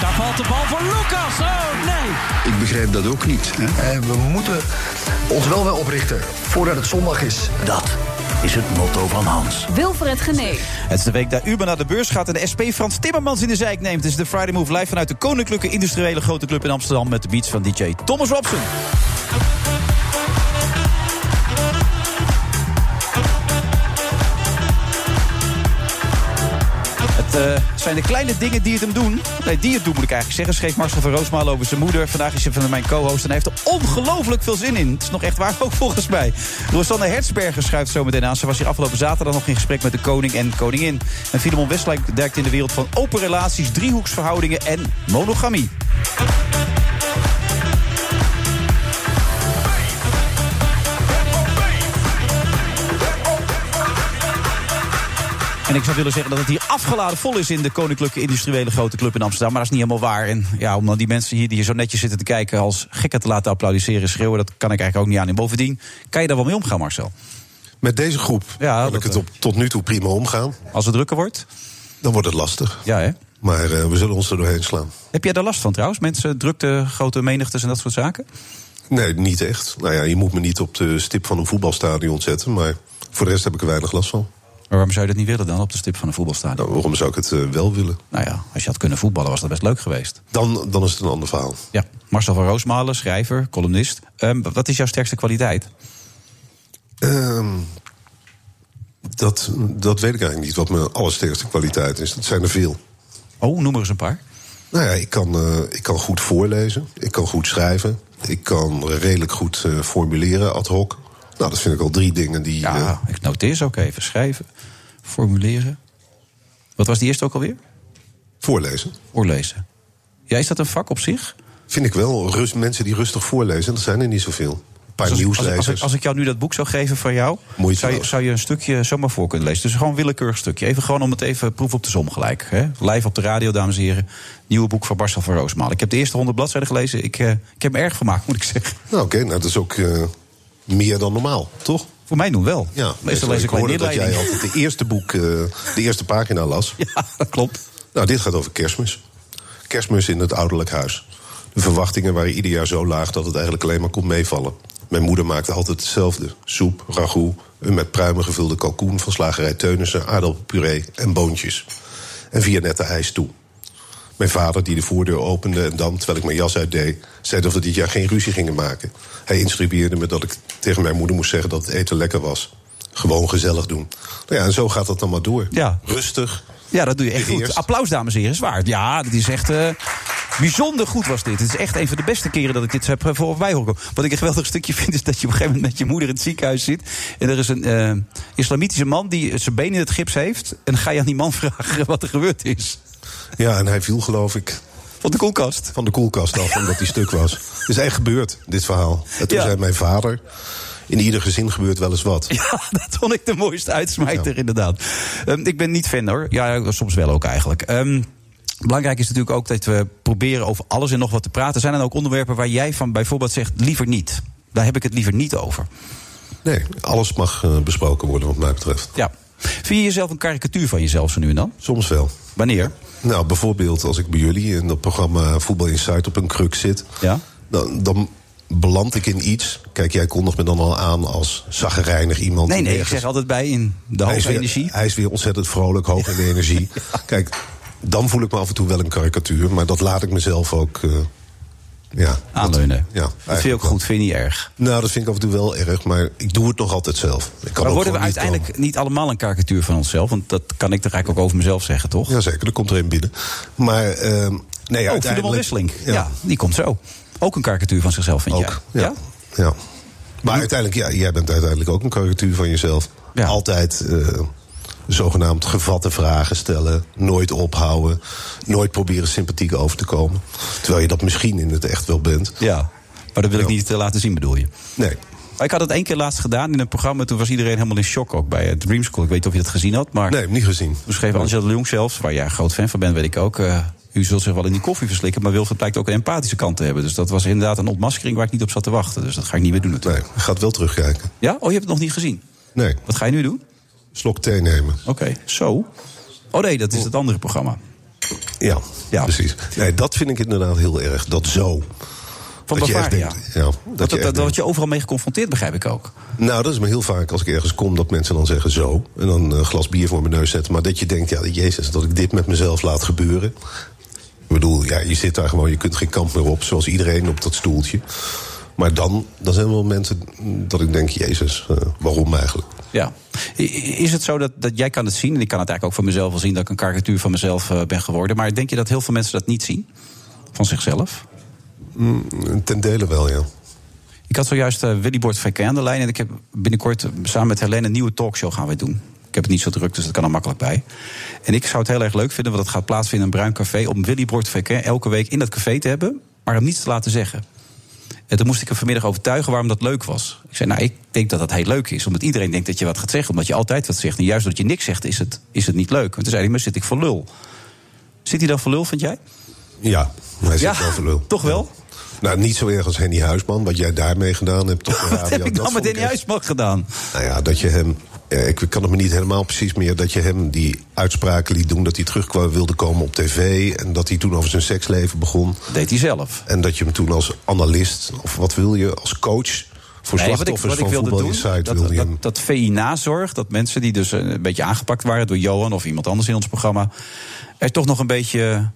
Daar valt de bal voor Lucas. Oh nee. Ik begrijp dat ook niet. Hè? Eh, we moeten ons wel wel oprichten voordat het zondag is. Dat is het motto van Hans. Wilfred Genee. Het is de week dat Uber naar de beurs gaat en de SP Frans Timmermans in de zijk neemt. Het is de Friday Move live vanuit de Koninklijke Industriële Grote Club in Amsterdam met de beats van DJ Thomas Robson. Het eh, zijn de kleine dingen die het hem doen. Nee, die het doen moet ik eigenlijk zeggen. Schreef Marcel van Roosmalen over zijn moeder. Vandaag is ze van mijn co-host en hij heeft er ongelooflijk veel zin in. Het is nog echt waar, ook volgens mij. Rosanne Hertzberger schuift zo meteen aan. Ze was hier afgelopen zaterdag nog in gesprek met de koning en koningin. En Filemon Westlijk duikt in de wereld van open relaties, driehoeksverhoudingen en monogamie. En ik zou willen zeggen dat het hier afgeladen vol is in de Koninklijke Industriële Grote Club in Amsterdam. Maar dat is niet helemaal waar. En ja, om dan die mensen hier die hier zo netjes zitten te kijken als gekken te laten applaudisseren, schreeuwen, dat kan ik eigenlijk ook niet aan. En bovendien, kan je daar wel mee omgaan, Marcel? Met deze groep Ja, kan dat, ik het eh. op, tot nu toe prima omgaan. Als het drukker wordt? Dan wordt het lastig. Ja, hè? Maar eh, we zullen ons er doorheen slaan. Heb jij daar last van trouwens? Mensen, drukte, grote menigtes en dat soort zaken? Nee, niet echt. Nou ja, je moet me niet op de stip van een voetbalstadion zetten. Maar voor de rest heb ik er weinig last van. Maar waarom zou je dat niet willen dan op de stip van een voetbalstadion? Nou, waarom zou ik het eh, wel willen? Nou ja, als je had kunnen voetballen was dat best leuk geweest. Dan, dan is het een ander verhaal. Ja, Marcel van Roosmalen, schrijver, columnist. Ehm, wat is jouw sterkste kwaliteit? Ehm, dat, dat weet ik eigenlijk niet wat mijn allersterkste kwaliteit is. Dat zijn er veel. Oh, noem er eens een paar. Nou ja, ik kan, eh, ik kan goed voorlezen. Ik kan goed schrijven. Ik kan redelijk goed eh, formuleren ad hoc. Nou, dat vind ik al drie dingen die. Ja, eh, ik noteer ze ook even. Schrijven, formuleren. Wat was die eerste ook alweer? voorlezen. Voorlezen. Ja, is dat een vak op zich? Vind ik wel. Rust, mensen die rustig voorlezen, dat zijn er niet zoveel. Een paar Dus als, als, nieuwslezers. als, ik, als ik jou nu dat boek zou geven van jou, Moeiteloos. zou je, zou je een stukje zomaar voor kunnen lezen. Dus gewoon een willekeurig stukje. Even gewoon om het even proef op de som gelijk. Hè? Live op de radio, dames en heren. Nieuwe boek van Marcel van Roosmalen. Ik heb de eerste honderd bladzijden gelezen. Ik, eh, ik heb me erg vermaakt, moet ik zeggen. Nou, oké, nou, dat is ook eh, meer dan normaal, toch? Voor mij doen wel. Ja, Meestal lees ik alleen hoorde dat jij inleiding. altijd de eerste boek, eh, de eerste pagina las. Ja, dat klopt. Nou, dit gaat over kerstmis. Kerstmis in het ouderlijk huis. De verwachtingen waren ieder jaar zo laag dat het eigenlijk alleen maar kon meevallen. Mijn moeder maakte altijd hetzelfde. Soep, ragout, een met pruimen gevulde kalkoen van slagerij Teunissen... aardappelpuree en boontjes. En via nette ijs toe. Mijn vader, die de voordeur opende en dan, terwijl ik mijn jas uitdeed... zei dat we dit jaar geen ruzie gingen maken. Hij instrueerde me dat ik tegen mijn moeder moest zeggen dat het eten lekker was. Gewoon gezellig doen. Nou ja, en zo gaat dat dan maar door. Ja. Rustig, Ja, dat doe je echt Dit goed. eerst. Applaus, dames en heren, is waard. Ja, dit is echt eh, bijzonder goed was dit. Het is echt een van de beste keren dat ik dit heb eh, voorbij horen komen. Wat ik een geweldig stukje vind, is dat je op een gegeven moment met je moeder in het ziekenhuis zit. En er is een eh, islamitische man die zijn been in het gips heeft. En dan ga je aan die man vragen wat er gebeurd is. Ja, en hij viel geloof ik Van de koelkast. van de koelkast af omdat hij stuk was. Het is echt gebeurd, dit verhaal. En toen Ja. zei mijn vader, in ieder gezin gebeurt wel eens wat. Ja, dat vond ik de mooiste uitsmijter, inderdaad. Ehm, ik ben niet fan hoor. Ja, soms wel ook eigenlijk. Ehm, belangrijk is natuurlijk ook dat we proberen over alles en nog wat te praten. Zijn er ook onderwerpen waar jij van bijvoorbeeld zegt liever niet? Daar heb ik het liever niet over. Nee, alles mag eh, besproken worden wat mij betreft. Ja. Vind je jezelf een karikatuur van jezelf zo nu en dan? Soms wel. Wanneer? Nou, bijvoorbeeld als ik bij jullie in dat programma Voetbal Insight op een kruk zit... Ja. Dan, dan beland ik in iets. Kijk, jij kondigt me dan al aan als zaggerijnig iemand. Nee, die nee, ik ergens- zeg altijd bij in de hij is, hoge weer, energie. hij is weer ontzettend vrolijk, hoog in de energie. Kijk, dan voel ik me af en toe wel een karikatuur. Maar dat laat ik mezelf ook... eh, ja, Aanleunen. Ja, dat vind je eigenlijk ook wel. goed, vind je niet erg. Nou, dat vind ik af en toe wel erg, maar ik doe het nog altijd zelf. Ik kan Maar ook worden we gewoon niet uiteindelijk niet allemaal een karikatuur van onszelf? Want dat kan ik er eigenlijk ook over mezelf zeggen, toch? komen. Jazeker, er komt er een binnen. Maar, ehm nee, oh, Filemon uiteindelijk... Wisseling. Ja. Ja, die komt zo. Ook een karikatuur van zichzelf, vind ook. jij? Ja. Ja? Maar uiteindelijk, ja, jij bent uiteindelijk ook een karikatuur van jezelf. Ja. Altijd eh, zogenaamd gevatte vragen stellen. Nooit ophouden. Nooit proberen sympathiek over te komen. Terwijl je dat misschien in het echt wel bent. Ja, maar dat wil ik niet eh, laten zien, bedoel je? Nee. Maar ik had het één keer laatst gedaan in een programma. Toen was iedereen helemaal in shock ook bij eh, Dream School. Ik weet niet of je dat gezien had, maar... Nee, niet gezien. Toen schreef Angela de Jong zelfs, waar jij een groot fan van bent, weet ik ook... eh, u zult zich wel in die koffie verslikken, maar Wilfred blijkt ook een empathische kant te hebben. Dus dat was inderdaad een ontmaskering waar ik niet op zat te wachten. Dus dat ga ik niet meer doen natuurlijk. Nee, gaat wel terugkijken. Ja? Oh, je hebt het nog niet gezien. Nee, Wat ga je nu doen? slok thee nemen. Oké, zo. Oh nee, dat is het andere programma. Ja, Ja. precies. Nee, dat vind ik inderdaad heel erg. Dat zo. Van Dat je echt Bavaria. denkt- ja, dat Want je echt dat, dat denkt- word je overal mee geconfronteerd, begrijp ik ook. Nou, dat is me heel vaak als ik ergens kom dat mensen dan zeggen zo. En dan een glas bier voor mijn neus zetten. Maar dat je denkt, ja, Jezus, dat ik dit met mezelf laat gebeuren. Ik bedoel, ja, je zit daar gewoon, je kunt geen kant meer op. Zoals iedereen op dat stoeltje. Maar dan, dan zijn er wel mensen dat ik denk, Jezus, eh, waarom eigenlijk? Ja. I- Is het zo dat, dat jij kan het zien, en ik kan het eigenlijk ook van mezelf wel zien... dat ik een karikatuur van mezelf eh, ben geworden. Maar denk je dat heel veel mensen dat niet zien? Van zichzelf? Mm, Ten dele wel, ja. Ik had zojuist eh, Willy Bord VK aan de lijn. En ik heb binnenkort eh, samen met Helene een nieuwe talkshow gaan wij doen. Ik heb het niet zo druk, dus dat kan er makkelijk bij. En ik zou het heel erg leuk vinden, want het gaat plaatsvinden in een bruin café... om Willy Bord VK elke week in dat café te hebben, maar hem niets te laten zeggen. En toen moest ik hem vanmiddag overtuigen waarom dat leuk was. Ik zei, nou, ik denk dat dat heel leuk is. Omdat iedereen denkt dat je wat gaat zeggen. Omdat je altijd wat zegt. En juist omdat je niks zegt, is het, is het niet leuk. En toen zei hij, maar zit ik voor lul? Zit hij dan voor lul, vind jij? Ja, hij zit wel voor lul. toch wel? Nou, niet zo erg als Henny Huisman, wat jij daarmee gedaan hebt op de radio. Wat heb ik dat dan met vond ik Danny echt- Huisman gedaan? Nou ja, dat je hem. eh, Ik kan het me niet helemaal precies meer. Dat je hem die uitspraken liet doen. Dat hij terug kwam- wilde komen op tv. En dat hij toen over zijn seksleven begon. Dat deed hij zelf. En dat je hem toen als analist. Of wat wil je? Als coach. Voor Nee, wat ik, slachtoffers wat ik van wilde Voetbal doen, Insight. dat, wilde je dat, hem. dat VI nazorg, dat mensen die dus eh, een beetje aangepakt waren door Johan of iemand anders in ons programma, er toch nog een beetje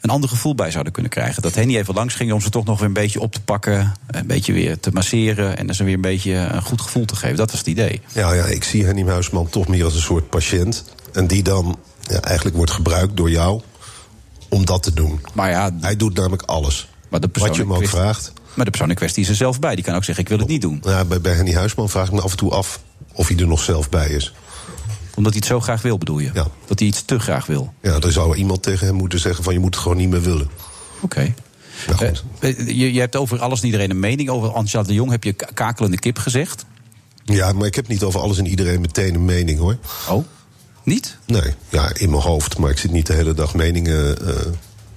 een ander gevoel bij zouden kunnen krijgen. Dat hen niet even langs ging om ze toch nog weer een beetje op te pakken, een beetje weer te masseren en ze weer een beetje een goed gevoel te geven. Dat was het idee. Ja, ja, ik zie Henny Huisman toch meer als een soort patiënt. En die dan ja, eigenlijk wordt gebruikt door jou. Om dat te doen. Maar ja, Hij doet namelijk alles. Maar de persoon wat je hem ook wist- vraagt. maar de persoon in kwestie is er zelf bij. Die kan ook zeggen, ik wil het niet doen. Ja, bij, bij Henny Huisman vraag ik me af en toe af. Of hij er nog zelf bij is. Omdat hij het zo graag wil, bedoel je? Ja. Dat hij iets te graag wil. Ja, dan zou iemand tegen hem moeten zeggen van je moet het gewoon niet meer willen. Oké. Nou goed. Eh, je, je hebt over alles en iedereen een mening. Over Angela de Jong heb je ka- kakelende kip gezegd. Ja, maar ik heb niet over alles en iedereen meteen een mening hoor. Eh. Oh, niet? Nee, ja, in mijn hoofd, maar ik zit niet de hele dag meningen. eh,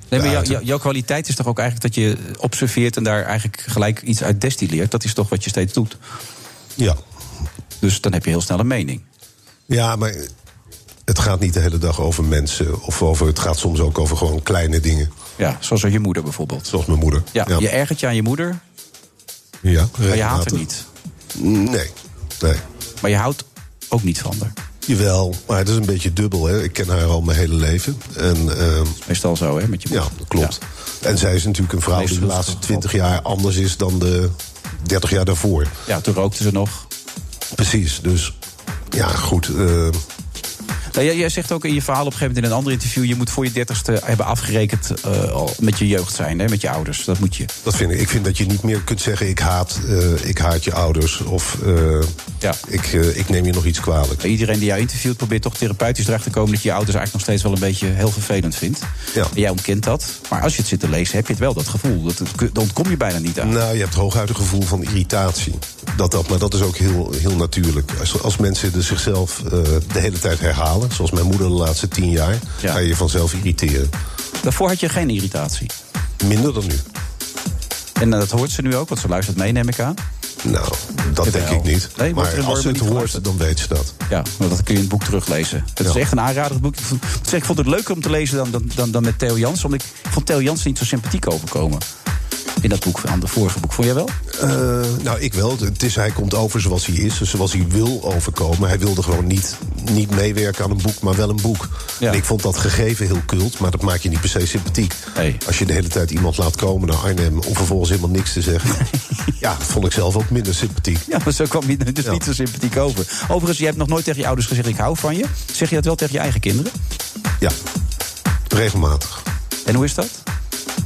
Nee, maar jou- uiten. jou- jouw kwaliteit is toch ook eigenlijk dat je observeert en daar eigenlijk gelijk iets uit destilleert. Dat is toch wat je steeds doet. ja. Dus dan heb je heel snel een mening. ja, maar het gaat niet de hele dag over mensen. Of over, het gaat soms ook over gewoon kleine dingen. Ja, zoals je moeder bijvoorbeeld. Zoals mijn moeder. Ja, je ergert je aan je moeder, Ja, maar je haat regelmatig. er niet. Nee, nee. Maar je houdt ook niet van haar. Jawel, maar het is een beetje dubbel. Hè. Ik ken haar al mijn hele leven. En ehm, Meestal zo, hè, met je Ja, moeder. dat klopt. En zij is natuurlijk een vrouw Nee, die ze de doet het laatste toch 20 jaar anders is dan de 30 jaar daarvoor. Ja. ja, toen rookte ze nog. Precies, dus ja, goed. eh, Nou, jij, jij zegt ook in je verhaal op een gegeven moment in een ander interview... je moet voor je dertigste hebben afgerekend eh, al met je jeugd zijn, hè, met je ouders. Dat moet je. dat vind ik. Ik vind dat je niet meer kunt zeggen: ik haat, eh, ik haat je ouders. Of eh, Ja. ik, eh, ik neem je nog iets kwalijk. Iedereen die jou interviewt probeert toch therapeutisch erachter te komen... dat je je ouders eigenlijk nog steeds wel een beetje heel vervelend vindt. Ja. En jij ontkent dat. Maar als je het zit te lezen, heb je het wel, dat gevoel. Dat, dat, dat ontkom je bijna niet aan. Nou, je hebt hooguit een gevoel van irritatie. Dat, dat, maar dat is ook heel, heel natuurlijk. Als, als mensen dus zichzelf eh, de hele tijd herhalen, zoals mijn moeder de laatste 10 jaar, Ja. ga je je vanzelf irriteren. Daarvoor had je geen irritatie. Minder dan nu. En eh, dat hoort ze nu ook, want ze luistert mee, neem ik aan. Nou, dat Jawel. denk ik niet. Nee, wordt er maar in als ze Wormen het niet geluisterd? hoort, dan weet ze dat. Ja, maar dat kun je in het boek teruglezen. Het Ja. is echt een aanrader boek. Ik vond, ik moet zeggen, ik vond het leuker om te lezen dan, dan, dan, dan met Theo Jans. Omdat ik, ik vond Theo Jans niet zo sympathiek overkomen. In dat boek, aan de vorige boek. Vond jij wel? Eh, nou, ik wel. Het is, hij komt over zoals hij is, dus zoals hij wil overkomen. Hij wilde gewoon niet, niet meewerken aan een boek, maar wel een boek. Ja. En ik vond dat gegeven heel kult, maar dat maakt je niet per se sympathiek. Nee. Als je de hele tijd iemand laat komen naar Arnhem om vervolgens helemaal niks te zeggen. ja, dat vond ik zelf ook minder sympathiek. Ja, maar zo kwam je er dus Ja. niet zo sympathiek over. Overigens, je hebt nog nooit tegen je ouders gezegd: ik hou van je. Zeg je dat wel tegen je eigen kinderen? Ja, regelmatig. En hoe is dat?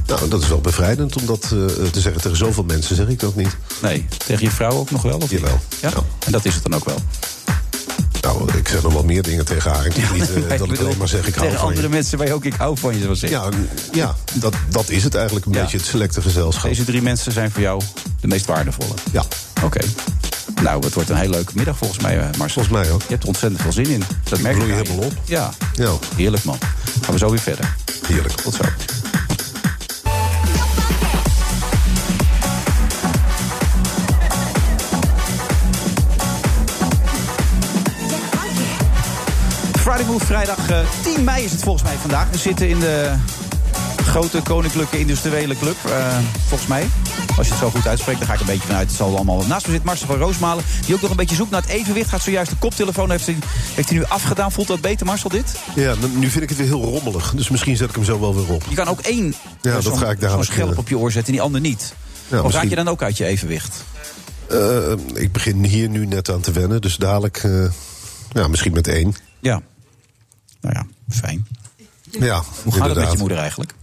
Nou, dat is wel bevrijdend om dat eh, te zeggen. Tegen zoveel mensen zeg ik dat niet. Nee. Tegen je vrouw ook nog wel? Of niet? Jawel. Ja? Ja. En dat is het dan ook wel. Nou, ik zeg nog wel meer dingen tegen haar. Ik denk niet eh, Ik dat ik bedoel, alleen maar zeg ik hou tegen van andere je. mensen waar je ook ik hou van je zou zeggen. Ja, ja dat, dat is het eigenlijk een Ja. beetje het selecte gezelschap. Deze drie mensen zijn voor jou de meest waardevolle. Ja, Oké. Nou, het wordt een hele leuke middag volgens mij, eh, Marcel. volgens mij ook. Je hebt er ontzettend veel zin in. Dat merk bloei ik aan helemaal je. op. Ja. Ja, Heerlijk, man. Gaan we zo weer verder. heerlijk. Tot zo. Friday Move, vrijdag eh, 10 mei is het volgens mij vandaag. We zitten in de grote koninklijke industriële club, eh, volgens mij. Als je het zo goed uitspreekt, dan ga ik een beetje vanuit. Het zal allemaal wel. Naast me zit Marcel van Roosmalen, die ook nog een beetje zoekt naar het evenwicht. Gaat zojuist de koptelefoon, heeft hij, heeft hij nu afgedaan. Voelt dat beter, Marcel, dit? Ja, nu- nu vind ik het weer heel rommelig. Dus misschien zet ik hem zo wel weer op. Je kan ook één Ja, eh, dat zo'n- ga ik dadelijk zo'n schelp doen. op je oor zetten en die ander niet. of raak misschien- je dan ook uit je evenwicht? Eh, ik begin hier nu net aan te wennen. Dus dadelijk, eh, ja, misschien met één. Ja. Nou ja, fijn. Ja, Hoe gaat het met inderdaad. je moeder eigenlijk?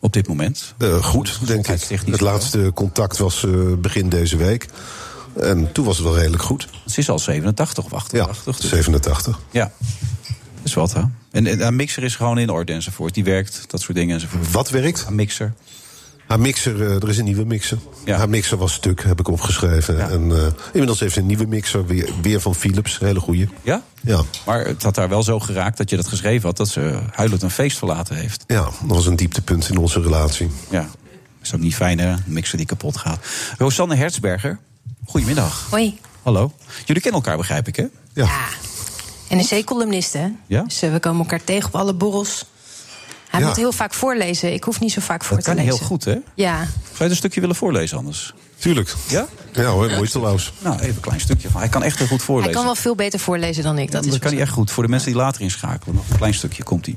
Op dit moment? Eh, goed, denk ik. Gezondheidstechnisch Het wel. laatste contact was eh, begin deze week. En toen was het wel redelijk goed. Ze is al 87 of Ja, 88. dus- 87. Ja. Dat is wat, hè? En, en een mixer is gewoon in orde enzovoort. Die werkt, dat soort dingen enzovoort. Wat werkt? Een mixer. Haar mixer, eh, er is een nieuwe mixer. Ja. Haar mixer was stuk, heb ik opgeschreven. Ja. En eh, inmiddels heeft ze een nieuwe mixer, weer, weer van Philips. Hele goeie. Ja? Ja. Maar het had haar wel zo geraakt dat je dat geschreven had... dat ze huilend een feest verlaten heeft. ja, dat was een dieptepunt in onze relatie. Ja. Is ook niet fijn, hè? Een mixer die kapot gaat. Rosanne Hertzberger, goedemiddag. Hoi. Hallo. Jullie kennen elkaar, begrijp ik, hè? Ja, NEC-columnist, hè? Ja? Dus eh, we komen elkaar tegen op alle borrels. Hij Ja. moet heel vaak voorlezen. Ik hoef niet zo vaak voor Dat te kan lezen. heel goed, hè? Zou Ja. je het een stukje willen voorlezen anders? tuurlijk. Ja? Ja hoor, moeiteloos. Nou, even een klein stukje. van. Hij kan echt heel goed voorlezen. Hij kan wel veel beter voorlezen dan ik. Ja, Dat is dat kan wel hij echt goed. Voor de mensen die later inschakelen. Nog een klein stukje komt hij.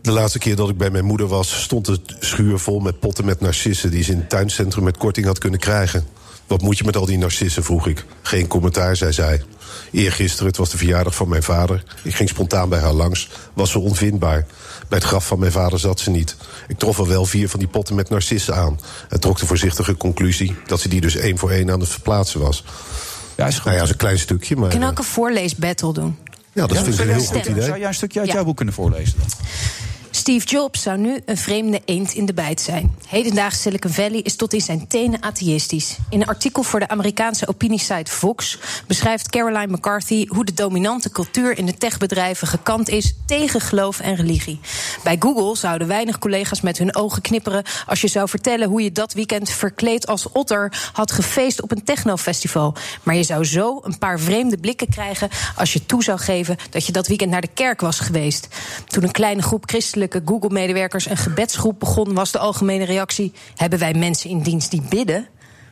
De laatste keer dat ik bij mijn moeder was, stond de schuur vol met potten met narcissen die ze in het tuincentrum met korting had kunnen krijgen. Wat moet je met al die narcissen? vroeg ik. Geen commentaar, zei zij. Eergisteren, het was de verjaardag van mijn vader. Ik ging spontaan bij haar langs. Was ze onvindbaar. Bij het graf van mijn vader zat ze niet. Ik trof er wel vier van die potten met narcissen aan. En trok de voorzichtige conclusie dat ze die dus één voor één aan het verplaatsen was. Ja, is goed. Nou ja, dat is een klein stukje, maar. Ik kan eh, ook een voorleesbattle doen. Ja, dat vind ik een heel stemmen? goed idee. Zou jij een stukje uit Ja. jouw boek kunnen voorlezen dan? Steve Jobs zou nu een vreemde eend in de bijt zijn. Hedendaags Silicon Valley is tot in zijn tenen atheïstisch. In een artikel voor de Amerikaanse opiniesite Vox beschrijft Caroline McCarthy hoe de dominante cultuur in de techbedrijven gekant is tegen geloof en religie. Bij Google zouden weinig collega's met hun ogen knipperen als je zou vertellen hoe je dat weekend verkleed als otter had gefeest op een technofestival. Maar je zou zo een paar vreemde blikken krijgen als je toe zou geven dat je dat weekend naar de kerk was geweest. Toen een kleine groep christelijke Google-medewerkers een gebedsgroep begon, was de algemene reactie: hebben wij mensen in dienst die bidden?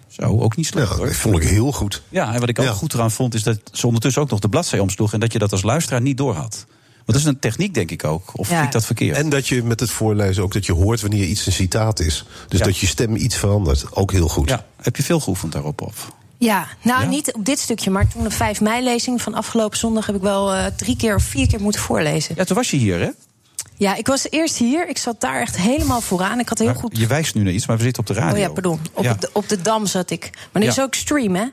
Zo, Nou, ook niet slecht Ja, hoor. dat vond ik heel goed. Ja, en wat ik ook Ja. goed eraan vond is dat ze ondertussen ook nog de bladzij omsloeg... en dat je dat als luisteraar niet doorhad. Want dat is een techniek, denk ik ook. Of Ja. zie ik dat verkeerd? En dat je met het voorlezen ook dat je hoort wanneer iets een citaat is. Dus Ja. dat je stem iets verandert. Ook heel goed. Ja, heb je veel geoefend daarop? Of? Ja, nou Ja? niet op dit stukje, maar toen de 5 mei-lezing van afgelopen zondag heb ik wel eh, drie keer of vier keer moeten voorlezen. Ja, toen was je hier, hè? Ja, ik was eerst hier, ik zat daar echt helemaal vooraan. Ik had heel Maar goed Je wijst nu naar iets, maar we zitten op de radio. Oh ja, pardon. Op, Ja. De, op de Dam zat ik. Maar dit Ja. is ook stream, hè?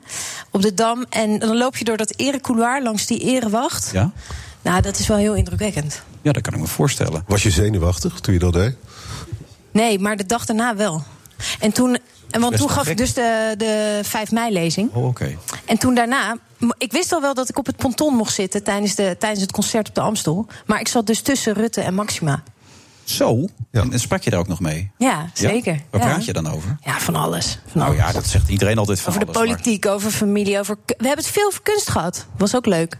Op de Dam. En dan loop je door dat erecouloir langs die erewacht. Ja? Nou, dat is wel heel indrukwekkend. ja, dat kan ik me voorstellen. Was je zenuwachtig toen je dat deed? Nee, maar de dag daarna wel. En toen... En want Best toen wel gaf gek. ik dus de, de 5 mei-lezing. Oh, oké. En toen daarna... m- Ik wist al wel dat ik op het ponton mocht zitten... Tijdens, de, tijdens het concert op de Amstel. Maar ik zat dus tussen Rutte en Maxima. Zo? Ja. En, en sprak je daar ook nog mee? Ja, zeker. Ja? Waar Ja. praat je dan over? Ja, van alles. Van Nou alles. ja, dat zegt iedereen altijd van Over de alles, maar- politiek, over familie, over... ku- We hebben het veel over kunst gehad. Was ook leuk.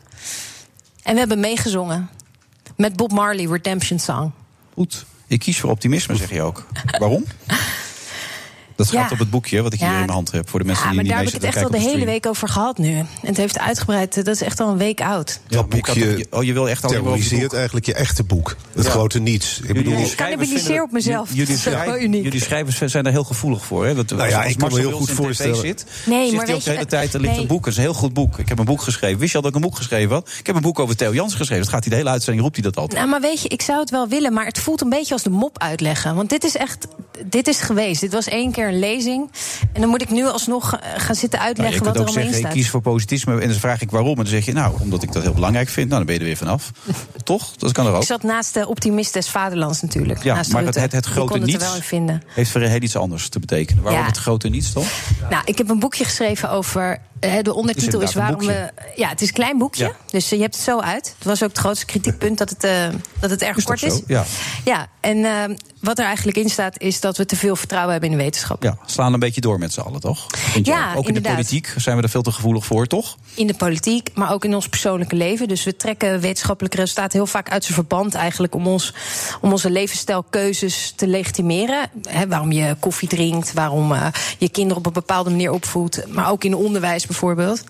En we hebben meegezongen. Met Bob Marley, Redemption Song. Goed. Ik kies voor optimisme, zeg je ook. Waarom? Dat Ja. gaat op het boekje wat ik hier Ja, in mijn hand heb voor de Ja, mensen die maar niet daar mee heb ik het zitten echt al de kijken hele op week over gehad nu. En het heeft uitgebreid, eh, dat is echt al een week oud. stream. Dat Ja, maar je kan boekje toch- oh, je wil echt al Terroriseert eigenlijk je echte boek. Het grote niets. Ik bedoel, Ik cannibaliseer op mezelf. Jullie, Dat is wel schrijvers- uniek. jullie schrijvers zijn daar heel gevoelig voor. Hè? Want Nou ja, als ik kan me Marcel heel Wilson goed in tv voorstellen. Zit, Nee, zegt maar hij ook weet de je, hele het- tijd, er ligt nee. een boek. Dat is een heel goed boek. Ik heb een boek geschreven. Wist je al dat ik een boek geschreven had? Ik heb een boek over Theo Jans geschreven. Dat gaat hij de hele uitzending, roept hij dat altijd. Nou, maar weet je, ik zou het wel willen, maar het voelt een beetje als de mop uitleggen. Want dit is echt, dit is geweest. Dit was één keer een lezing. En dan moet ik nu alsnog eh, gaan zitten Nou, je uitleggen kunt wat ook er omheen zeggen, ik staat. kies voor positivisme. En dan vraag ik waarom. En dan zeg je, nou, omdat ik dat heel belangrijk vind. Nou, dan ben je er weer vanaf. Toch? Dat kan er ook. Ik zat naast de optimist des vaderlands natuurlijk. Ja, naast maar het, Rutte. het, het Die grote kon het er niets wel in vinden. heeft voor heel iets anders te betekenen. Waarom Ja. het grote niets dan? Nou, ik heb een boekje geschreven over. hè, de ondertitel is, inderdaad een waarom we. Ja, het is een klein boekje. Ja. Dus eh, je hebt het zo uit. Het was ook het grootste kritiekpunt dat het, eh, dat het erg Is dat kort zo? is. Ja. Ja, en eh, wat er eigenlijk in staat is dat we te veel vertrouwen hebben in de wetenschap. Ja, slaan een beetje door met z'n allen, toch? Vind je Ja, ook? ook in inderdaad. de politiek zijn we er veel te gevoelig voor, toch? In de politiek, maar ook in ons persoonlijke leven. Dus we trekken wetenschappelijke resultaten heel vaak uit zijn verband eigenlijk om, ons, om onze levensstijlkeuzes te legitimeren. Hè, waarom je koffie drinkt, waarom eh, je kinderen op een bepaalde manier opvoedt, maar ook in onderwijs bijvoorbeeld.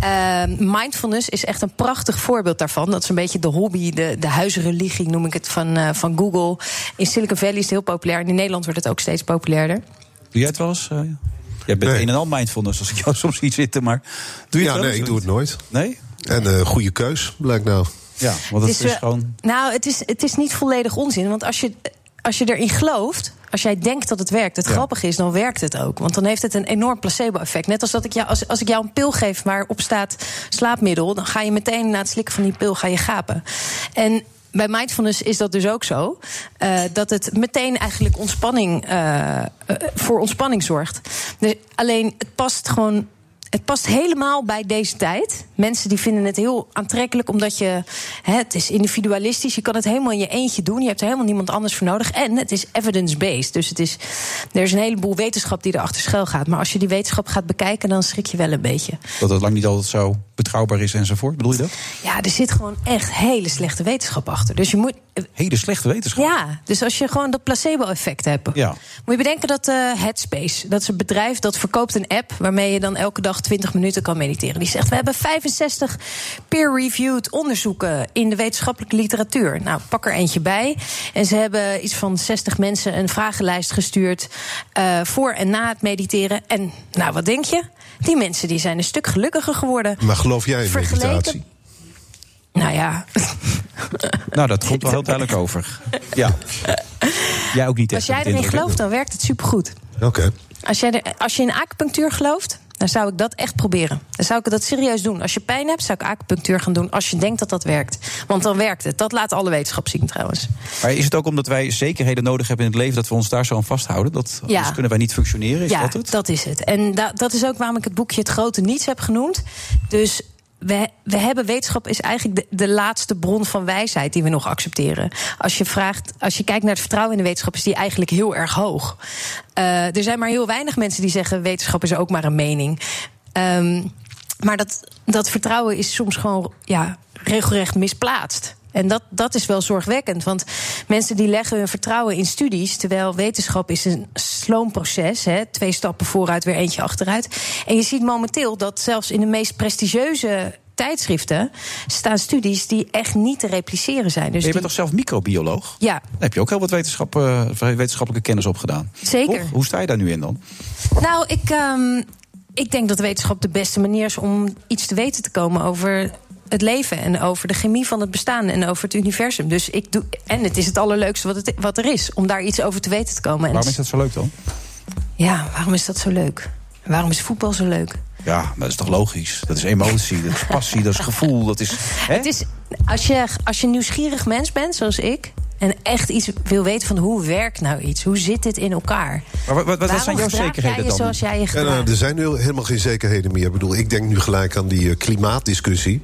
Eh, mindfulness is echt een prachtig voorbeeld daarvan. Dat is een beetje de hobby, de, de huisreligie noem ik het van, eh, van Google. In Silicon Valley is het heel populair en in Nederland wordt het ook steeds populairder. Doe jij het wel eens? eh? jij bent Nee. een en al mindfulness als ik jou soms zie zitten, maar doe je Ja, het nee, wel eens? ik doe het nooit. Nee? En eh, goede keus, blijkt nou. Ja, want het is, wel- gewoon... Nou, het is, het is niet volledig onzin. Want als je, als je erin gelooft, als jij denkt dat het werkt, het Ja. grappige is, dan werkt het ook. Want dan heeft het een enorm placebo-effect. Net als dat ik jou, als, als ik jou een pil geef waarop staat slaapmiddel, dan ga je meteen na het slikken van die pil ga je gapen. En bij mindfulness is dat dus ook zo. eh, dat het meteen eigenlijk ontspanning, eh, eh, voor ontspanning zorgt. Dus, alleen het past gewoon het past helemaal bij deze tijd. Mensen die vinden het heel aantrekkelijk omdat je. Hè, het is individualistisch. Je kan het helemaal in je eentje doen. Je hebt er helemaal niemand anders voor nodig. En het is evidence-based. Dus het is, er is een heleboel wetenschap die erachter schuil gaat. Maar als je die wetenschap gaat bekijken, dan schrik je wel een beetje. dat het lang niet altijd zo betrouwbaar is enzovoort. Bedoel je dat? Ja, er zit gewoon echt hele slechte wetenschap achter. Dus je moet. Hele slechte wetenschap. Ja, dus als je gewoon dat placebo-effect hebt. Ja. Moet je bedenken dat eh, Headspace, dat is een bedrijf dat verkoopt een app waarmee je dan elke dag 20 minuten kan mediteren. Die zegt: We hebben 65 peer-reviewed onderzoeken in de wetenschappelijke literatuur. Nou, pak er eentje bij. En ze hebben iets van 60 mensen een vragenlijst gestuurd eh, voor en na het mediteren. En nou, wat denk je? Die mensen die zijn een stuk gelukkiger geworden. Maar geloof jij in Vergeleken- meditatie? Nou ja, Nou, dat komt wel heel duidelijk over. Ja. Jij ook niet echt. als jij heb ik de indruk, erin hè? gelooft, dan werkt het supergoed. Oké. Als, jij er- als je in acupunctuur gelooft, dan zou ik dat echt proberen. Dan zou ik dat serieus doen. Als je pijn hebt, zou ik acupunctuur gaan doen. Als je denkt dat dat werkt. Want dan werkt het. Dat laat alle wetenschap zien trouwens. Maar is het ook omdat wij zekerheden nodig hebben in het leven dat we ons daar zo aan vasthouden? Dat Ja. anders kunnen wij niet functioneren? Is ja, Dus dat het? is het. En da- dat is ook waarom ik het boekje Het Grote Niets heb genoemd. Dus we, we hebben wetenschap is eigenlijk de, de laatste bron van wijsheid die we nog accepteren. Als je, vraagt, als je kijkt naar het vertrouwen in de wetenschap, is die eigenlijk heel erg hoog. Eh, er zijn maar heel weinig mensen die zeggen: wetenschap is ook maar een mening. Ehm, maar dat, dat vertrouwen is soms gewoon ja, regelrecht misplaatst. En dat, dat is wel zorgwekkend. Want mensen die leggen hun vertrouwen in studies. Terwijl wetenschap is een sloom proces. Hè, twee stappen vooruit, weer eentje achteruit. En je ziet momenteel dat zelfs in de meest prestigieuze tijdschriften. staan studies die echt niet te repliceren zijn. Dus je bent die- toch zelf microbioloog? Ja. Daar heb je ook heel wat wetenschap, eh, wetenschappelijke kennis opgedaan. Zeker. Toch? Hoe sta je daar nu in dan? Nou, ik, ehm, ik denk dat wetenschap de beste manier is om iets te weten te komen over het leven en over de chemie van het bestaan en over het universum. Dus ik doe en het is het allerleukste wat, het, wat er is om daar iets over te weten te komen. En Waarom is dat zo leuk dan? Ja, waarom is dat zo leuk? En Waarom is voetbal zo leuk? Ja, maar dat is toch logisch? Dat is emotie, dat is passie, dat is gevoel. Dat is, hè? Het is als je als je een nieuwsgierig mens bent zoals ik en echt iets wil weten van hoe werkt nou iets, hoe zit dit in elkaar? Maar wat, wat, wat Waarom zijn jouw gedraag zekerheden jij je dan? Zoals jij je Ja, nou, gedraagt? er zijn nu helemaal geen zekerheden meer. Ik bedoel, ik denk nu gelijk aan die eh, klimaatdiscussie.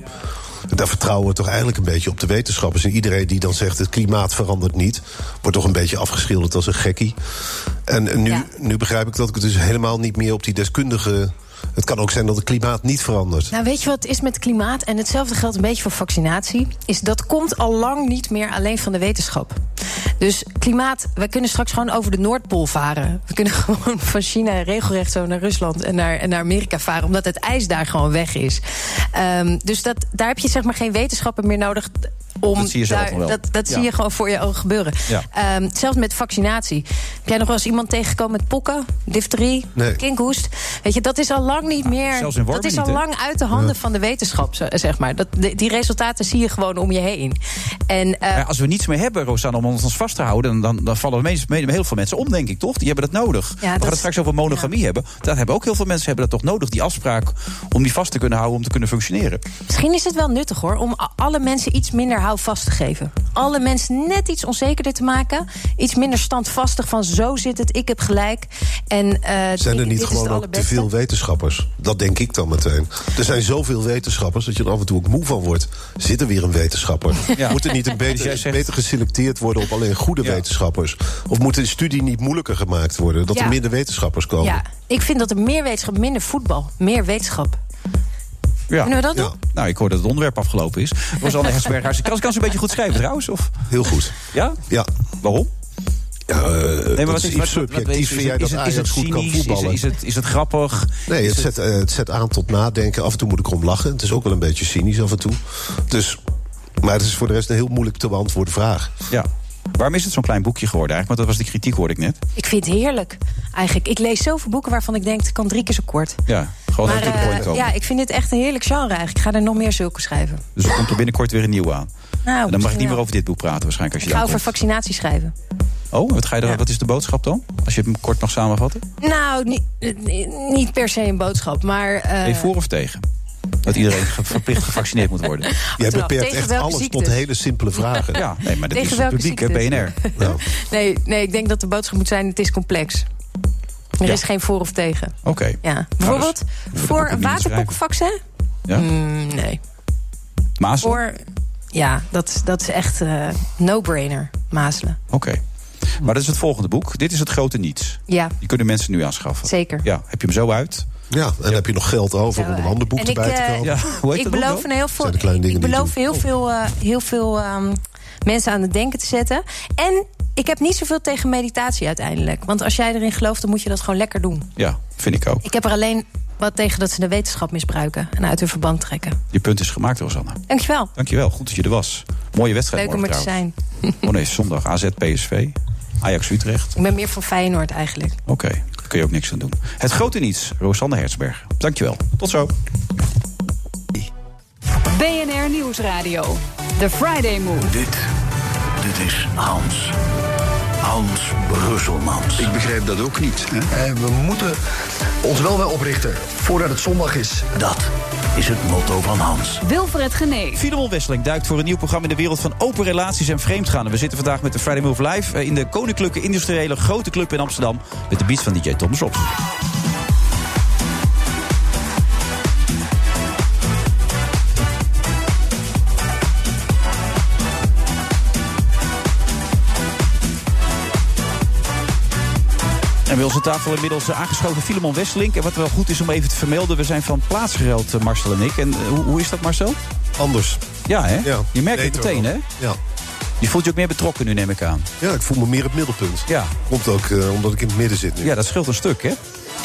Daar vertrouwen we toch eigenlijk een beetje op de wetenschappers. En iedereen die dan zegt het klimaat verandert niet, wordt toch een beetje afgeschilderd als een gekkie. En eh, nu, Ja. nu begrijp ik dat ik het dus helemaal niet meer op die deskundige. Het kan ook zijn dat het klimaat niet verandert. Nou, weet je wat het is met klimaat? En hetzelfde geldt een beetje voor vaccinatie. Is dat komt al lang niet meer alleen van de wetenschap. Dus klimaat, wij kunnen straks gewoon over de Noordpool varen. We kunnen gewoon van China regelrecht zo naar Rusland en naar, en naar Amerika varen, omdat het ijs daar gewoon weg is. Ehm, dus dat, daar heb je zeg maar geen wetenschappen meer nodig om Dat zie je zelf nog wel. Dat, dat Ja. zie je gewoon voor je ogen gebeuren. Ja. Ehm, zelfs met vaccinatie. Heb jij nog wel eens iemand tegengekomen met pokken, difterie, Nee. kinkhoest? Weet je, dat is al lang niet meer. Ah, zelfs in Wormen dat is al niet, hè? lang uit de handen van de wetenschap, ze- zeg maar. Dat, de- die resultaten zie je gewoon om je heen. En eh, Maar als we niets meer hebben, Rosanne, om ons vast te houden... dan, dan, dan vallen meest- me- heel veel mensen om, denk ik, toch? Die hebben dat nodig. we gaan dat- het straks over monogamie hebben. Dat hebben ook heel veel mensen hebben dat toch nodig, die afspraak... om die vast te kunnen houden, om te kunnen functioneren. Misschien is het wel nuttig hoor, om a- alle mensen iets minder houvast te geven. Alle mensen net iets onzekerder te maken. Iets minder standvastig van zo zit het, ik heb gelijk. En, eh, Zijn er dit- dit niet is gewoon het ook te allerbeste. veel wetenschappers? Dat denk ik dan meteen. Er zijn zoveel wetenschappers dat je er af en toe ook moe van wordt. Zit er weer een wetenschapper? Ja. dus Moet er niet een beter, jij zegt- beter geselecteerd worden op alleen goede Ja. wetenschappers? Of moet de studie niet moeilijker gemaakt worden? Dat Ja. er minder wetenschappers komen? Ja, ik vind dat er meer wetenschap, minder voetbal. Meer wetenschap. Ja. Kunnen we dat Ja. doen? Nou, ik hoor dat het onderwerp afgelopen is. Rosanne Hersberghuis, kan, kan ze een beetje goed schrijven trouwens? Of? Heel goed. Ja? Ja. Waarom? Ja, eh, dat wat is is- iets wat- wat- wat- subjectiefs. Vind jij dat is het- is het Ajax goed kan cynisch? Is- voetballen? Is het, is het grappig? Nee, het zet, eh, het zet aan tot nadenken. Af en toe moet ik erom lachen. Het is ook wel een beetje cynisch af en toe. Dus, maar het is voor de rest een heel moeilijk te beantwoorden vraag. Ja. Waarom is het zo'n klein boekje geworden eigenlijk? Want dat was de kritiek, hoorde ik net. Ik vind het heerlijk, eigenlijk. Ik lees zoveel boeken waarvan ik denk, het kan drie keer zo kort. Ja, gewoon Maar even op de eh, point komen. ja, ik vind dit echt een heerlijk genre eigenlijk. Ik ga er nog meer zulke schrijven. Dus er komt er binnenkort weer een nieuwe aan. Nou, en dan mag ik misschien niet meer wel. over dit boek praten waarschijnlijk. Ik Als je ga daar over komt. vaccinatie schrijven. Oh, wat, ga je er, wat is de boodschap dan? Als je hem kort mag samenvatten? Nou, niet, eh, niet per se een boodschap, maar... eh, Ben je voor of tegen? Dat iedereen ge- verplicht gevaccineerd moet worden. Jij Terwijl, beperkt tegen echt welke alles tot ziektes? hele simpele vragen. Ja, nee, maar dat Tegen is het welke publiek, hè, ziektes? BNR. Nou, nee, nee, ik denk dat de boodschap moet zijn, het is complex. Er Ja. is geen voor of tegen. Oké. Nou, Ja. Bijvoorbeeld moet ik ook voor niet een waterpokkenvaccin? Ja? Mm, nee. Maas? Oké. Voor, ja, dat, dat is echt eh, no-brainer, mazelen. Maar dat is het volgende boek. Dit is het grote niets. Ja, Die kunnen mensen nu aanschaffen. Zeker. Ja, heb je hem zo uit? ja, en dan heb je nog geld over om een ander boek En erbij ik, te eh, kopen. Ja, hoe heet ik dat boek beloof dan? een heel veel, Zijn de kleine ik dingen die beloof doen. heel veel, eh, heel veel ehm, mensen aan het denken te zetten. En ik heb niet zoveel tegen meditatie uiteindelijk. Want als jij erin gelooft, dan moet je dat gewoon lekker doen. Ja, vind ik ook. Ik heb er alleen wat tegen dat ze de wetenschap misbruiken en uit hun verband trekken. Je punt is gemaakt, Rosanne. Dankjewel. Dankjewel, goed dat je er was. Mooie wedstrijd Leuk om er morgen te trouwens. zijn. Oh nee, zondag AZ PSV. Ajax Utrecht. Ik ben meer van Feyenoord eigenlijk. Oké, daar kun je ook niks aan doen. Het grote niets, Rosanne Hertzberg. Dankjewel. Tot zo. BNR Nieuwsradio. The Friday Move. Dit, dit is Hans. Hans Brusselmans. Ik begrijp dat ook niet. Eh, we moeten ons wel weer oprichten voordat het zondag is. Dat is het motto van Hans. Wilfred Gené. Filemon Wesseling duikt voor een nieuw programma in de wereld van open relaties en vreemdgaan. En We zitten vandaag met de Friday Move Live eh, in de Koninklijke Industriële Grote Club in Amsterdam. Met de beats van DJ Thomas Ops. En bij onze tafel inmiddels eh, aangeschoven Filemon Wesseling. En wat wel goed is om even te vermelden, we zijn van plaats gereld, eh, Marcel en ik. En eh, hoe, hoe is dat, Marcel? Anders. Ja, Ah, hè? Ja. Je merkt het Beter meteen, wel. hè? Ja. Je voelt je ook meer betrokken nu, neem ik aan. ja, ik voel me meer het middelpunt. Ja. Komt ook eh, omdat ik in het midden zit nu. Ja, dat scheelt een stuk, hè?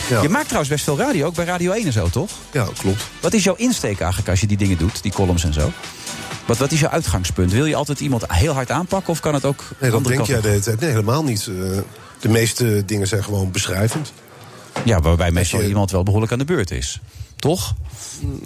Ja. Je maakt trouwens best veel radio, ook bij Radio 1 en zo, toch? Ja, klopt. Wat is jouw insteek eigenlijk als je die dingen doet, die columns en zo? Wat, wat is jouw uitgangspunt? Wil je altijd iemand heel hard aanpakken of kan het ook Nee, dat andere denk kant jij op? de hele tijd. Nee, helemaal niet. Eh, de meeste dingen zijn gewoon beschrijvend. Ja, waarbij meestal je- iemand wel behoorlijk aan de beurt is. Toch?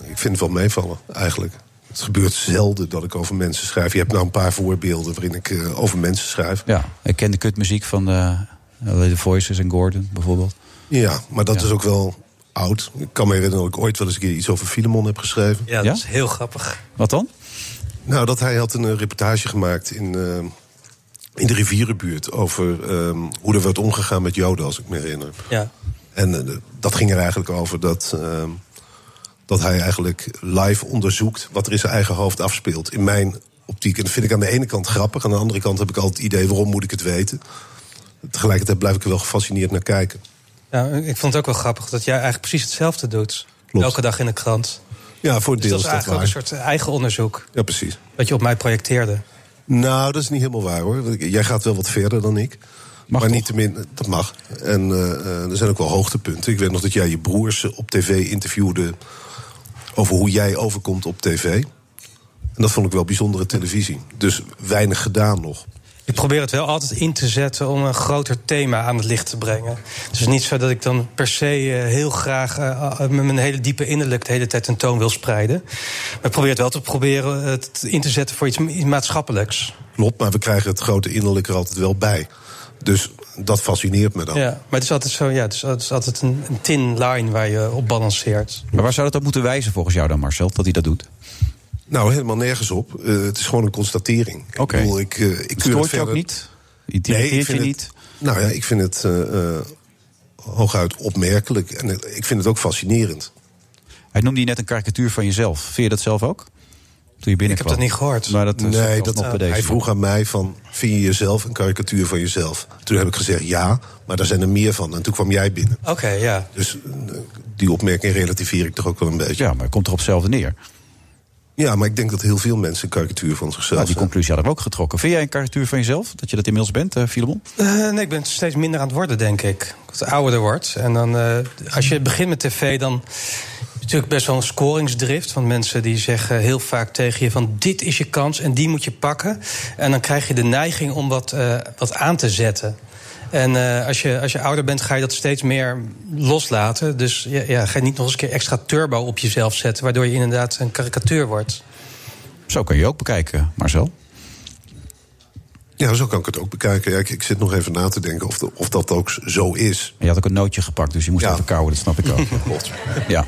Ik vind het wel meevallen, eigenlijk. Het gebeurt zelden dat ik over mensen schrijf. Je hebt nou een paar voorbeelden waarin ik eh, over mensen schrijf. Ja, ik ken de kutmuziek van eh, The Voices en Gordon bijvoorbeeld. Ja, maar dat Ja. is ook wel oud. Ik kan me herinneren dat ik ooit wel eens een keer iets over Filemon heb geschreven. Ja, dat Ja? is heel grappig. Wat dan? Nou, dat hij had een eh, reportage gemaakt in, eh, in de rivierenbuurt... over eh, hoe er werd omgegaan met Joden, als ik me herinner. Ja. En eh, dat ging er eigenlijk over dat, ehm, dat hij eigenlijk live onderzoekt wat er in zijn eigen hoofd afspeelt. In mijn optiek. En dat vind ik aan de ene kant grappig. Aan de andere kant heb ik al het idee waarom moet ik het weten. Tegelijkertijd blijf ik er wel gefascineerd naar kijken. ja. Ik vond het ook wel grappig dat jij eigenlijk precies hetzelfde doet. Klopt. Elke dag in de krant. Ja, voor een Dus deel dat is is dat eigenlijk ook een waar. soort eigen onderzoek. Ja, precies. Wat je op mij projecteerde. Nou, dat is niet helemaal waar hoor. Want ik- Jij gaat wel wat verder dan ik. maar toch? niettemin, dat mag. En eh, eh, er zijn ook wel hoogtepunten. Ik weet nog dat jij je broers eh, op tv interviewde over hoe jij overkomt op tv. En dat vond ik wel bijzondere televisie. Dus weinig gedaan nog. Ik probeer het wel altijd in te zetten om een groter thema aan het licht te brengen. Het is niet zo dat ik dan per se eh, heel graag eh, ah, met mijn hele diepe innerlijk de hele tijd een toon wil spreiden. Maar ik probeer het wel te proberen eh, het in te zetten voor iets ma- iets maatschappelijks. Klopt, maar we krijgen het grote innerlijk er altijd wel bij. Dus dat fascineert me dan. Ja, maar het is altijd zo, ja, het is, het is altijd een, een thin line waar je op balanceert. Maar waar zou dat op moeten wijzen volgens jou dan, Marcel, dat hij dat doet? Nou, helemaal nergens op. Eh, het is gewoon een constatering. Oké. Ik bedoel, ik, eh, ik Stoort keur het je verder- ook niet? Intimideert ik je vind niet? Het, nou ja, ik vind het eh, eh, hooguit opmerkelijk. En eh, ik vind het ook fascinerend. Hij noemde je net een karikatuur van jezelf. Vind je dat zelf ook? Toen je binnenkwam. dat niet gehoord. Maar dat, eh, zet nee, je dat, alsnog bij deze. hij vroeg aan mij van, vind je jezelf een karikatuur van jezelf? Toen heb ik gezegd ja, maar daar zijn er meer van. En toen kwam jij binnen. Oké, ja. Dus eh, die opmerking relativeer ik toch ook wel een beetje. Ja, maar het komt toch op hetzelfde neer? Ja, maar ik denk dat heel veel mensen een karikatuur van zichzelf Nou, die zijn. conclusie hadden we ook getrokken. Vind jij een karikatuur van jezelf? Dat je dat inmiddels bent, eh Filemon? Eh, nee, ik ben steeds minder aan het worden, denk ik. Als ik ouder wordt. En dan, eh, als je begint met tv, dan is natuurlijk best wel een scoringsdrift. Want mensen die zeggen heel vaak tegen je van dit is je kans en die moet je pakken. En dan krijg je de neiging om wat, eh, wat aan te zetten. En eh, als, je, als je ouder bent, ga je dat steeds meer loslaten. Dus ja, ja, ga je niet nog eens een keer extra turbo op jezelf zetten... waardoor je inderdaad een karikatuur wordt. Zo kun je ook bekijken, Marcel. Ja, zo kan ik het ook bekijken. Ja, ik, ik zit nog even na te denken of, de- of dat ook zo is. En je had ook een nootje gepakt, dus je moest even kauwen. Dat snap ik ook. Klopt. Ja,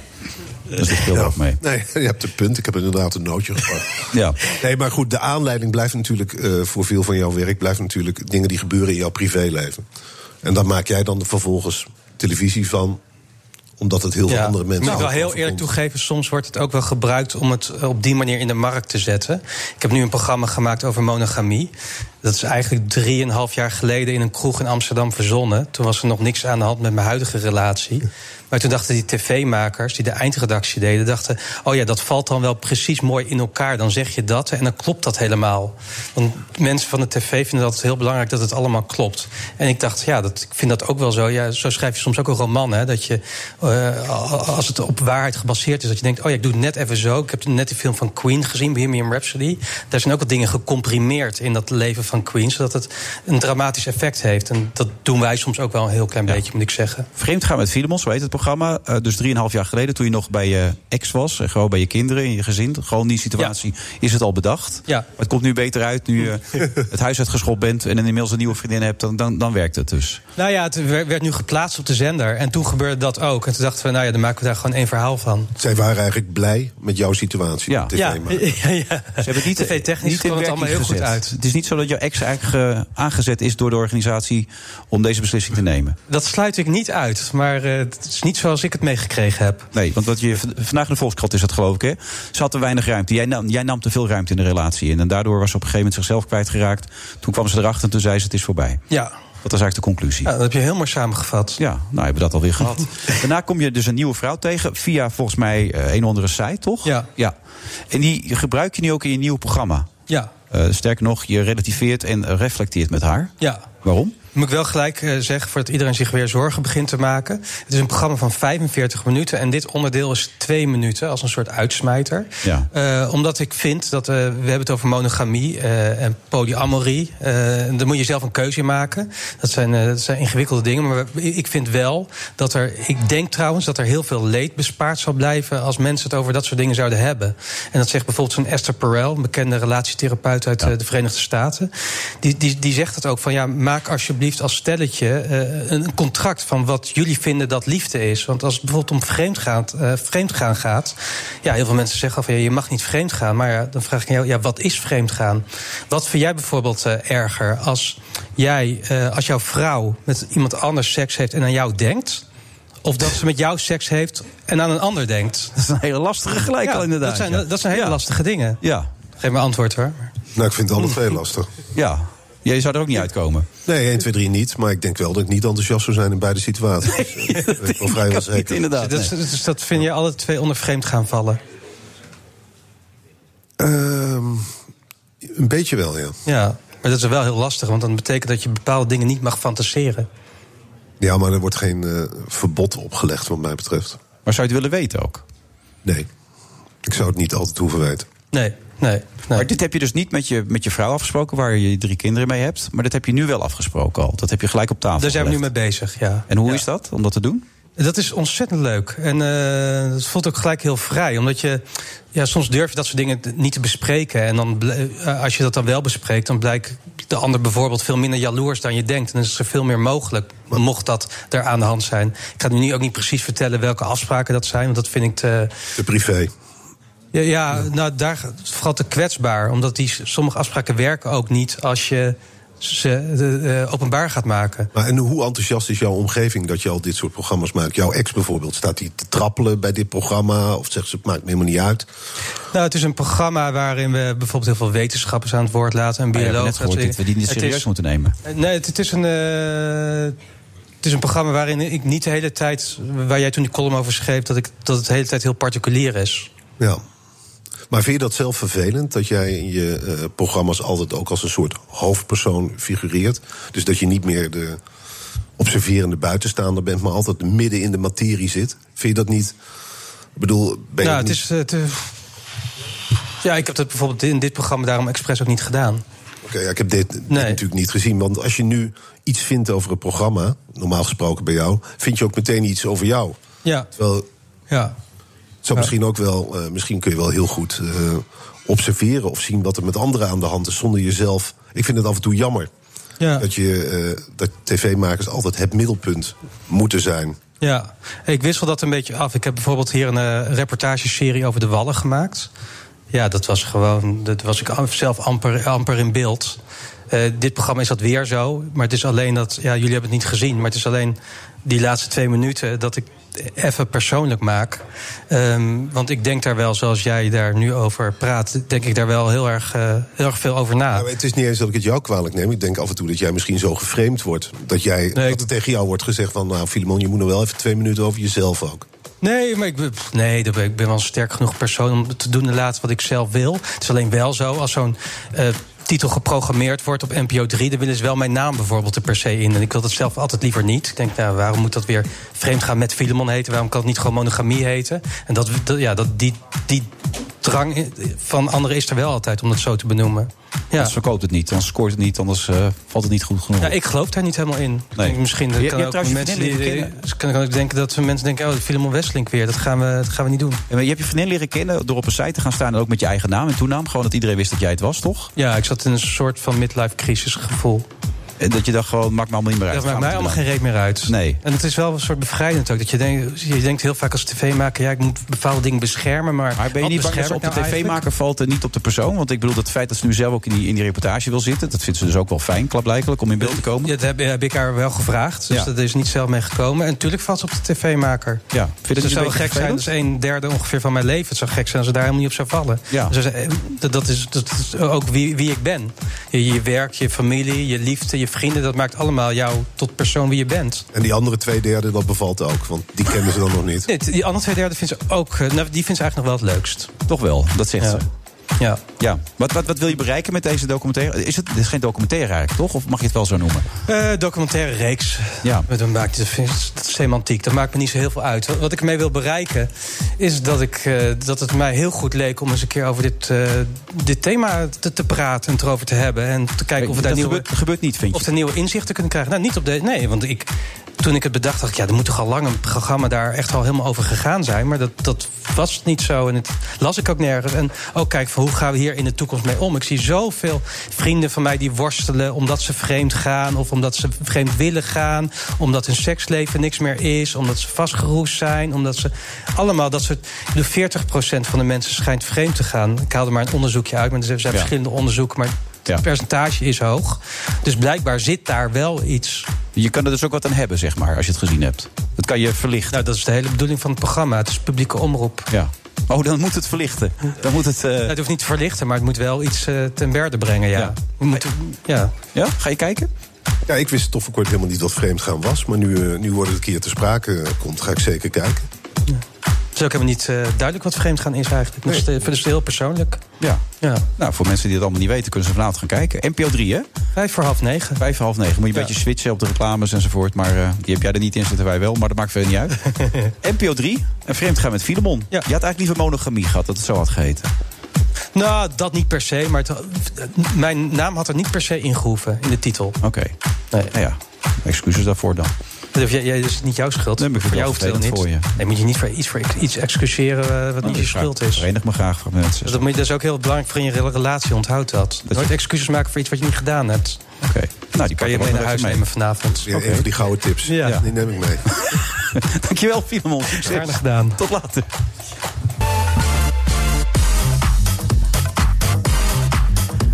Dus daar zit veel af mee. Nee, je hebt een punt. Ik heb inderdaad een nootje gepakt. Ja. Nee, maar goed, de aanleiding blijft natuurlijk eh, voor veel van jouw werk... blijft natuurlijk dingen die gebeuren in jouw privéleven. En daar maak jij dan vervolgens televisie van... omdat het heel veel andere mensen... Ik ook moet Nou, wel heel over- eerlijk toegeven, soms wordt het ook wel gebruikt om het eh, op die manier in de markt te zetten. Ik heb nu een programma gemaakt over monogamie. Dat is eigenlijk drieënhalf jaar geleden in een kroeg in Amsterdam verzonnen. Toen was er nog niks aan de hand met mijn huidige relatie. Maar toen dachten die tv-makers, die de eindredactie deden, dachten: oh ja, dat valt dan wel precies mooi in elkaar. Dan zeg je dat en dan klopt dat helemaal. Want mensen van de tv vinden dat heel belangrijk dat het allemaal klopt. En ik dacht, ja, dat, ik vind dat ook wel zo. Ja, zo schrijf je soms ook een roman, hè, dat je eh, a- a- als het op waarheid gebaseerd is, dat je denkt, oh ja, ik doe het net even zo. Ik heb net die film van Queen gezien, Bohemian Rhapsody. Daar zijn ook wat dingen gecomprimeerd in dat leven van Queen, zodat het een dramatisch effect heeft. En dat doen wij soms ook wel een heel klein beetje, moet ik zeggen. Vreemd gaan met Filemon, zo heet het programma. Eh, dus 3,5 jaar geleden, toen je nog bij je ex was, en gewoon bij je kinderen, in je gezin, gewoon die situatie, is het al bedacht. Ja. Maar het komt nu beter uit, nu je het huis uitgeschopt bent en inmiddels een nieuwe vriendin hebt, dan, dan, dan werkt het dus. Nou ja, het wer- werd nu geplaatst op de zender. En toen gebeurde dat ook. En toen dachten we, nou ja, dan maken we daar gewoon één verhaal van. Zij waren eigenlijk blij met jouw situatie. Ja, Ja, ja, ja. Ze hebben niet, TV-technisch kwam het allemaal heel goed gezet. uit. Het is niet zo dat jouw ex eigenlijk eh, aangezet is door de organisatie om deze beslissing te nemen. Dat sluit ik niet uit, maar eh, het is niet zoals ik het meegekregen heb. Nee, want wat je, v- vandaag in de Volkskrant is dat geloof ik, hè? Ze had te weinig ruimte. Jij nam, jij nam te veel ruimte in de relatie in. En daardoor was ze op een gegeven moment zichzelf kwijtgeraakt. Toen kwam ze erachter en toen zei ze het is voorbij. Ja. Dat was eigenlijk de conclusie. Ja, dat heb je heel mooi samengevat. Ja, nou hebben we dat alweer gehad. Daarna kom je dus een nieuwe vrouw tegen via volgens mij eh, een of andere site, toch? Ja. ja. En die gebruik je nu ook in je nieuw programma. Ja. Eh, sterker nog, je relativeert en eh, reflecteert met haar. Ja. Waarom? Moet ik wel gelijk eh, zeggen, voordat iedereen zich weer zorgen begint te maken. Het is een programma van 45 minuten en dit onderdeel is 2 minuten, als een soort uitsmijter. Ja. Eh, omdat ik vind dat eh, we hebben het over monogamie eh, en polyamorie. Eh, en daar moet je zelf een keuze in maken. Dat zijn, eh, dat zijn ingewikkelde dingen. Maar ik vind wel dat er. Ik denk trouwens dat er heel veel leed bespaard zou blijven. als mensen het over dat soort dingen zouden hebben. En dat zegt bijvoorbeeld zo'n Esther Perel, een bekende relatietherapeut uit eh, de Verenigde Staten. Die, die, die zegt het ook van ja, maak alsjeblieft als stelletje eh, een contract van wat jullie vinden dat liefde is. Want als het bijvoorbeeld om vreemd gaan, gaan gaat. Ja, heel veel mensen zeggen al van ja, je mag niet vreemd gaan. Maar ja, dan vraag ik aan jou, ja, wat is vreemd gaan? Wat vind jij bijvoorbeeld eh, erger als jij, eh, als jouw vrouw met iemand anders seks heeft en aan jou denkt? Of dat ze met jou seks heeft en aan een ander denkt? Dat is een hele lastige gelijk al inderdaad, Dat zijn, ja. dat zijn hele lastige dingen. Ja. Geef me antwoord hoor. Nou, ik vind het alle twee lastig. Ja. Jij zou er ook niet uitkomen. Nee, 1, 2, 3 niet. Maar ik denk wel dat ik niet enthousiast zou zijn in beide situaties. dat ben ik wel vrijwel zeker. Dus dat, dus dat vind je alle twee onder vreemd gaan vallen. Ehm, een beetje wel, ja. Ja, maar dat is wel heel lastig, want dat betekent dat je bepaalde dingen niet mag fantaseren. Ja, maar er wordt geen eh, verbod opgelegd, wat mij betreft. Maar zou je het willen weten ook? Nee. Ik zou het niet altijd hoeven weten. Nee, Maar dit heb je dus niet met je, met je vrouw afgesproken, waar je drie kinderen mee hebt. Maar dat heb je nu wel afgesproken al. Dat heb je gelijk op tafel. Daar zijn we Dus nu gelegd. mee bezig, ja. En hoe is dat om dat te doen? Dat is ontzettend leuk. En eh het voelt ook gelijk heel vrij. Omdat je, ja, soms durf je dat soort dingen niet te bespreken. En dan, ble- eh, als je dat dan wel bespreekt, dan blijkt de ander bijvoorbeeld veel minder jaloers dan je denkt. En dan is er veel meer mogelijk, mocht dat er aan de hand zijn. Ik ga nu niet- ook niet precies vertellen welke afspraken dat zijn, want dat vind ik te. De privé. Ja, ja, nou daar vooral te kwetsbaar. Omdat die, sommige afspraken werken ook niet als je ze eh, eh, openbaar gaat maken. Maar en hoe enthousiast is jouw omgeving dat je al dit soort programma's maakt? Jouw ex bijvoorbeeld, staat die te trappelen bij dit programma? Of zegt ze, het maakt me helemaal niet uit? Nou, het is een programma waarin we bijvoorbeeld heel veel wetenschappers aan het woord laten. En Maar je hebt biologen. net gehoord dat dat Ah, we die niet het serieus is- moeten nemen. Nee, het, het is een. eh, het is een programma waarin ik niet de hele tijd. waar jij toen die column over schreef. dat, ik, dat het de hele tijd heel particulier is. Ja. Maar vind je dat zelf vervelend? Dat jij in je eh, programma's altijd ook als een soort hoofdpersoon figureert? Dus dat je niet meer de observerende buitenstaander bent, maar altijd midden in de materie zit? Vind je dat niet? Ik bedoel, ben je nou, ook niet- het is. eh, te- ja, ik heb dat bijvoorbeeld in dit programma daarom expres ook niet gedaan. Oké, ja, ik heb dit, dit natuurlijk niet gezien. Want als je nu iets vindt over een programma, normaal gesproken bij jou, vind je ook meteen iets over jou. Ja. Terwijl Ja. het zou misschien ook wel, eh, misschien kun je wel heel goed eh, observeren of zien wat er met anderen aan de hand is zonder jezelf. Ik vind het af en toe jammer Ja. dat je eh, dat tv-makers altijd het middelpunt moeten zijn. Ja, ik wissel dat een beetje af. Ik heb bijvoorbeeld hier een eh, reportageserie over de Wallen gemaakt. Ja, dat was gewoon. Dat was ik am- zelf amper, amper in beeld. Eh, dit programma is dat weer zo. Maar het is alleen dat. Ja, jullie hebben het niet gezien. Maar het is alleen die laatste twee minuten dat ik even persoonlijk maak. Ehm, want ik denk daar wel, zoals jij daar nu over praat, denk ik daar wel heel erg, eh, heel erg veel over na. Maar Nou, het is niet eens dat ik het jou kwalijk neem. Ik denk af en toe dat jij misschien zo geframed wordt. Dat, jij, dat er tegen jou wordt gezegd van... nou, Filimon, je moet nog wel even twee minuten over jezelf ook. Nee, maar ik ben, pff, nee, dat ben- ik ben wel een sterk genoeg persoon om te doen en laten wat ik zelf wil. Het is alleen wel zo, als zo'n eh, titel geprogrammeerd wordt op NPO 3, dan willen ze wel mijn naam bijvoorbeeld er per se in. En ik wil dat zelf altijd liever niet. Ik denk, nou, waarom moet dat weer vreemd gaan met Filemon heten? Waarom kan het niet gewoon monogamie heten? En dat, dat- ja, dat, die, die drang eh, van anderen is er wel altijd om dat zo te benoemen. Ja. Anders verkoopt het niet, anders scoort het niet, anders eh, valt het niet goed genoeg. Ja, ik geloof daar niet helemaal in. Nee. Ik- Misschien Je- je kan hebt ook trouwens je mensen die, vriendin leren die- kan, kan ook denken dat mensen denken, oh, Filemon Westlink weer, dat gaan we, dat gaan we niet doen. Ja, maar je hebt je vriendin leren kennen door op een site te gaan staan... en ook met je eigen naam en toenaam. Gewoon dat iedereen wist dat jij het was, toch? Ja, ik zat in een soort van midlife crisis gevoel. En dat je dacht gewoon, maakt me allemaal niet meer uit. Dat maakt mij allemaal geen reet meer uit. Nee. En het is wel een soort bevrijdend ook. Dat je, denkt, je denkt heel vaak als tv-maker, ja, ik moet bepaalde dingen beschermen. Maar, Maar ben je wat niet bang dat ze bescherm op ik de nou eigenlijk? tv-maker valt en niet op de persoon? Want ik bedoel, dat feit dat ze nu zelf ook in die, in die reportage wil zitten... dat vindt ze dus ook wel fijn, klapblijkelijk, om in beeld te komen. Ja, dat heb, heb ik haar wel gevraagd. Dus Ja. dat is niet zelf mee gekomen. En natuurlijk valt ze op de tv-maker. Dus Ja, vind je dat het niet zou een beetje gek zijn. Dat is een derde ongeveer van mijn leven. Het zou gek zijn als ze daar helemaal niet op zou vallen. Ja. Dus dat is- dat, dat is, dat is ook wie, wie ik ben. Je, je werk, je familie, je liefde, je vrienden. Dat maakt allemaal jou tot persoon wie je bent. En die andere twee derde, dat bevalt ook. Want die kennen ze dan nog niet. Nee, die andere twee derde vindt ze ook. eh, Nou, die vindt ze eigenlijk nog wel het leukst. Toch wel, dat zegt Ja. ze. Ja. ja. Wat, wat, wat wil je bereiken met deze documentaire? Is het, dit is geen documentaire eigenlijk, toch? Of mag je het wel zo noemen? Eh, documentaire reeks. Ja. Dat maakt dat is- dat is semantiek. Dat maakt me niet zo heel veel uit. Wat- Wat ik ermee wil bereiken is dat, ik, eh, dat het mij heel goed leek om eens een keer over dit, eh, dit thema te, te praten en het erover te hebben. En te kijken of we Dat daar nieuwe, gebeurt, gebeurt niet, vind je? of er nieuwe inzichten kunnen krijgen. Nou, niet op de. Nee, want ik, toen ik het bedacht, dacht ik, ja, er moet toch al lang een programma daar echt al helemaal over gegaan zijn. Maar dat, dat was niet zo. En het las ik ook nergens. En ook kijk, van hoe gaan we hier in de toekomst mee om? Ik zie zoveel vrienden van mij die worstelen omdat ze vreemd gaan, of omdat ze vreemd willen gaan, omdat hun seksleven niks meer is, omdat ze vastgeroest zijn, omdat ze. Allemaal dat soort. De 40% van de mensen schijnt vreemd te gaan. Ik haalde maar een onderzoekje uit, maar er zijn Ja. verschillende onderzoeken. Maar Ja. het percentage is hoog. Dus blijkbaar zit daar wel iets. Je kan er dus ook wat aan hebben, zeg maar, als je het gezien hebt. Dat kan je verlichten. Nou, dat is de hele bedoeling van het programma. Het is publieke omroep. Ja. Oh, dan moet het verlichten. Dan moet het... eh, Nou, het hoeft niet te verlichten, maar het moet wel iets eh, ten berde brengen. Ja. Ja. We moeten, ja. Ja, ga je kijken? Ja, ik wist toch voor kort helemaal niet wat vreemd gaan was. Maar nu, eh, nu wordt het een keer te sprake eh, komt, ga ik zeker kijken. Het is ook helemaal niet eh, duidelijk wat vreemd gaan is eigenlijk. Dus, eh, Het is heel persoonlijk. Ja. Ja. Nou, voor mensen die het allemaal niet weten, kunnen ze vanavond gaan kijken. NPO 3, hè? Vijf voor half negen. Vijf voor half negen. Moet je een Ja. beetje switchen op de reclames enzovoort. Maar eh, die heb jij er niet in zitten, wij wel. Maar dat maakt verder niet uit. NPO 3, een vreemd gaan met Filemon. Ja. Je had eigenlijk liever monogamie gehad, dat het zo had geheten. Nou, dat niet per se, maar het- eh, mijn naam had er niet per se ingehoeven in de titel. Oké. Nee. Nou ja, excuses daarvoor dan. Dat, jij, jij- dat is niet jouw schuld. Nee, maar ik voor vind jou het hoeft het wel niet. vervelend voor je. Nee, moet je niet voor iets, voor iets excuseren eh, wat niet je schuld is. Verenig me graag met mensen. Dat, moet je- dat is ook heel belangrijk voor in je rela- relatie, onthoud dat. Nooit excuses maken voor iets wat je niet gedaan hebt. Oké. Nou, die kan je mee naar huis nemen vanavond. Ja, Even die gouden tips. Ja. Die neem ik mee. Dankjewel, Filemon. Graag gedaan. Tot later.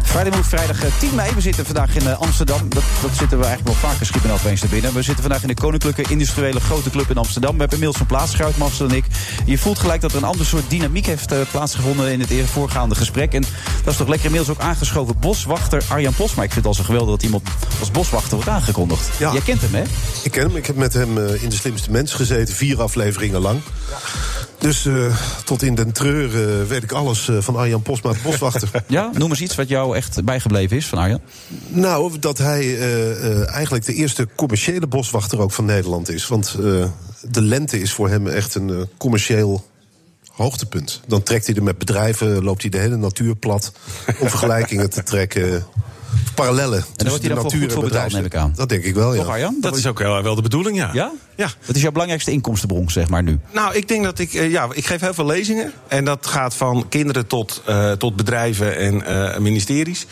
Vrijdag moet vrijdag eh, 10 mei. We zitten vandaag in eh, Amsterdam. Dat, dat zitten we eigenlijk wel vaker schieten en opeens naar binnen. We zitten vandaag in de Koninklijke Industriële Grote Club in Amsterdam. We hebben inmiddels een plaats gehouden, Marcel en ik. Je voelt gelijk dat er een ander soort dynamiek heeft eh, plaatsgevonden in het eer- voorgaande gesprek. En dat is toch lekker inmiddels ook aangeschoven boswachter Arjan Posma. Ik vind het al zo geweldig dat iemand als boswachter wordt aangekondigd. Ja. Jij kent hem, hè? Ik ken hem. Ik heb met hem eh, in De Slimste Mens gezeten. Vier afleveringen lang. Dus eh, tot in den treur eh, weet ik alles eh, van Arjan Posma, boswachter. Ja? Noem eens iets wat jou echt bijgebleven is van Arjan. Nou, dat hij eh, eh, eigenlijk de eerste commerciële boswachter ook van Nederland is. Want eh, de lente is voor hem echt een eh, commercieel hoogtepunt. Dan trekt hij er met bedrijven, loopt hij de hele natuur plat om vergelijkingen te trekken. Of Parallellen. tussen wordt hij de daarvoor natuur goed en voor betaald, bedrijfsleven. neem ik aan. Dat denk ik wel, ja. Toch, Arjan? Dat is ook eh, wel, wel de bedoeling, ja. Ja? Ja. Dat is jouw belangrijkste inkomstenbron, zeg maar, nu. Nou, ik denk dat ik. eh, Ja, ik geef heel veel lezingen. En dat gaat van kinderen tot, eh, tot bedrijven en eh, ministeries.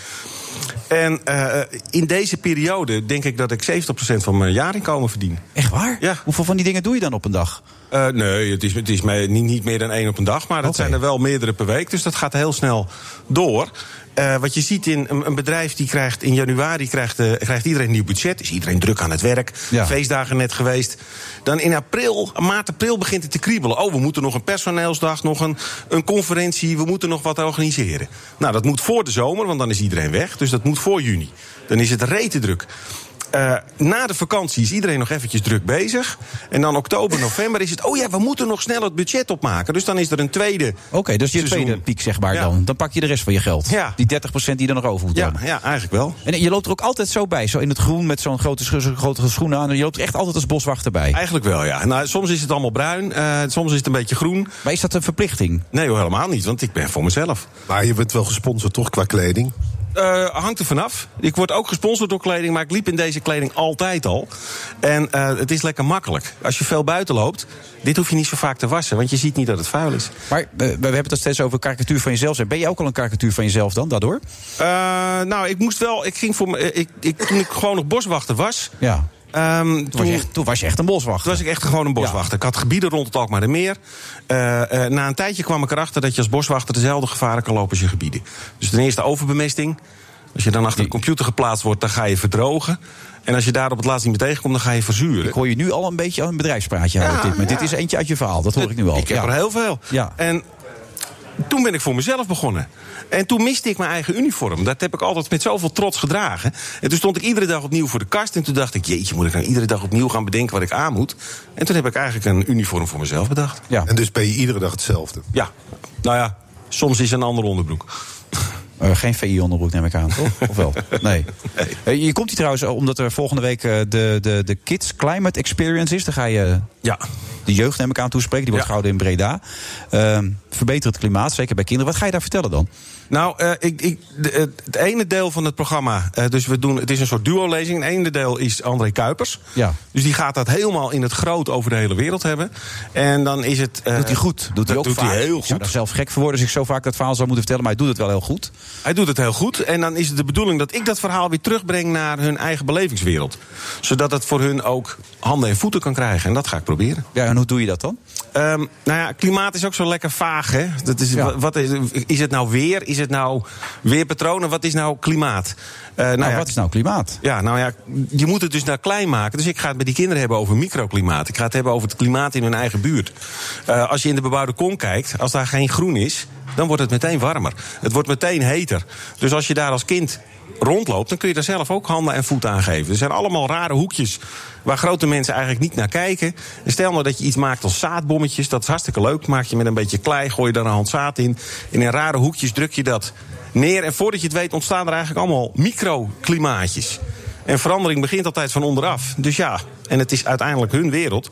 En eh, in deze periode denk ik dat ik 70% van mijn jaarinkomen verdien. Echt waar? Ja. Hoeveel van die dingen doe je dan op een dag? Eh, nee, het is, het is mij niet, niet meer dan één op een dag. Maar dat Oké. zijn er wel meerdere per week. Dus dat gaat heel snel door. Eh, wat je ziet in een, een bedrijf die krijgt in januari krijgt, eh, krijgt iedereen een nieuw budget. Is iedereen druk aan het werk. Ja. Feestdagen net geweest. Dan in april, maart april begint het te kriebelen. Oh, we moeten nog een personeelsdag, nog een, een conferentie. We moeten nog wat organiseren. Nou, dat moet voor de zomer, want dan is iedereen weg. Dus dat moet voor juni. Dan is het rete druk. Eh, na de vakantie is iedereen nog eventjes druk bezig. En dan oktober, november is het... oh ja, we moeten nog snel het budget opmaken. Dus dan is er een tweede Oké, dus je seizoen. tweede piek, zeg maar Ja. dan. Dan pak je de rest van je geld. Ja. Die 30% die er nog over moet Ja, dan. ja, eigenlijk wel. En je loopt er ook altijd zo bij, zo in het groen met zo'n grote, scho- zo'n grote schoen aan. Je loopt er echt altijd als boswachter bij. Eh, Eigenlijk wel, ja. Nou, soms is het allemaal bruin, eh, soms is het een beetje groen. Maar is dat een verplichting? Nee, hoor, helemaal niet, want ik ben voor mezelf. Maar je bent wel gesponsord, toch, qua kleding? Eh, hangt er vanaf. Ik word ook gesponsord door kleding, maar ik liep in deze kleding altijd al. En eh, het is lekker makkelijk. Als je veel buiten loopt, dit hoef je niet zo vaak te wassen... want je ziet niet dat het vuil is. Maar eh, we hebben het al steeds over karikatuur van jezelf zijn. Ben je ook al een karikatuur van jezelf dan, daardoor? Eh, nou, ik moest wel. Ik ging voor. me- Ik, ik, toen ik gewoon nog boswachter was. Ja. ehm, Toen was toen- je echt, toen was je echt een boswachter. toen was ik echt gewoon een boswachter. Ik had gebieden rond het Alkmaardermeer. meer. Eh, na een tijdje kwam ik erachter dat je als boswachter dezelfde gevaren kan lopen als je gebieden. Dus ten eerste overbemesting. Als je dan achter de computer geplaatst wordt, dan ga je verdrogen. En als je daar op het laatst niet meer tegenkomt, dan ga je verzuren. Ik hoor je nu al een beetje aan een bedrijfspraatje houden. dit, moment. dit is eentje uit je verhaal, dat hoor ik nu al. Ik heb Oh, Ja. er heel veel. Ja. En toen ben ik voor mezelf begonnen. En toen miste ik mijn eigen uniform. Dat heb ik altijd met zoveel trots gedragen. En toen stond ik iedere dag opnieuw voor de kast. En toen dacht ik, jeetje, moet ik nou iedere dag opnieuw gaan bedenken wat ik aan moet? En toen heb ik eigenlijk een uniform voor mezelf bedacht. Ja. En dus ben je iedere dag hetzelfde. Ja, nou ja, soms is een ander onderbroek. Eh, geen VI-onderbroek neem ik aan, toch? Of wel? Nee. Eh, Je komt hier trouwens eh, omdat er volgende week eh, de, de, de Kids Climate Experience is. Daar ga je Ja. de jeugd, neem ik aan, toespreken. Die wordt Ja. gehouden in Breda. Ehm verbeter het klimaat, zeker bij kinderen. Wat ga je daar vertellen dan? Nou, eh, ik, ik, de- het- het ene deel van het programma, eh, dus we doen, het is een soort duo-lezing. Het ene deel is André Kuipers. Ja. Dus die gaat dat helemaal in het groot over de hele wereld hebben. En dan is het. eh, Doet hij goed? Doet dat hij ook doet vaak. hij heel Ik zou goed. daar zelf gek voor worden als ik zo vaak dat verhaal zou moeten vertellen. Maar hij doet het wel heel goed. Hij doet het heel goed. En dan is het de bedoeling dat ik dat verhaal weer terugbreng naar hun eigen belevingswereld. Zodat het voor hun ook handen en voeten kan krijgen. En dat ga ik proberen. Ja, en hoe doe je dat dan? Ehm, nou ja, klimaat is ook zo lekker vaag, hè? Dat is, Ja. wa- wat is, is het nou weer? Is het nou weerpatronen? Wat is nou klimaat? Eh, nou, Nou, ja, wat is nou klimaat? Ja, nou ja, je moet het dus naar klein maken. Dus ik ga het met die kinderen hebben over microklimaat. Ik ga het hebben over het klimaat in hun eigen buurt. Eh, als je in de bebouwde kom kijkt, als daar geen groen is, dan wordt het meteen warmer. Het wordt meteen heter. Dus als je daar als kind rondloopt, dan kun je daar zelf ook handen en voeten aan geven. Er zijn allemaal rare hoekjes waar grote mensen eigenlijk niet naar kijken. En stel nou dat je iets maakt als zaadbommetjes, dat is hartstikke leuk. Maak je met een beetje klei, gooi je daar een hand zaad in. En in rare hoekjes druk je dat neer. En voordat je het weet ontstaan er eigenlijk allemaal microklimaatjes. En verandering begint altijd van onderaf. Dus ja, en het is uiteindelijk hun wereld.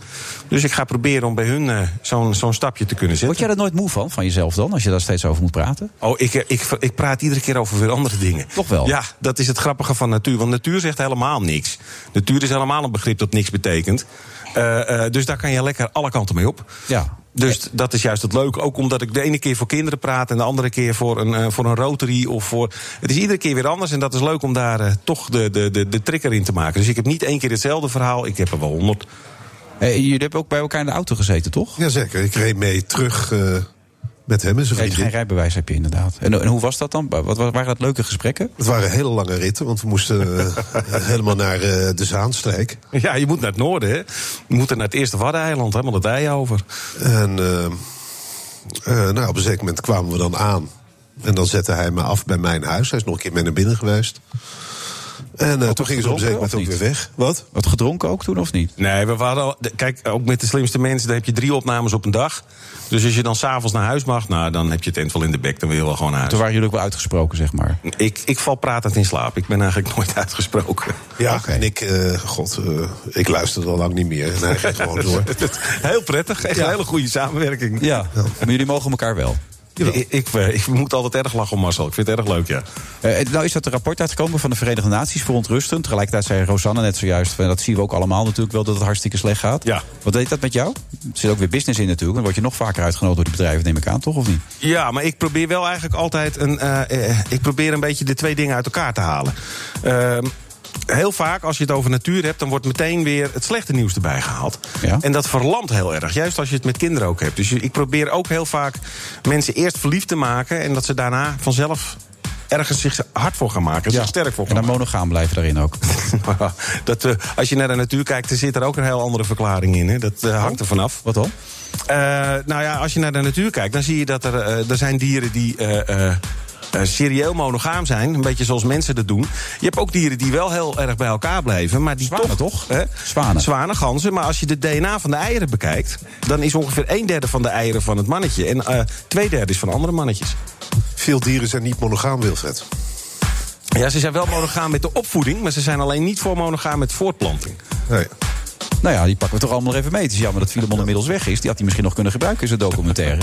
Dus ik ga proberen om bij hun eh, zo'n zo'n stapje te kunnen Word zetten. jij er nooit moe van, van jezelf dan, als je daar steeds over moet praten? Oh, ik, eh, ik, ik praat iedere keer over weer andere dingen. Toch wel? Ja, dat is het grappige van natuur. Want natuur zegt helemaal niks. Natuur is helemaal een begrip dat niks betekent. Eh, eh, dus daar kan je lekker alle kanten mee op. Ja. Dus t- dat is juist het leuke. Ook omdat ik de ene keer voor kinderen praat en de andere keer voor een, eh, voor een rotary of voor. Het is iedere keer weer anders en dat is leuk om daar eh, toch de, de, de, de trigger in te maken. Dus ik heb niet één keer hetzelfde verhaal, ik heb er wel honderd. Eh, jullie hebben ook bij elkaar in de auto gezeten, toch? Jazeker, ik reed mee terug eh, met hem en zijn Geen, geen vriendin. rijbewijs heb je inderdaad. En, en hoe was dat dan? Wat, wat- waren dat leuke gesprekken? Het waren hele lange ritten, want we moesten eh, helemaal naar eh, de Zaanstreek. Ja, je moet naar het noorden, hè? Je moet er naar het eerste Waddeneiland, helemaal het ei over. En eh, eh, nou, op een zeker moment kwamen we dan aan. En dan zette hij me af bij mijn huis. Hij is nog een keer mee naar binnen geweest. En eh, toen gingen ze op een zeker moment ook weer weg. Wat? Wat gedronken ook toen of niet? Nee, we waren al. de- Kijk, ook met de slimste mensen, dan heb je drie opnames op een dag. Dus als je dan s'avonds naar huis mag, nou, dan heb je het eind wel in de bek. Dan wil je wel gewoon naar huis. Toen waren jullie ook wel uitgesproken, zeg maar. Ik, ik val pratend in slaap. Ik ben eigenlijk nooit uitgesproken. Ja, en ik, eh, god, eh, ik luisterde al lang niet meer. En hij ging gewoon door. Heel prettig. Echt een hele goede samenwerking. Ja, maar jullie mogen elkaar wel. Ik, ik, eh, ik moet altijd erg lachen om Marcel. Ik vind het erg leuk, ja. Eh, nou is dat een rapport uitgekomen van de Verenigde Naties, verontrustend. Tegelijkertijd zei Rosanne net zojuist, van, dat zien we ook allemaal natuurlijk wel, dat het hartstikke slecht gaat. Ja. Wat deed dat met jou? Er zit ook weer business in natuurlijk, dan word je nog vaker uitgenodigd door die bedrijven, neem ik aan, toch of niet? Ja, maar ik probeer wel eigenlijk altijd een. eh, eh, ik probeer een beetje de twee dingen uit elkaar te halen. Ehm, heel vaak, als je het over natuur hebt, dan wordt meteen weer het slechte nieuws erbij gehaald. Ja. En dat verlamt heel erg. Juist als je het met kinderen ook hebt. Dus je- ik probeer ook heel vaak mensen eerst verliefd te maken. En dat ze daarna vanzelf ergens zich hard voor gaan maken. Zich sterk voor En gaan dan monogaam blijven daarin ook. Nou, dat, eh, als je naar de natuur kijkt, er zit er ook een heel andere verklaring in. Hè? Dat eh, hangt er vanaf. Oh. Wat dan? Eh, nou ja, als je naar de natuur kijkt, dan zie je dat er, eh, er zijn dieren die. eh, eh, eh, serieel monogaam zijn, een beetje zoals mensen dat doen. Je hebt ook dieren die wel heel erg bij elkaar blijven, maar die Zwanen, toch? Hè? Zwanen. Zwanen, ganzen. Maar als je de DNA van de eieren bekijkt, dan is ongeveer een derde van de eieren van het mannetje en eh, twee derde is van andere mannetjes. Veel dieren zijn niet monogaam, Wilfred. Ja, ze zijn wel monogaam met de opvoeding, maar ze zijn alleen niet voor monogaam met voortplanting. Nee. Nou ja, die pakken we toch allemaal nog even mee. Het is jammer dat Filemon inmiddels weg is. Die had hij misschien nog kunnen gebruiken in zijn documentaire.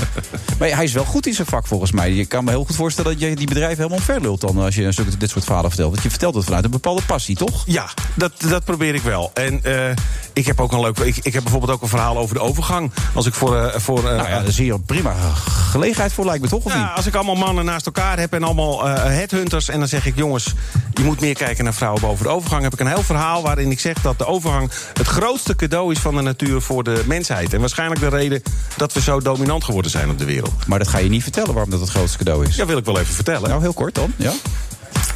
maar ja, hij is wel goed in zijn vak volgens mij. Je kan me heel goed voorstellen dat je die bedrijven helemaal omver lult dan als je zulke- dit soort verhalen vertelt. Want je vertelt het vanuit een bepaalde passie, toch? Ja, dat, dat probeer ik wel. En eh, ik heb ook een leuk. Ik, ik heb bijvoorbeeld ook een verhaal over de overgang. Als ik voor. eh, voor eh, Nou ja, daar is hier een prima gelegenheid voor, lijkt me toch, of ja, niet? als ik allemaal mannen naast elkaar heb en allemaal eh, headhunters. En dan zeg ik, jongens, je moet meer kijken naar vrouwen boven de overgang. Heb ik een heel verhaal waarin ik zeg dat de overgang het grootste cadeau is van de natuur voor de mensheid. En waarschijnlijk de reden dat we zo dominant geworden zijn op de wereld. Maar dat ga je niet vertellen waarom dat het grootste cadeau is. Ja, wil ik wel even vertellen. Nou, heel kort dan. Ja.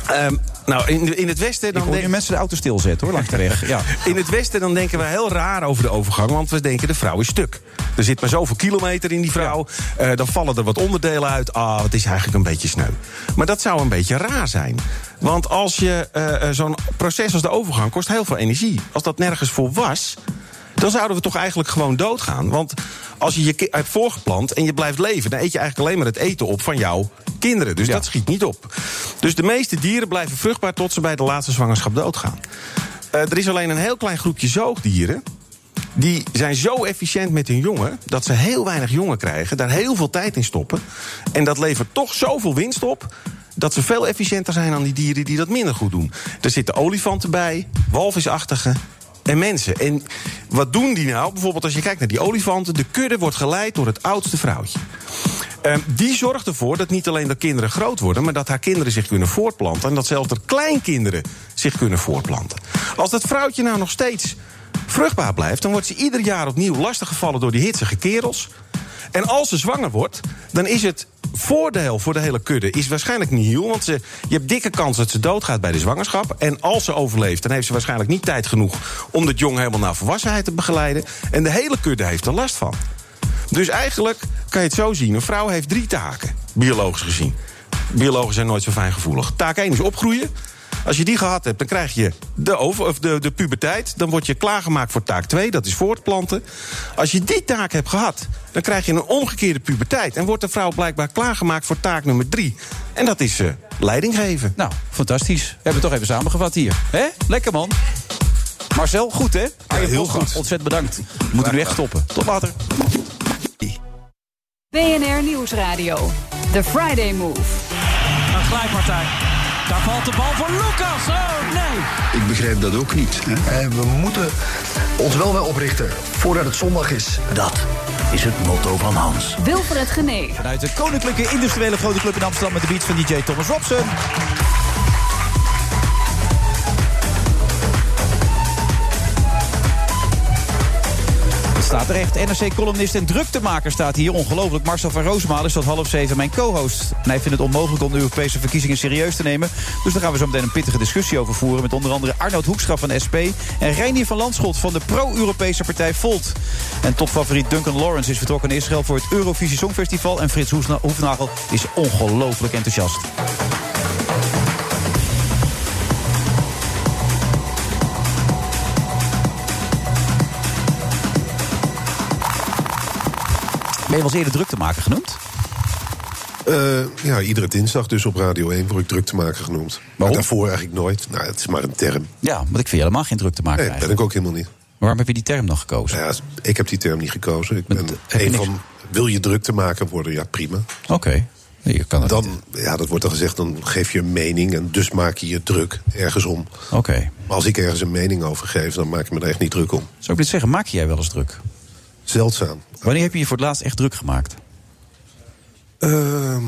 Ehm, nou, in, in het Westen. Ik Dan hoor denk- nu mensen de auto stilzetten, hoor, langs de weg. Ja. In het Westen dan denken we heel raar over de overgang, want we denken de vrouw is stuk. Er zit maar zoveel kilometer in die vrouw. eh, dan vallen er wat onderdelen uit. Ah, het is eigenlijk een beetje sneu. Maar dat zou een beetje raar zijn. Want als je eh, eh, zo'n proces als de overgang kost heel veel energie. Als dat nergens voor was, dan zouden we toch eigenlijk gewoon doodgaan. Want als je je ki- hebt voorgeplant en je blijft leven... dan eet je eigenlijk alleen maar het eten op van jouw kinderen. Dus dat schiet niet op. Dus de meeste dieren blijven vruchtbaar tot ze bij de laatste zwangerschap doodgaan. Eh, er is alleen een heel klein groepje zoogdieren... Die zijn zo efficiënt met hun jongen dat ze heel weinig jongen krijgen, daar heel veel tijd in stoppen. En dat levert toch zoveel winst op dat ze veel efficiënter zijn dan die dieren die dat minder goed doen. Er zitten olifanten bij, walvisachtigen en mensen. En wat doen die nou? Bijvoorbeeld als je kijkt naar die olifanten, de kudde wordt geleid door het oudste vrouwtje. Ehm, die zorgt ervoor dat niet alleen de kinderen groot worden, maar dat haar kinderen zich kunnen voortplanten. En dat zelfs de kleinkinderen zich kunnen voortplanten. Als dat vrouwtje nou nog steeds vruchtbaar blijft, dan wordt ze ieder jaar opnieuw lastiggevallen door die hitsige kerels. En als ze zwanger wordt, dan is het voordeel voor de hele kudde is waarschijnlijk nihil. Want ze, je hebt dikke kans dat ze doodgaat bij de zwangerschap. En als ze overleeft, dan heeft ze waarschijnlijk niet tijd genoeg om dat jong helemaal naar volwassenheid te begeleiden. En de hele kudde heeft er last van. Dus eigenlijk kan je het zo zien: een vrouw heeft drie taken, biologisch gezien. Biologen zijn nooit zo fijngevoelig. Taak 1 is opgroeien. Als je die gehad hebt, dan krijg je de, over, of de, de puberteit. Dan word je klaargemaakt voor taak 2, dat is voortplanten. Als je die taak hebt gehad, dan krijg je een omgekeerde puberteit. En wordt de vrouw blijkbaar klaargemaakt voor taak nummer 3. En dat is eh, leiding geven. Nou, fantastisch. We hebben het toch even samengevat hier. Hè? Lekker man. Marcel, goed hè? heel goed. Ontzettend bedankt. We moeten nu echt stoppen. Tot later. BNR Nieuwsradio. The Friday Move. Een glijpartij. Daar valt de bal voor Lucas. Oh nee. Ik begrijp dat ook niet. Hè? Eh, We moeten ons wel weer oprichten voordat het zondag is. Dat is het motto van Hans. Wilfred Genee. Vanuit de Koninklijke Industriële Grote Club in Amsterdam met de beat van DJ Thomas Robson. Het staat er echt. NRC-columnist en druktemaker staat hier. Ongelooflijk. Marcel van Roosmalen is tot half zeven mijn co-host. En hij vindt het onmogelijk om de Europese verkiezingen serieus te nemen. Dus daar gaan we zo meteen een pittige discussie over voeren. Met onder andere Arnoud Hoekstra van SP. En Reinier van Landschot van de pro-Europese partij Volt. En topfavoriet Duncan Lawrence is vertrokken in Israël voor het Eurovisie Songfestival. En Frits Hoefna- Hoefnagel is ongelooflijk enthousiast. Ben je wel eens eerder druktemaker genoemd? Eh, ja, iedere dinsdag dus op Radio 1 word ik druk te maken genoemd. Maar daarvoor eigenlijk nooit. Nou, het is maar een term. Ja, want ik vind je helemaal geen druk te maken. Nee, ben ik ook helemaal niet. Waarom heb je die term dan gekozen? Ja, ik heb die term niet gekozen. Ik ben een van... Wil je druk te maken worden? Ja, prima. Oké. Je kan het dan, ja, dat wordt dan gezegd, dan geef je een mening... en dus maak je je druk ergens om. Oké. Maar als ik ergens een mening over geef, dan maak ik me er echt niet druk om. Zou ik dit zeggen, maak jij wel eens druk? Zeldzaam. Wanneer heb je je voor het laatst echt druk gemaakt? Ehm,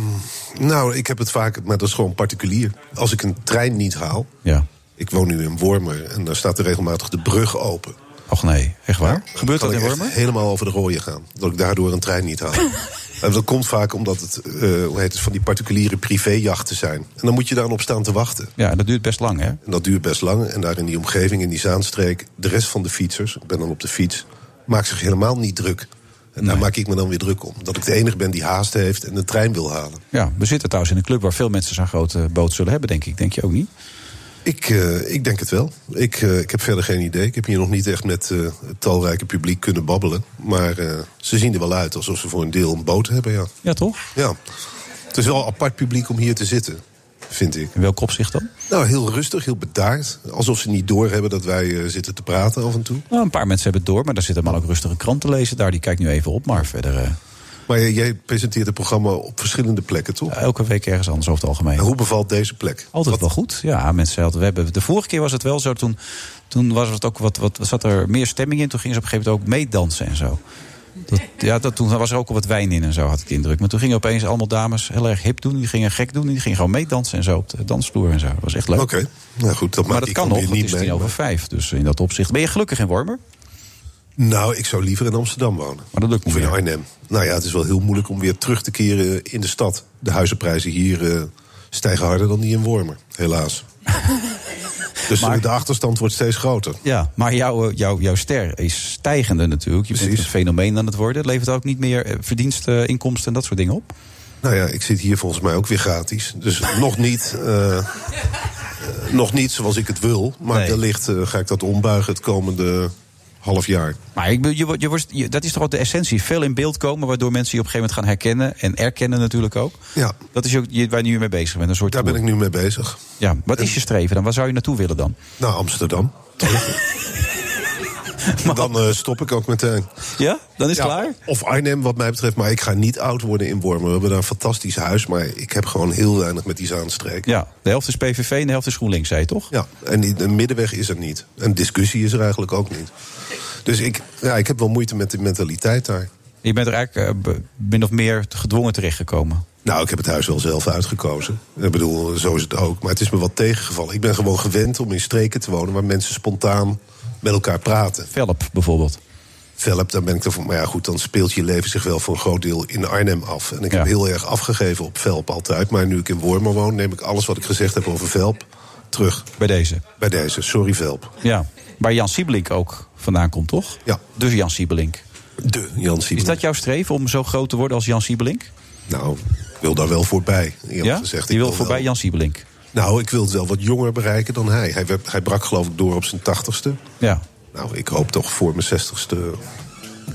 nou, ik heb het vaak, maar dat is gewoon particulier. Als ik een trein niet haal. Ja. Ik woon nu in Wormer en daar staat er regelmatig de brug open. Och nee, echt waar? Gebeurt dat in Wormer? Helemaal over de rooien gaan. Dat ik daardoor een trein niet haal. en dat komt vaak omdat het, eh, hoe heet het van die particuliere privéjachten zijn. En dan moet je daarop staan te wachten. Ja, dat duurt best lang, hè? En dat duurt best lang. En daar in die omgeving, in die Zaanstreek, de rest van de fietsers, ik ben dan op de fiets, maakt zich helemaal niet druk. En daar maak ik me dan weer druk om. Dat ik de enige ben die haast heeft en de trein wil halen. Ja, we zitten trouwens in een club waar veel mensen zo'n grote boot zullen hebben, denk ik. Denk je ook niet? Ik, eh, ik denk het wel. Ik, eh, ik heb verder geen idee. Ik heb hier nog niet echt met eh, het talrijke publiek kunnen babbelen. Maar eh, ze zien er wel uit alsof ze voor een deel een boot hebben, ja. Ja, toch? Ja. Het is wel een apart publiek om hier te zitten, vind ik. In welk opzicht dan? Nou, heel rustig, heel bedaard. Alsof ze niet doorhebben dat wij eh, zitten te praten af en toe. Nou, een paar mensen hebben het door, maar daar zit helemaal ook rustig een krant te lezen. Daar, die kijkt nu even op, maar verder... eh, Maar jij- jij presenteert het programma op verschillende plekken, toch? elke week ergens anders over het algemeen. En hoe bevalt deze plek? Altijd wel goed. Ja, mensen zeiden, we hebben, de vorige keer was het wel zo. Toen, toen was het ook wat, wat, zat er meer stemming in. Toen gingen ze op een gegeven moment ook meedansen en zo. Dat, ja, dat, toen was er ook al wat wijn in en zo, had ik de indruk. Maar toen gingen opeens allemaal dames heel erg hip doen. Die gingen gek doen. Die gingen gewoon meedansen en zo op de dansvloer en zo. Dat was echt leuk. Oké, nou goed, dat maar maakt die dat kan nog, combi het niet is mee, tien over maar- vijf. Dus in dat opzicht ben je gelukkig in Wormer. Nou, ik zou liever in Amsterdam wonen. Maar dat lukt Of in Arnhem. Nou ja, het is wel heel moeilijk om weer terug te keren in de stad. De huizenprijzen hier eh, stijgen harder dan die in Wormer, helaas. dus de achterstand wordt steeds groter. Ja, maar jouw, eh, jouw, jouw ster is stijgende natuurlijk. Je bent een fenomeen aan het worden. Het levert ook niet meer eh, verdiensten, inkomsten en dat soort dingen op. Nou ja, ik zit hier volgens mij ook weer gratis. Dus nog niet. eh, eh, nog niet zoals ik het wil. Maar wellicht eh, ga ik dat ombuigen het komende half jaar. Maar ik, bedoel, je, wordt- je, wordt- je- dat is toch ook de essentie. Veel in beeld komen, waardoor mensen je op een gegeven moment gaan herkennen. En erkennen natuurlijk ook. Ja. Dat is ook je- waar je nu mee bezig bent. Een soort Daar ben ik nu mee bezig. Ja, wat is je streven dan? Waar zou je naartoe willen dan? Naar Amsterdam. Dan eh, stop ik ook meteen. Ja? Dan is het klaar? Of Arnhem, wat mij betreft. Maar ik ga niet oud worden in Wormen. We hebben daar een fantastisch huis. Maar ik heb gewoon heel weinig met die Zaanstreek. Ja, de helft is PVV en de helft is GroenLinks, zei je toch? Ja, en die- de middenweg is er niet. En discussie is er eigenlijk ook niet. Dus ik, ja, ik heb wel moeite met die mentaliteit daar. Je bent er eigenlijk eh, be- min of meer gedwongen terechtgekomen. Nou, ik heb het huis wel zelf uitgekozen. Ik bedoel, zo is het ook. Maar het is me wat tegengevallen. Ik ben gewoon gewend om in streken te wonen waar mensen spontaan met elkaar praten. Velp bijvoorbeeld. Velp, dan ben ik er van. Maar ja, goed, dan speelt je leven zich wel voor een groot deel in Arnhem af. En ik heb heel erg afgegeven op Velp altijd. Maar nu ik in Wormer woon, neem ik alles wat ik gezegd heb over Velp terug. Bij deze? Bij deze, sorry Velp. Ja, waar Jan Siebelink ook vandaan komt, toch? Ja. Dus Jan Siebelink. De Jan Is dat jouw streven om zo groot te worden als Jan Siebelink? Nou, ik wil daar wel voorbij. eerlijk Ja? gezegd. Je Ik wil wil voorbij wel- Jan Siebelink. Nou, ik wil het wel wat jonger bereiken dan hij. Hij, werd- hij brak geloof ik door op zijn tachtigste. Ja. Nou, ik hoop toch voor mijn zestigste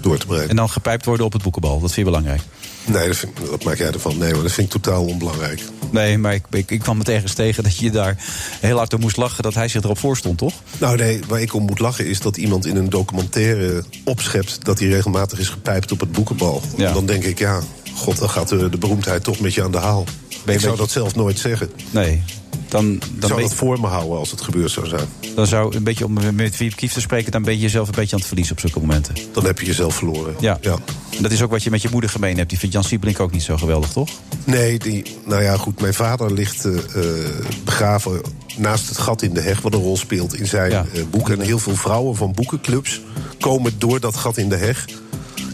door te breken. En dan gepijpt worden op het boekenbal. Dat vind je belangrijk. Nee, dat, vind, dat maak jij ervan. Nee, maar dat vind ik totaal onbelangrijk. Nee, maar ik, ik, ik kwam het ergens tegen dat je daar heel hard om moest lachen dat hij zich erop voorstond, toch? Nou nee, waar ik om moet lachen is dat iemand in een documentaire opschept... dat hij regelmatig is gepijpt op het boekenbal. Ja. Dan denk ik, ja, god, dan gaat de, de beroemdheid toch met je aan de haal. ik zou dat zelf nooit zeggen. Nee. Dan, ik dan, zou ben- dat voor me houden als het gebeurd zou zijn. dan zou een beetje, om met Wiep Kief te spreken, dan ben je jezelf een beetje aan het verliezen op zulke momenten. Dan heb je jezelf verloren. Ja. En Dat is ook wat je met je moeder gemeen hebt. Die vindt Jan Siebelink ook niet zo geweldig, toch? Nee, die, nou ja, goed. Mijn vader ligt eh, eh, begraven naast het gat in de heg, wat een rol speelt in zijn eh, boek. En heel veel vrouwen van boekenclubs komen door dat gat in de heg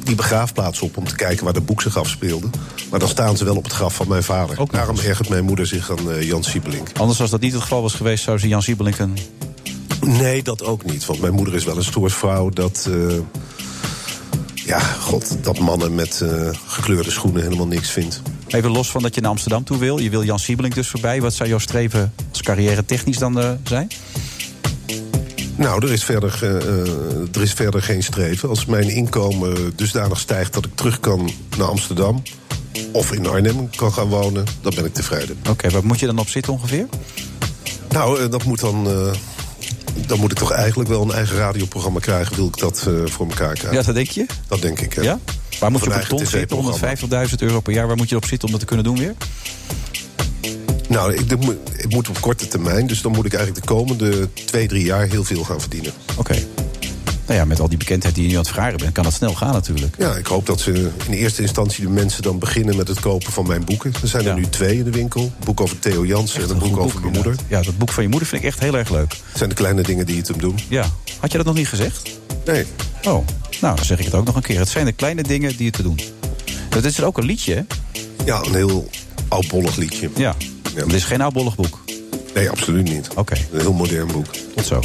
die begraafplaats op om te kijken waar de boek zich afspeelde. Maar dan staan ze wel op het graf van mijn vader. Daarom ergert mijn moeder zich aan eh, Jan Siebelink. Anders als dat niet het geval was geweest, zou ze Jan Siebelink een... Nee, dat ook niet. Want mijn moeder is wel een stoersvrouw dat. eh, ja, god, dat mannen met eh, gekleurde schoenen helemaal niks vindt. Even los van dat je naar Amsterdam toe wil. Je wil Jan Siebelink dus voorbij. Wat zou jouw streven als carrière technisch dan eh, zijn? Nou, er is, verder, eh, eh, er is verder geen streven. Als mijn inkomen dusdanig stijgt dat ik terug kan naar Amsterdam... of in Arnhem kan gaan wonen, dan ben ik tevreden. Oké, waar moet je dan op zitten ongeveer? Nou, eh, dat moet dan... eh, dan moet ik toch eigenlijk wel een eigen radioprogramma krijgen... wil ik dat eh, voor elkaar krijgen. Ja, dat denk je? Dat denk ik, hè. Ja? Waar moet Of je een op een eigen ton TV-programma. zitten? 150.000 euro per jaar. Waar moet je op zitten om dat te kunnen doen weer? Nou, ik, dat moet- ik moet op korte termijn... dus dan moet ik eigenlijk de komende twee, drie jaar heel veel gaan verdienen. Oké. Nou ja, met al die bekendheid die je nu aan het vergaren bent... kan dat snel gaan natuurlijk. Ja, ik hoop dat ze in eerste instantie de mensen dan beginnen met het kopen van mijn boeken. Er zijn er nu twee in de winkel. Een boek over Theo Jansen en een boek over mijn moeder. Ja, dat boek van je moeder vind ik echt heel erg leuk. Het zijn de kleine dingen die het hem doen. Ja. Had je dat nog niet gezegd? Nee. Oh, nou, dan zeg ik het ook nog een keer. Het zijn de kleine dingen die je te doen. Dat is ook een liedje, hè? Ja, een heel oudbollig liedje. Ja. Het is geen oudbollig boek. Nee, absoluut niet. Oké. Een heel modern boek. Tot zo.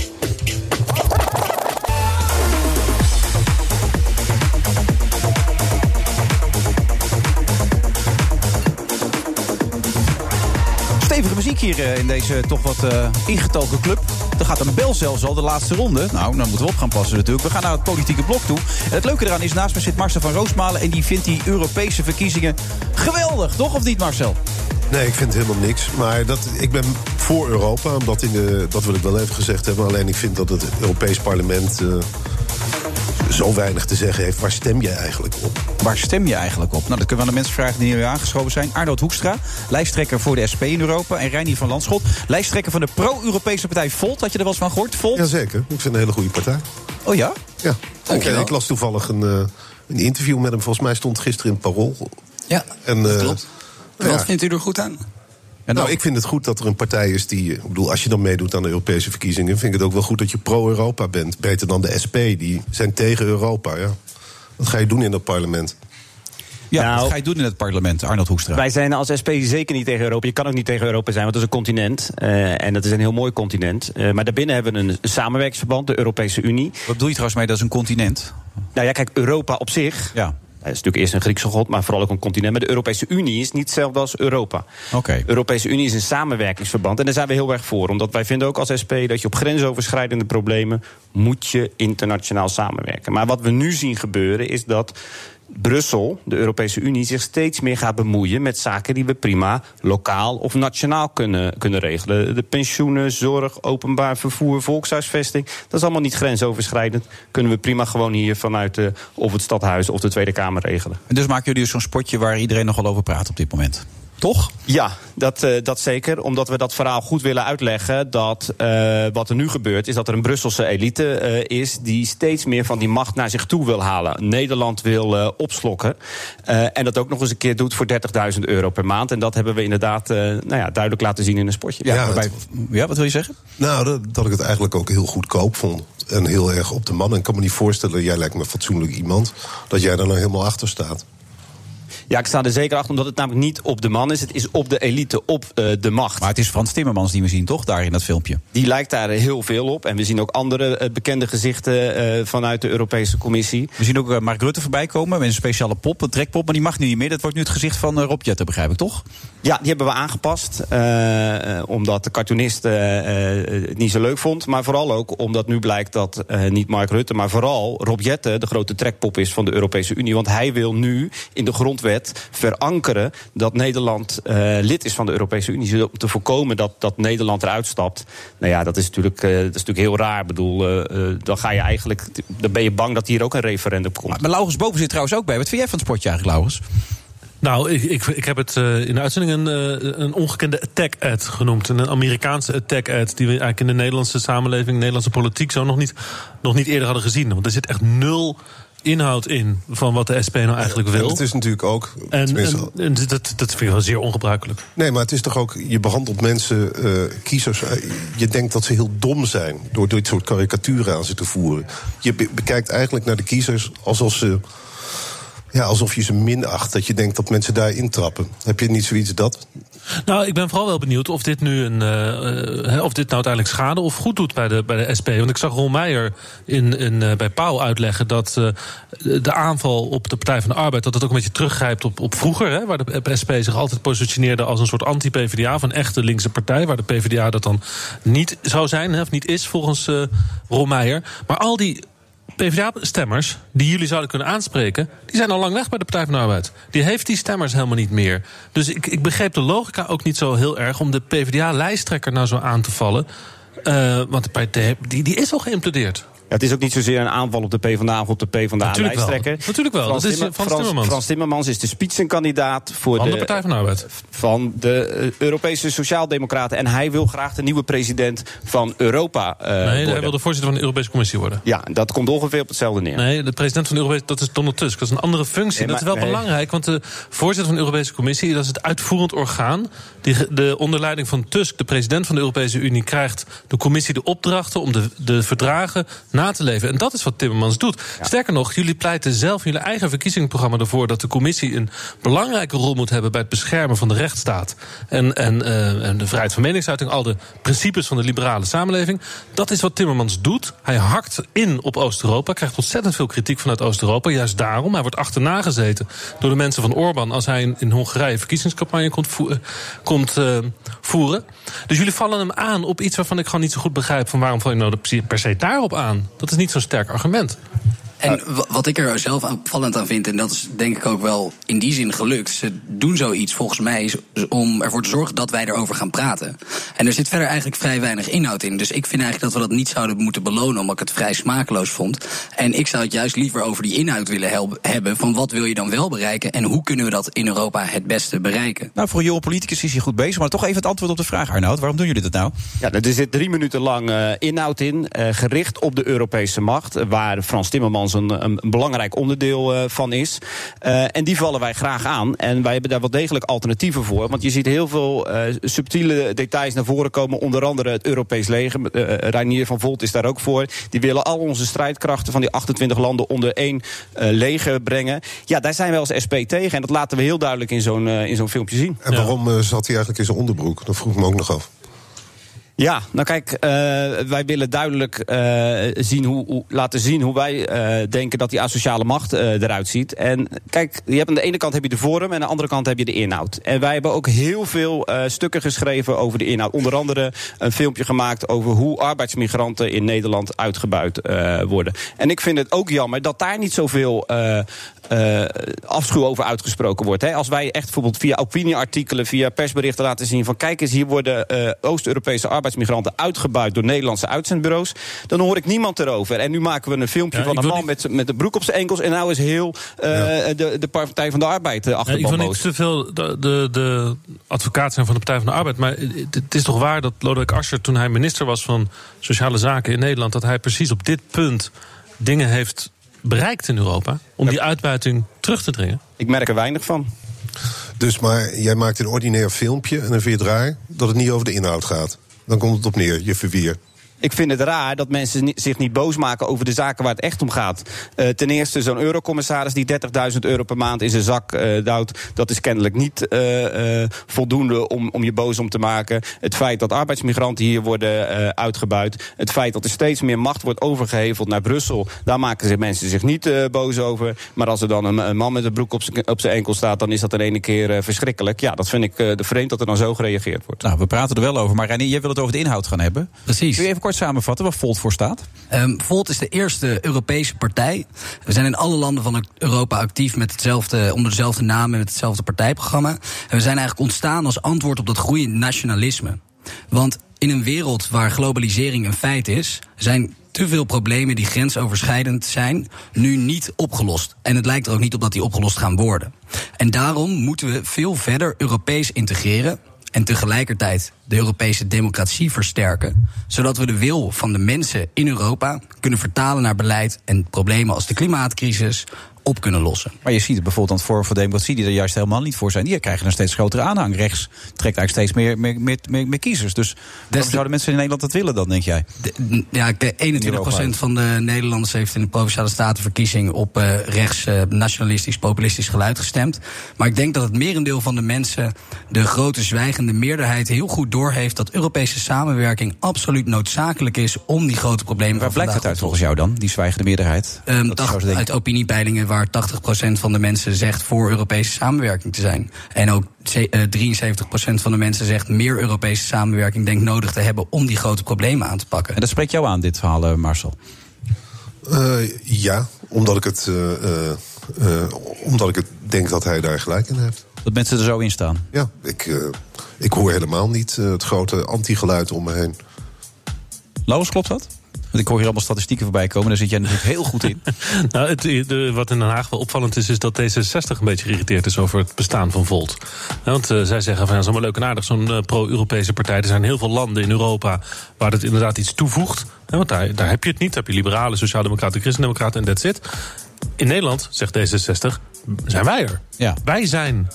Stevige muziek hier eh, in deze toch wat eh, ingetogen club. Er gaat een bel zelfs al, de laatste ronde. Nou, dan moeten we op gaan passen natuurlijk. We gaan naar het politieke blok toe. En het leuke eraan is, naast me zit Marcel van Roosmalen... en die vindt die Europese verkiezingen geweldig, toch? Of niet, Marcel? Nee, ik vind helemaal niks. Maar dat, ik ben voor Europa, omdat in de, dat wil ik wel even gezegd hebben. Alleen ik vind dat het Europees parlement eh, zo weinig te zeggen heeft. Waar stem je eigenlijk op? Waar stem je eigenlijk op? Nou, dat kunnen we aan de mensen vragen die nu aangeschoven zijn. Arnold Hoekstra, lijsttrekker voor de SP in Europa. En Reinier van Landschot, lijsttrekker van de pro-Europese partij Volt. Had je er wel eens van gehoord, Volt? Jazeker, ik vind een hele goede partij. Oh ja? Ja. Dankjewel. Ik las toevallig een, eh, een interview met hem. Volgens mij stond gisteren in het Parool. Ja, en, dat eh, klopt. nou ja. Wat vindt u er goed aan? nou, ik vind het goed dat er een partij is die... eh, Ik bedoel, als je dan meedoet aan de Europese verkiezingen... vind ik het ook wel goed dat je pro-Europa bent. Beter dan de SP, die zijn tegen Europa, ja. Wat ga je doen in dat parlement? Ja, wat ga je doen in het parlement, Arnold Hoekstra? Wij zijn als SP zeker niet tegen Europa. Je kan ook niet tegen Europa zijn, want het is een continent. eh, en dat is een heel mooi continent. Eh, maar daarbinnen hebben we een samenwerksverband, de Europese Unie. Wat bedoel je trouwens mee, dat is een continent? Nou ja, kijk, Europa op zich... Ja. Dat is natuurlijk eerst een Griekse god, maar vooral ook een continent. Maar de Europese Unie is niet hetzelfde als Europa. Oké. De Europese Unie is een samenwerkingsverband. En daar zijn we heel erg voor. Omdat wij vinden ook als SP dat je op grensoverschrijdende problemen... moet je internationaal samenwerken. Maar wat we nu zien gebeuren is dat... Brussel, de Europese Unie, zich steeds meer gaat bemoeien met zaken die we prima lokaal of nationaal kunnen, kunnen regelen. De pensioenen, zorg, openbaar vervoer, volkshuisvesting. Dat is allemaal niet grensoverschrijdend. Kunnen we prima gewoon hier vanuit eh, of het stadhuis of de Tweede Kamer regelen. En dus maken jullie dus zo'n spotje waar iedereen nogal over praat op dit moment. Toch? Ja, dat, eh, dat zeker. Omdat we dat verhaal goed willen uitleggen. Dat eh, wat er nu gebeurt, is dat er een Brusselse elite eh, is. die steeds meer van die macht naar zich toe wil halen. Nederland wil eh, opslokken. Eh, en dat ook nog eens een keer doet voor 30.000 euro per maand. En dat hebben we inderdaad eh, nou ja, duidelijk laten zien in een spotje. Ja, waarbij- ja, wat wil je zeggen? Nou, dat, dat ik het eigenlijk ook heel goedkoop vond. En heel erg op de man. En ik kan me niet voorstellen, jij lijkt me een fatsoenlijk iemand... dat jij daar nou helemaal achter staat. Ja, ik sta er zeker achter, omdat het namelijk niet op de man is. Het is op de elite, op eh, de macht. Maar het is Frans Timmermans die we zien, toch? Daar in dat filmpje. Die lijkt daar eh, heel veel op. En we zien ook andere eh, bekende gezichten eh, vanuit de Europese Commissie. We zien ook eh, Mark Rutte voorbij komen met een speciale pop, een trekpop. Maar die mag nu niet meer. Dat wordt nu het gezicht van eh, Rob Jetten, begrijp ik, toch? Ja, die hebben we aangepast. eh, omdat de cartoonist eh, eh, het niet zo leuk vond. Maar vooral ook omdat nu blijkt dat eh, niet Mark Rutte, maar vooral Rob Jetten de grote trekpop is van de Europese Unie. Want hij wil nu in de grondwet verankeren dat Nederland eh, lid is van de Europese Unie. Zodat Om te voorkomen dat, dat Nederland eruit stapt. Nou ja, dat is natuurlijk, eh, dat is natuurlijk heel raar. Ik bedoel, eh, eh, dan ga je eigenlijk. Dan ben je bang dat hier ook een referendum komt. Maar Laurens Boven zit trouwens ook bij. Wat vind jij van het sportje eigenlijk, Laurens? Nou, ik, ik, ik heb het eh, in de uitzending een, eh, een ongekende attack-ad genoemd. Een Amerikaanse attack-ad die we eigenlijk in de Nederlandse samenleving, de Nederlandse politiek zo nog niet, nog niet eerder hadden gezien. Want er zit echt nul inhoud in van wat de SP nou eigenlijk wil. En het is natuurlijk ook. En, tenminste- en- en dat, dat vind ik wel zeer ongebruikelijk. Nee, maar het is toch ook, je behandelt mensen, eh, kiezers, eh, je denkt dat ze heel dom zijn door dit soort karikaturen aan ze te voeren. Je be- bekijkt eigenlijk naar de kiezers alsof ze, ja, alsof je ze minacht, dat je denkt dat mensen daar intrappen. Heb je niet zoiets dat? Nou, ik ben vooral wel benieuwd of dit nu een, eh, eh, hè, of dit nou uiteindelijk schade of goed doet bij de, bij de SP. Want ik zag Ron Meijer in, in, eh, bij Pauw uitleggen dat eh, de aanval op de Partij van de Arbeid, dat het ook een beetje teruggrijpt op, op vroeger, hè, waar de SP zich altijd positioneerde als een soort anti-PVDA, van echte linkse partij, waar de PVDA dat dan niet zou zijn, hè, of niet is volgens eh Ron Meijer. Maar al die PvdA-stemmers die jullie zouden kunnen aanspreken, die zijn al lang weg bij de Partij van de Arbeid. Die heeft die stemmers helemaal niet meer. Dus ik, ik begreep de logica ook niet zo heel erg om de PvdA-lijsttrekker nou zo aan te vallen. Eh, want de partij die, die is al geïmplodeerd. Ja, het is ook niet zozeer een aanval op de PvdA of op de Natuurlijk wel. PvdA-lijsttrekker. Natuurlijk wel. Dat is eh, Timmer- Frans Frans, Timmermans. Frans Timmermans is de spitsenkandidaat voor Van de de Partij van de Arbeid. Van de eh, Europese Sociaaldemocraten. En hij wil graag de nieuwe president van Europa eh, nee, hij worden. wil de voorzitter van de Europese Commissie worden. Ja, dat komt ongeveer op hetzelfde neer. Nee, de president van de Europese, dat is Donald Tusk. Dat is een andere functie. Nee, dat is maar- wel nee. belangrijk, want de voorzitter van de Europese Commissie... dat is het uitvoerend orgaan. Die, ge- de onder leiding van Tusk, de president van de Europese Unie... krijgt de commissie de opdrachten om de, de verdragen na te leven. En dat is wat Timmermans doet. Sterker nog, jullie pleiten zelf in jullie eigen verkiezingsprogramma ervoor... dat de commissie een belangrijke rol moet hebben... bij het beschermen van de rechtsstaat en, en, eh, en de vrijheid van meningsuiting... al de principes van de liberale samenleving. Dat is wat Timmermans doet. Hij hakt in op Oost-Europa, krijgt ontzettend veel kritiek vanuit Oost-Europa. Juist daarom, hij wordt achterna gezeten door de mensen van Orbán... als hij in, in Hongarije verkiezingscampagne komt, voe- eh, komt eh, voeren. Dus jullie vallen hem aan op iets waarvan ik gewoon niet zo goed begrijp... van waarom val je nou de- per se daarop aan? Dat is niet zo'n sterk argument. En wa- wat ik er zelf aanvallend aan vind, en dat is denk ik ook wel in die zin gelukt. Ze doen zoiets volgens mij is om ervoor te zorgen dat wij erover gaan praten. En er zit verder eigenlijk vrij weinig inhoud in. Dus ik vind eigenlijk dat we dat niet zouden moeten belonen, omdat ik het vrij smakeloos vond. En ik zou het juist liever over die inhoud willen help- hebben. Van wat wil je dan wel bereiken en hoe kunnen we dat in Europa het beste bereiken? Nou, voor een jonge politicus is hij goed bezig. Maar toch even het antwoord op de vraag, Arnoud. Waarom doen jullie dat nou? Ja, er zit drie minuten lang eh, inhoud in, eh, gericht op de Europese macht, eh, waar Frans Timmermans een, een belangrijk onderdeel eh, van is. Eh, en die vallen wij graag aan. En wij hebben daar wel degelijk alternatieven voor. Want je ziet heel veel eh, subtiele details naar voren komen, onder andere het Europees leger. Eh, Reinier van Volt is daar ook voor. Die willen al onze strijdkrachten van die 28 landen onder één eh, leger brengen. Ja, daar zijn wij als SP tegen. En dat laten we heel duidelijk in zo'n eh, in zo'n filmpje zien. En waarom eh, zat hij eigenlijk in zijn onderbroek? Dat vroeg ik me ook nog af. Ja, nou kijk, eh, wij willen duidelijk eh, zien hoe, hoe- laten zien hoe wij eh, denken dat die asociale macht eh, eruit ziet. En kijk, je hebt aan de ene kant heb je de vorm en aan de andere kant heb je de inhoud. En wij hebben ook heel veel eh, stukken geschreven over de inhoud. Onder andere een filmpje gemaakt over hoe arbeidsmigranten in Nederland uitgebuit eh, worden. En ik vind het ook jammer dat daar niet zoveel eh, eh, afschuw over uitgesproken wordt. Hè. Als wij echt bijvoorbeeld via opinieartikelen, via persberichten laten zien van kijk eens, hier worden eh, Oost-Europese arbeidsmigranten uitgebuit door Nederlandse uitzendbureaus, dan hoor ik niemand erover. En nu maken we een filmpje Ja, van ik een wil man met, z'n- met de broek op zijn enkels en nou is heel eh, de, de Partij van de Arbeid eh, achter Ja, ik wil de niet te veel de, de, de advocaat zijn van de Partij van de Arbeid. Maar het, het is toch waar dat Lodewijk Asscher, toen hij minister was van Sociale Zaken in Nederland, dat hij precies op dit punt dingen heeft bereikt in Europa. Om die uitbuiting terug te dringen. Ik merk er weinig van. Dus maar jij maakt een ordinair filmpje en dan vind je het raar dat het niet over de inhoud gaat. Dan komt het op neer, je verweer. ik vind het raar dat mensen ni- zich niet boos maken over de zaken waar het echt om gaat. Eh, ten eerste, zo'n eurocommissaris die 30.000 euro per maand in zijn zak eh, duwt, dat is kennelijk niet eh, eh, voldoende om, om je boos om te maken. Het feit dat arbeidsmigranten hier worden eh, uitgebuit, het feit dat er steeds meer macht wordt overgeheveld naar Brussel, daar maken zich mensen zich niet eh, boos over. Maar als er dan een, een man met een broek op zijn- op zijn enkel staat, dan is dat de ene keer eh, verschrikkelijk. Ja, dat vind ik eh, vreemd dat er dan zo gereageerd wordt. Nou, we praten er wel over, maar René, jij wil het over de inhoud gaan hebben. Precies. Kun je even kort samenvatten waar Volt voor staat? Ehm, Volt is de eerste Europese partij. We zijn in alle landen van Europa actief met hetzelfde, onder dezelfde naam en met hetzelfde partijprogramma. En we zijn eigenlijk ontstaan als antwoord op dat groeiend nationalisme. Want in een wereld waar globalisering een feit is, zijn te veel problemen die grensoverschrijdend zijn, nu niet opgelost. En het lijkt er ook niet op dat die opgelost gaan worden. En daarom moeten we veel verder Europees integreren en tegelijkertijd de Europese democratie versterken, zodat we de wil van de mensen in Europa kunnen vertalen naar beleid en problemen als de klimaatcrisis op kunnen lossen. Maar je ziet het bijvoorbeeld aan het Forum voor Democratie, die er juist helemaal niet voor zijn. Die krijgen een steeds grotere aanhang. Rechts trekt eigenlijk steeds meer, meer, meer, meer, meer kiezers. Dus waarom zouden mensen in Nederland dat willen dan, denk jij? Ja, ik- In 21% Europa. van de Nederlanders heeft in de Provinciale Statenverkiezing op eh, rechts eh, nationalistisch, populistisch geluid gestemd. Maar ik denk dat het merendeel van de mensen, de grote zwijgende meerderheid, heel goed doorheeft dat Europese samenwerking absoluut noodzakelijk is om die grote problemen Waar van blijkt vandaag dat uit volgens jou dan, die zwijgende meerderheid? Ehm, Dat is dacht- zo te denken. uit opiniepeilingen waar 80% van de mensen zegt voor Europese samenwerking te zijn. En ook ze- eh, 73% van de mensen zegt meer Europese samenwerking denkt nodig te hebben om die grote problemen aan te pakken. En dat spreekt jou aan, dit verhaal, Marcel. Eh, ja, omdat ik, het, eh, eh, eh, omdat ik het denk dat hij daar gelijk in heeft. Dat mensen er zo in staan? Ja, ik, eh, ik hoor helemaal niet eh, het grote anti-geluid om me heen. Laurens, klopt dat? Want ik hoor hier allemaal statistieken voorbij komen. Daar zit jij natuurlijk heel goed in. Nou, het, de- wat in Den Haag wel opvallend is, is dat D66 een beetje geïrriteerd is over het bestaan van Volt. Want eh, zij zeggen van ja, zo'n leuk en aardig, zo'n eh, pro-Europese partij. Er zijn heel veel landen in Europa waar dat inderdaad iets toevoegt. Hè, want daar, daar heb je het niet. Daar heb je liberalen, sociaaldemocraten, christendemocraten en that's it. In Nederland, zegt D66, zijn wij er. Ja. Wij zijn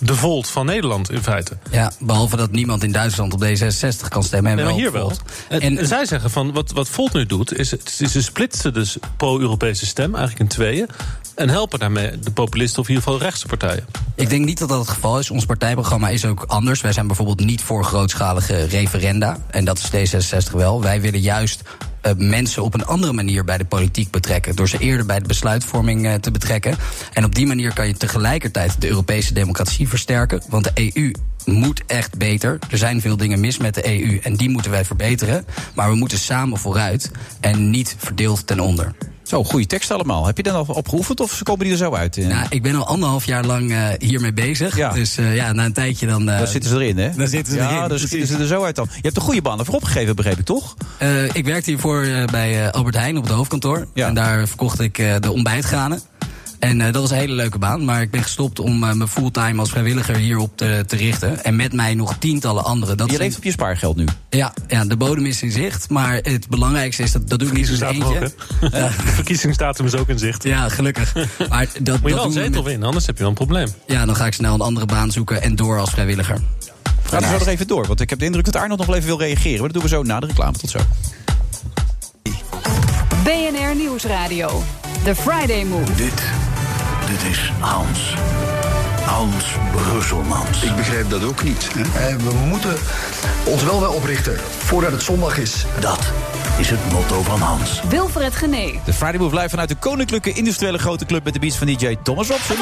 de Volt van Nederland in feite. Ja, behalve dat niemand in Duitsland op D66 kan stemmen. En Nee, maar wel hier wel. Volt. En, zij zeggen van wat, wat Volt nu doet, is, het- is ze splitsen dus pro-Europese stem eigenlijk in tweeën. En helpen daarmee de populisten of in ieder geval rechtse partijen. Ik denk niet dat dat het geval is. Ons partijprogramma is ook anders. Wij zijn bijvoorbeeld niet voor grootschalige referenda. En dat is D66 wel. Wij willen juist eh, mensen op een andere manier bij de politiek betrekken. Door ze eerder bij de besluitvorming eh, te betrekken. En op die manier kan je tegelijkertijd de Europese democratie versterken. Want de EU moet echt beter. Er zijn veel dingen mis met de EU en die moeten wij verbeteren. Maar we moeten samen vooruit en niet verdeeld ten onder. Zo, goede tekst allemaal. Heb je dan al opgeoefend of komen die er zo uit? Eh, Nou, ik ben al anderhalf jaar lang eh, hiermee bezig. Dus eh, ja, na een tijdje dan... eh, Daar zitten ze erin, hè? Dan zitten ze ja, dus erin, precies. zitten ze er zo uit dan. Je hebt de goede baan ervoor opgegeven, begreep ik, toch? Eh, ik werkte hiervoor eh, bij eh, Albert Heijn op het hoofdkantoor. En daar verkocht ik eh, de ontbijtgranen. En eh, dat was een hele leuke baan. Maar ik ben gestopt om eh, me fulltime als vrijwilliger hierop te, te richten. En met mij nog tientallen anderen. Dat je zijn- leeft op je spaargeld nu. Ja, ja, de bodem is in zicht. Maar het belangrijkste is, dat, dat doe ik niet in mijn Verkiezingsdatum eentje. ook, hè? Verkiezingsdatum is dus ook in zicht. Ja, gelukkig. Maar dat, Moet je dat wel een doen we zetel met- winnen, anders heb je wel een probleem. Ja, dan ga ik snel een andere baan zoeken en door als vrijwilliger. Gaan nou. we zo nog even door, want ik heb de indruk dat Arnold nog wel even wil reageren. Maar dat doen we zo na de reclame. Tot zo. BNR Nieuwsradio. The Friday Move. Dit, dit is Hans. Hans Brusselmans. Ik begrijp dat ook niet. Eh, we moeten ons wel wel oprichten voordat het zondag is. Dat is het motto van Hans. Wilfred Genee. De Friday Move live vanuit de Koninklijke Industriële Grote Club... met de beats van DJ Thomas Robson.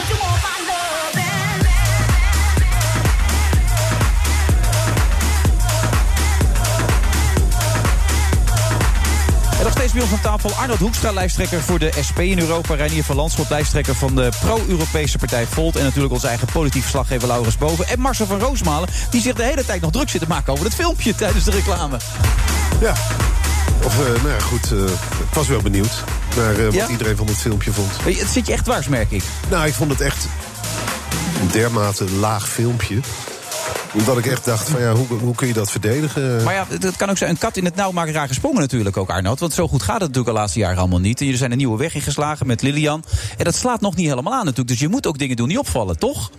En nog steeds bij ons aan tafel Arnold Hoekstra, lijsttrekker voor de SP in Europa. Reinier van Landschot, lijsttrekker van de pro-Europese partij Volt. En natuurlijk onze eigen politiek verslaggever Laurens Boven. En Marcel van Roosmalen, die zich de hele tijd nog druk zit te maken over het filmpje tijdens de reclame. Ja. Of, eh, nou ja, goed, eh, ik was wel benieuwd naar eh, wat Ja? iedereen van het filmpje vond. Het zit je echt dwars, merk ik. Nou, ik vond het echt een dermate laag filmpje. Dat ik echt dacht van, ja, hoe, hoe kun je dat verdedigen? Maar ja, dat kan ook zijn. Een kat in het nauw maakt raar gesprongen natuurlijk ook, Arnold. Want zo goed gaat het natuurlijk de laatste jaren allemaal niet. En jullie zijn een nieuwe weg ingeslagen met Lilian. En dat slaat nog niet helemaal aan natuurlijk. Dus je moet ook dingen doen die opvallen, toch?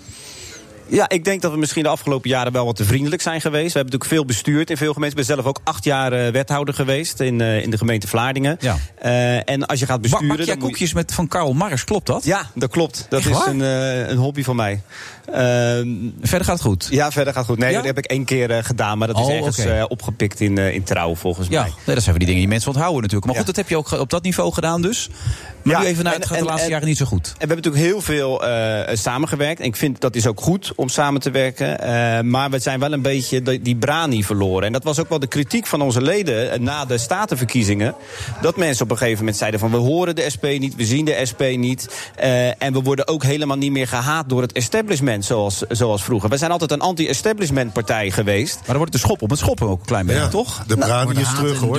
Ja, ik denk dat we misschien de afgelopen jaren wel wat te vriendelijk zijn geweest. We hebben natuurlijk veel bestuurd in veel gemeenten. Ik ben zelf ook acht jaar eh, wethouder geweest in, eh, in de gemeente Vlaardingen. Ja. Eh, en als je gaat Bak, besturen... bak jij dan moet je- koekjes met, van Karl Marx, klopt dat? Ja, dat klopt. Dat Echt is waar? een, eh, een hobby van mij. verder gaat het goed? Ja, verder gaat het goed. Nee, dat heb ik één keer eh, gedaan, maar dat Oh, is ergens oké. eh, opgepikt in, eh, in trouw volgens Ja, mij. nee, dat zijn van die dingen die mensen onthouden natuurlijk. Maar goed, dat heb je ook ge- op dat niveau gedaan dus. Maar nu even naar, het en- gaat de en- laatste en- jaren niet zo goed. En we hebben natuurlijk heel veel eh, samengewerkt. En ik vind dat is ook goed om samen te werken. Eh, maar we zijn wel een beetje die, die brani verloren. En dat was ook wel de kritiek van onze leden eh, na de statenverkiezingen. Dat mensen op een gegeven moment zeiden van... we horen de SP niet, we zien de SP niet. eh, en we worden ook helemaal niet meer gehaat door het establishment zoals, zoals vroeger. We zijn altijd een anti-establishment partij geweest. Maar dan wordt de schop op het schoppen ook een klein Ja, De Nou, brani is terug, hoor.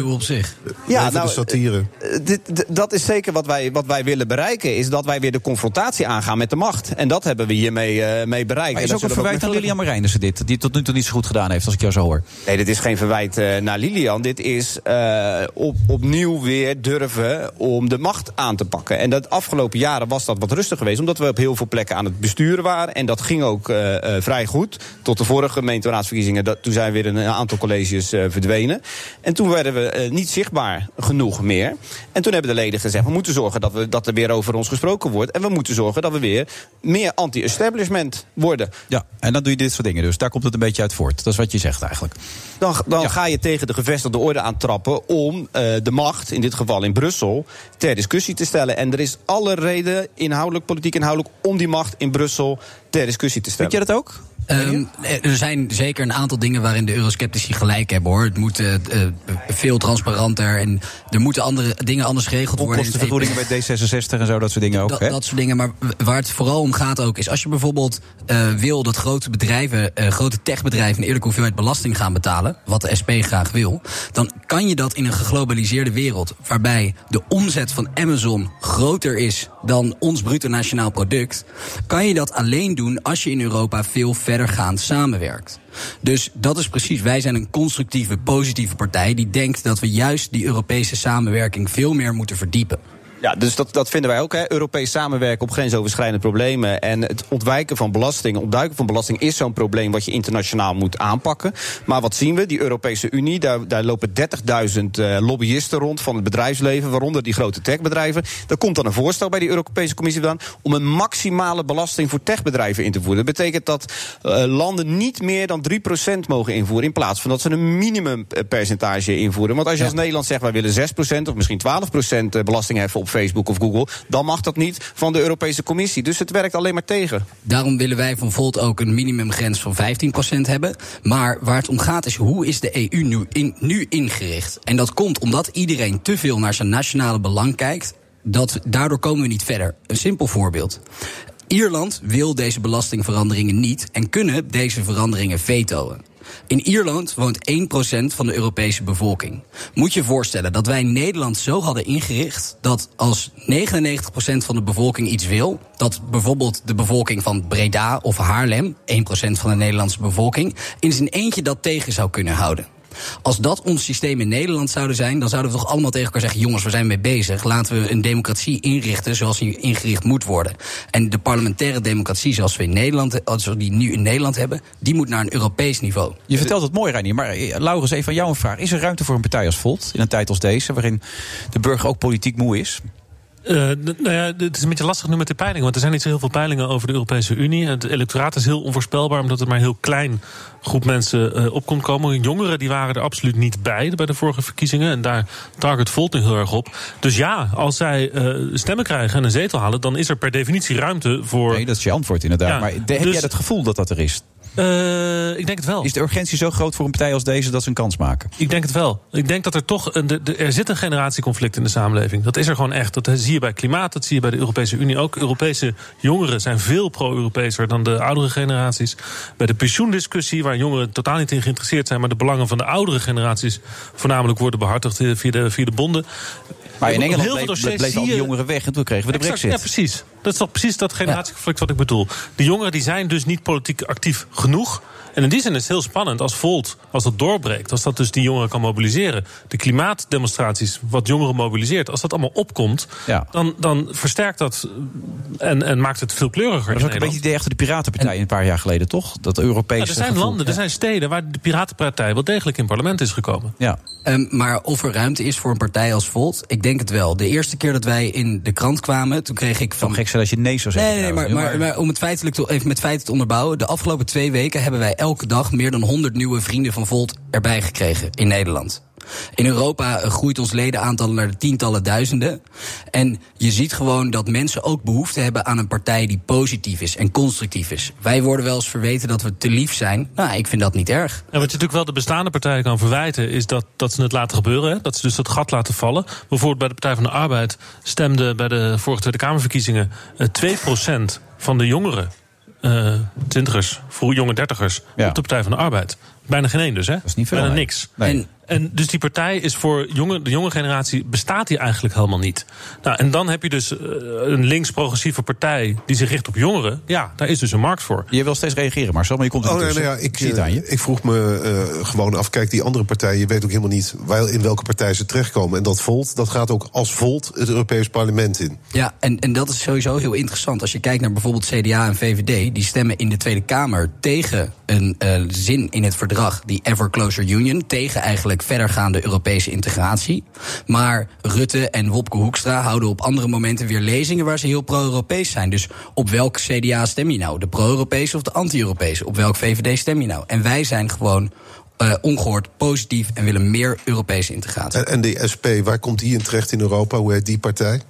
Ja, Even de satire. eh, dit- d- dat is zeker wat wij, wat wij willen bereiken. Is dat wij weer de confrontatie aangaan met de macht. En dat hebben we hiermee eh, mee bereikt. Maar En is dat ook zullen we een verwijt met aan veel- Lilian Marijnissen dit, die het tot nu toe niet zo goed gedaan heeft, als ik jou zo hoor. Nee, dit is geen verwijt eh, naar Lilian. Dit is eh, op, opnieuw weer durven om de macht aan te pakken. En dat afgelopen jaren was dat wat rustig geweest. Omdat we op heel veel plekken aan het besturen waren. En dat ging ook eh, eh, vrij goed. Tot de vorige gemeenteraadsverkiezingen. Dat, toen zijn weer een aantal colleges eh, verdwenen. En toen werden we eh, niet zichtbaar genoeg meer. En toen hebben de leden gezegd... we moeten zorgen dat, we, dat er weer over ons gesproken wordt. En we moeten zorgen dat we weer meer anti-establishment worden. Ja, en dan doe je dit soort dingen dus. Daar komt het een beetje uit voort. Dat is wat je zegt eigenlijk. Dan, dan ga je tegen de gevestigde orde aantrappen om eh, de macht, in dit geval in Brussel, ter discussie te stellen. En er is alle reden, inhoudelijk, politiek inhoudelijk, om die macht in Brussel ter discussie te stellen. Vind jij dat ook? Ehm, er zijn zeker een aantal dingen waarin de eurosceptici gelijk hebben hoor. Het moet eh, eh, veel transparanter en er moeten andere dingen anders geregeld worden. Onkostenvergoedingen bij D66 en zo, dat soort dingen ook. Dat, hè? dat soort dingen. Maar w- waar het vooral om gaat ook is als je bijvoorbeeld eh, wil dat grote bedrijven, eh, grote techbedrijven een eerlijke hoeveelheid belasting gaan betalen, wat de SP graag wil, dan kan je dat in een geglobaliseerde wereld waarbij de omzet van Amazon groter is dan ons bruto nationaal product, kan je dat alleen doen als je in Europa veel verdergaand samenwerkt. Dus dat is precies, wij zijn een constructieve, positieve partij die denkt dat we juist die Europese samenwerking veel meer moeten verdiepen. Ja, dus dat, dat vinden wij ook. Hè. Europees samenwerken op grensoverschrijdende problemen. En het ontwijken van belasting, ontduiken van belasting is zo'n probleem wat je internationaal moet aanpakken. Maar wat zien we? Die Europese Unie, daar, daar lopen 30.000 eh, lobbyisten rond van het bedrijfsleven, waaronder die grote techbedrijven. Er komt dan een voorstel bij die Europese Commissie vandaan om een maximale belasting voor techbedrijven in te voeren. Dat betekent dat eh, landen niet meer dan 3% mogen invoeren, in plaats van dat ze een minimumpercentage invoeren. Want als je als Nederland zegt wij willen 6% of misschien 12% belasting heffen op Facebook of Google, dan mag dat niet van de Europese Commissie. Dus het werkt alleen maar tegen. Daarom willen wij van Volt ook een minimumgrens van 15% hebben. Maar waar het om gaat is hoe is de EU nu, in, nu ingericht? En dat komt omdat iedereen te veel naar zijn nationale belang kijkt. Dat, daardoor komen we niet verder. Een simpel voorbeeld. Ierland wil deze belastingveranderingen niet en kunnen deze veranderingen vetoen. In Ierland woont 1% van de Europese bevolking. Moet je voorstellen dat wij Nederland zo hadden ingericht dat als 99% van de bevolking iets wil, dat bijvoorbeeld de bevolking van Breda of Haarlem, 1% van de Nederlandse bevolking, in zijn eentje dat tegen zou kunnen houden. Als dat ons systeem in Nederland zouden zijn, dan zouden we toch allemaal tegen elkaar zeggen: jongens, we zijn mee bezig. Laten we een democratie inrichten zoals die ingericht moet worden. En de parlementaire democratie zoals we in Nederland, als we die nu in Nederland hebben, die moet naar een Europees niveau. Je vertelt het mooi, Reinier. Maar eh, Laurens, even aan jou een vraag. Is er ruimte voor een partij als Volt in een tijd als deze... waarin de burger ook politiek moe is? Eh, d- nou ja, d- het is een beetje lastig nu met de peilingen. Want er zijn niet zo heel veel peilingen over de Europese Unie. Het electoraat is heel onvoorspelbaar, omdat er maar een heel klein groep mensen eh, op kon komen. Jongeren die waren er absoluut niet bij bij de vorige verkiezingen. En daar target Volt nu heel erg op. Dus ja, als zij eh, stemmen krijgen en een zetel halen, dan is er per definitie ruimte voor. Nee, dat is je antwoord inderdaad. Ja, maar de- heb dus- jij het gevoel dat dat er is? ik denk het wel. Is de urgentie zo groot voor een partij als deze dat ze een kans maken? Ik denk het wel. Ik denk dat er toch. Een, de- de- er zit een generatieconflict in de samenleving. Dat is er gewoon echt. Dat zie je bij klimaat, dat zie je bij de Europese Unie ook. Europese jongeren zijn veel pro-Europeeser dan de oudere generaties. Bij de pensioendiscussie, waar jongeren totaal niet in geïnteresseerd zijn, maar de belangen van de oudere generaties voornamelijk worden behartigd eh, via de, via de bonden. Maar in Op heel Engeland veel bleef, dossiers bleef al zie die je- jongeren weg en toen kregen we de Exact, brexit. Ja, precies. Dat is toch precies dat generatieconflict wat ik bedoel. De jongeren die zijn dus niet politiek actief genoeg. En in die zin is het heel spannend als Volt, als dat doorbreekt... als dat dus die jongeren kan mobiliseren. De klimaatdemonstraties, wat jongeren mobiliseert... als dat allemaal opkomt, dan, dan versterkt dat eh, en, en maakt het veel kleuriger. Dat in is ook een Nederland. beetje het idee achter de Piratenpartij een paar jaar geleden, toch? Dat Europese. Ja, er zijn gevoel. landen, er zijn steden waar de Piratenpartij wel degelijk in het parlement is gekomen. Ja. Ehm, maar of er ruimte is voor een partij als Volt, ik denk het wel. De eerste keer dat wij in de krant kwamen, toen kreeg ik van... gek zijn als je nee zou zeggen Nee, nee, maar, trouwens, maar, maar om het feitelijk te, even met feiten te onderbouwen... de afgelopen twee weken hebben wij elke dag meer dan 100 nieuwe vrienden van Volt erbij gekregen in Nederland. In Europa eh, groeit ons ledenaantal naar de tientallen duizenden. En je ziet gewoon dat mensen ook behoefte hebben aan een partij die positief is en constructief is. Wij worden wel eens verweten dat we te lief zijn. Nou, ik vind dat niet erg. En wat je natuurlijk wel de bestaande partijen kan verwijten, is dat, dat ze het laten gebeuren. Hè? Dat ze dus dat gat laten vallen. Bijvoorbeeld bij de Partij van de Arbeid stemde bij de vorige Tweede Kamerverkiezingen eh, 2% van de jongeren, eh twintigers, vroeg jonge dertigers, op de Partij van de Arbeid. Bijna geen één dus, hè? Dat is niet veel, Bijna nee. niks. Nee. En, en dus die partij is voor jonge, de jonge generatie bestaat die eigenlijk helemaal niet. Nou, en dan heb je dus eh, een links-progressieve partij die zich richt op jongeren. Ja, daar is dus een markt voor. Je wil steeds reageren, Marcel, maar je komt Oh, nee, nou ja, ik, eh, ik vroeg me eh, gewoon af, kijk, die andere partijen... je weet ook helemaal niet waar, in welke partij ze terechtkomen. En dat Volt, dat gaat ook als Volt het Europees Parlement in. Ja, en, en dat is sowieso heel interessant. Als je kijkt naar bijvoorbeeld CDA en VVD, die stemmen in de Tweede Kamer tegen een eh, zin in het verdrag, die Ever Closer Union, tegen eigenlijk verdergaande Europese integratie. Maar Rutte en Wopke Hoekstra houden op andere momenten weer lezingen waar ze heel pro-Europees zijn. Dus op welk CDA stem je nou? De pro-Europese of de anti-Europese? Op welk VVD stem je nou? En wij zijn gewoon eh, ongehoord positief en willen meer Europese integratie. En, en de SP, waar komt die in terecht in Europa? Hoe heet die partij?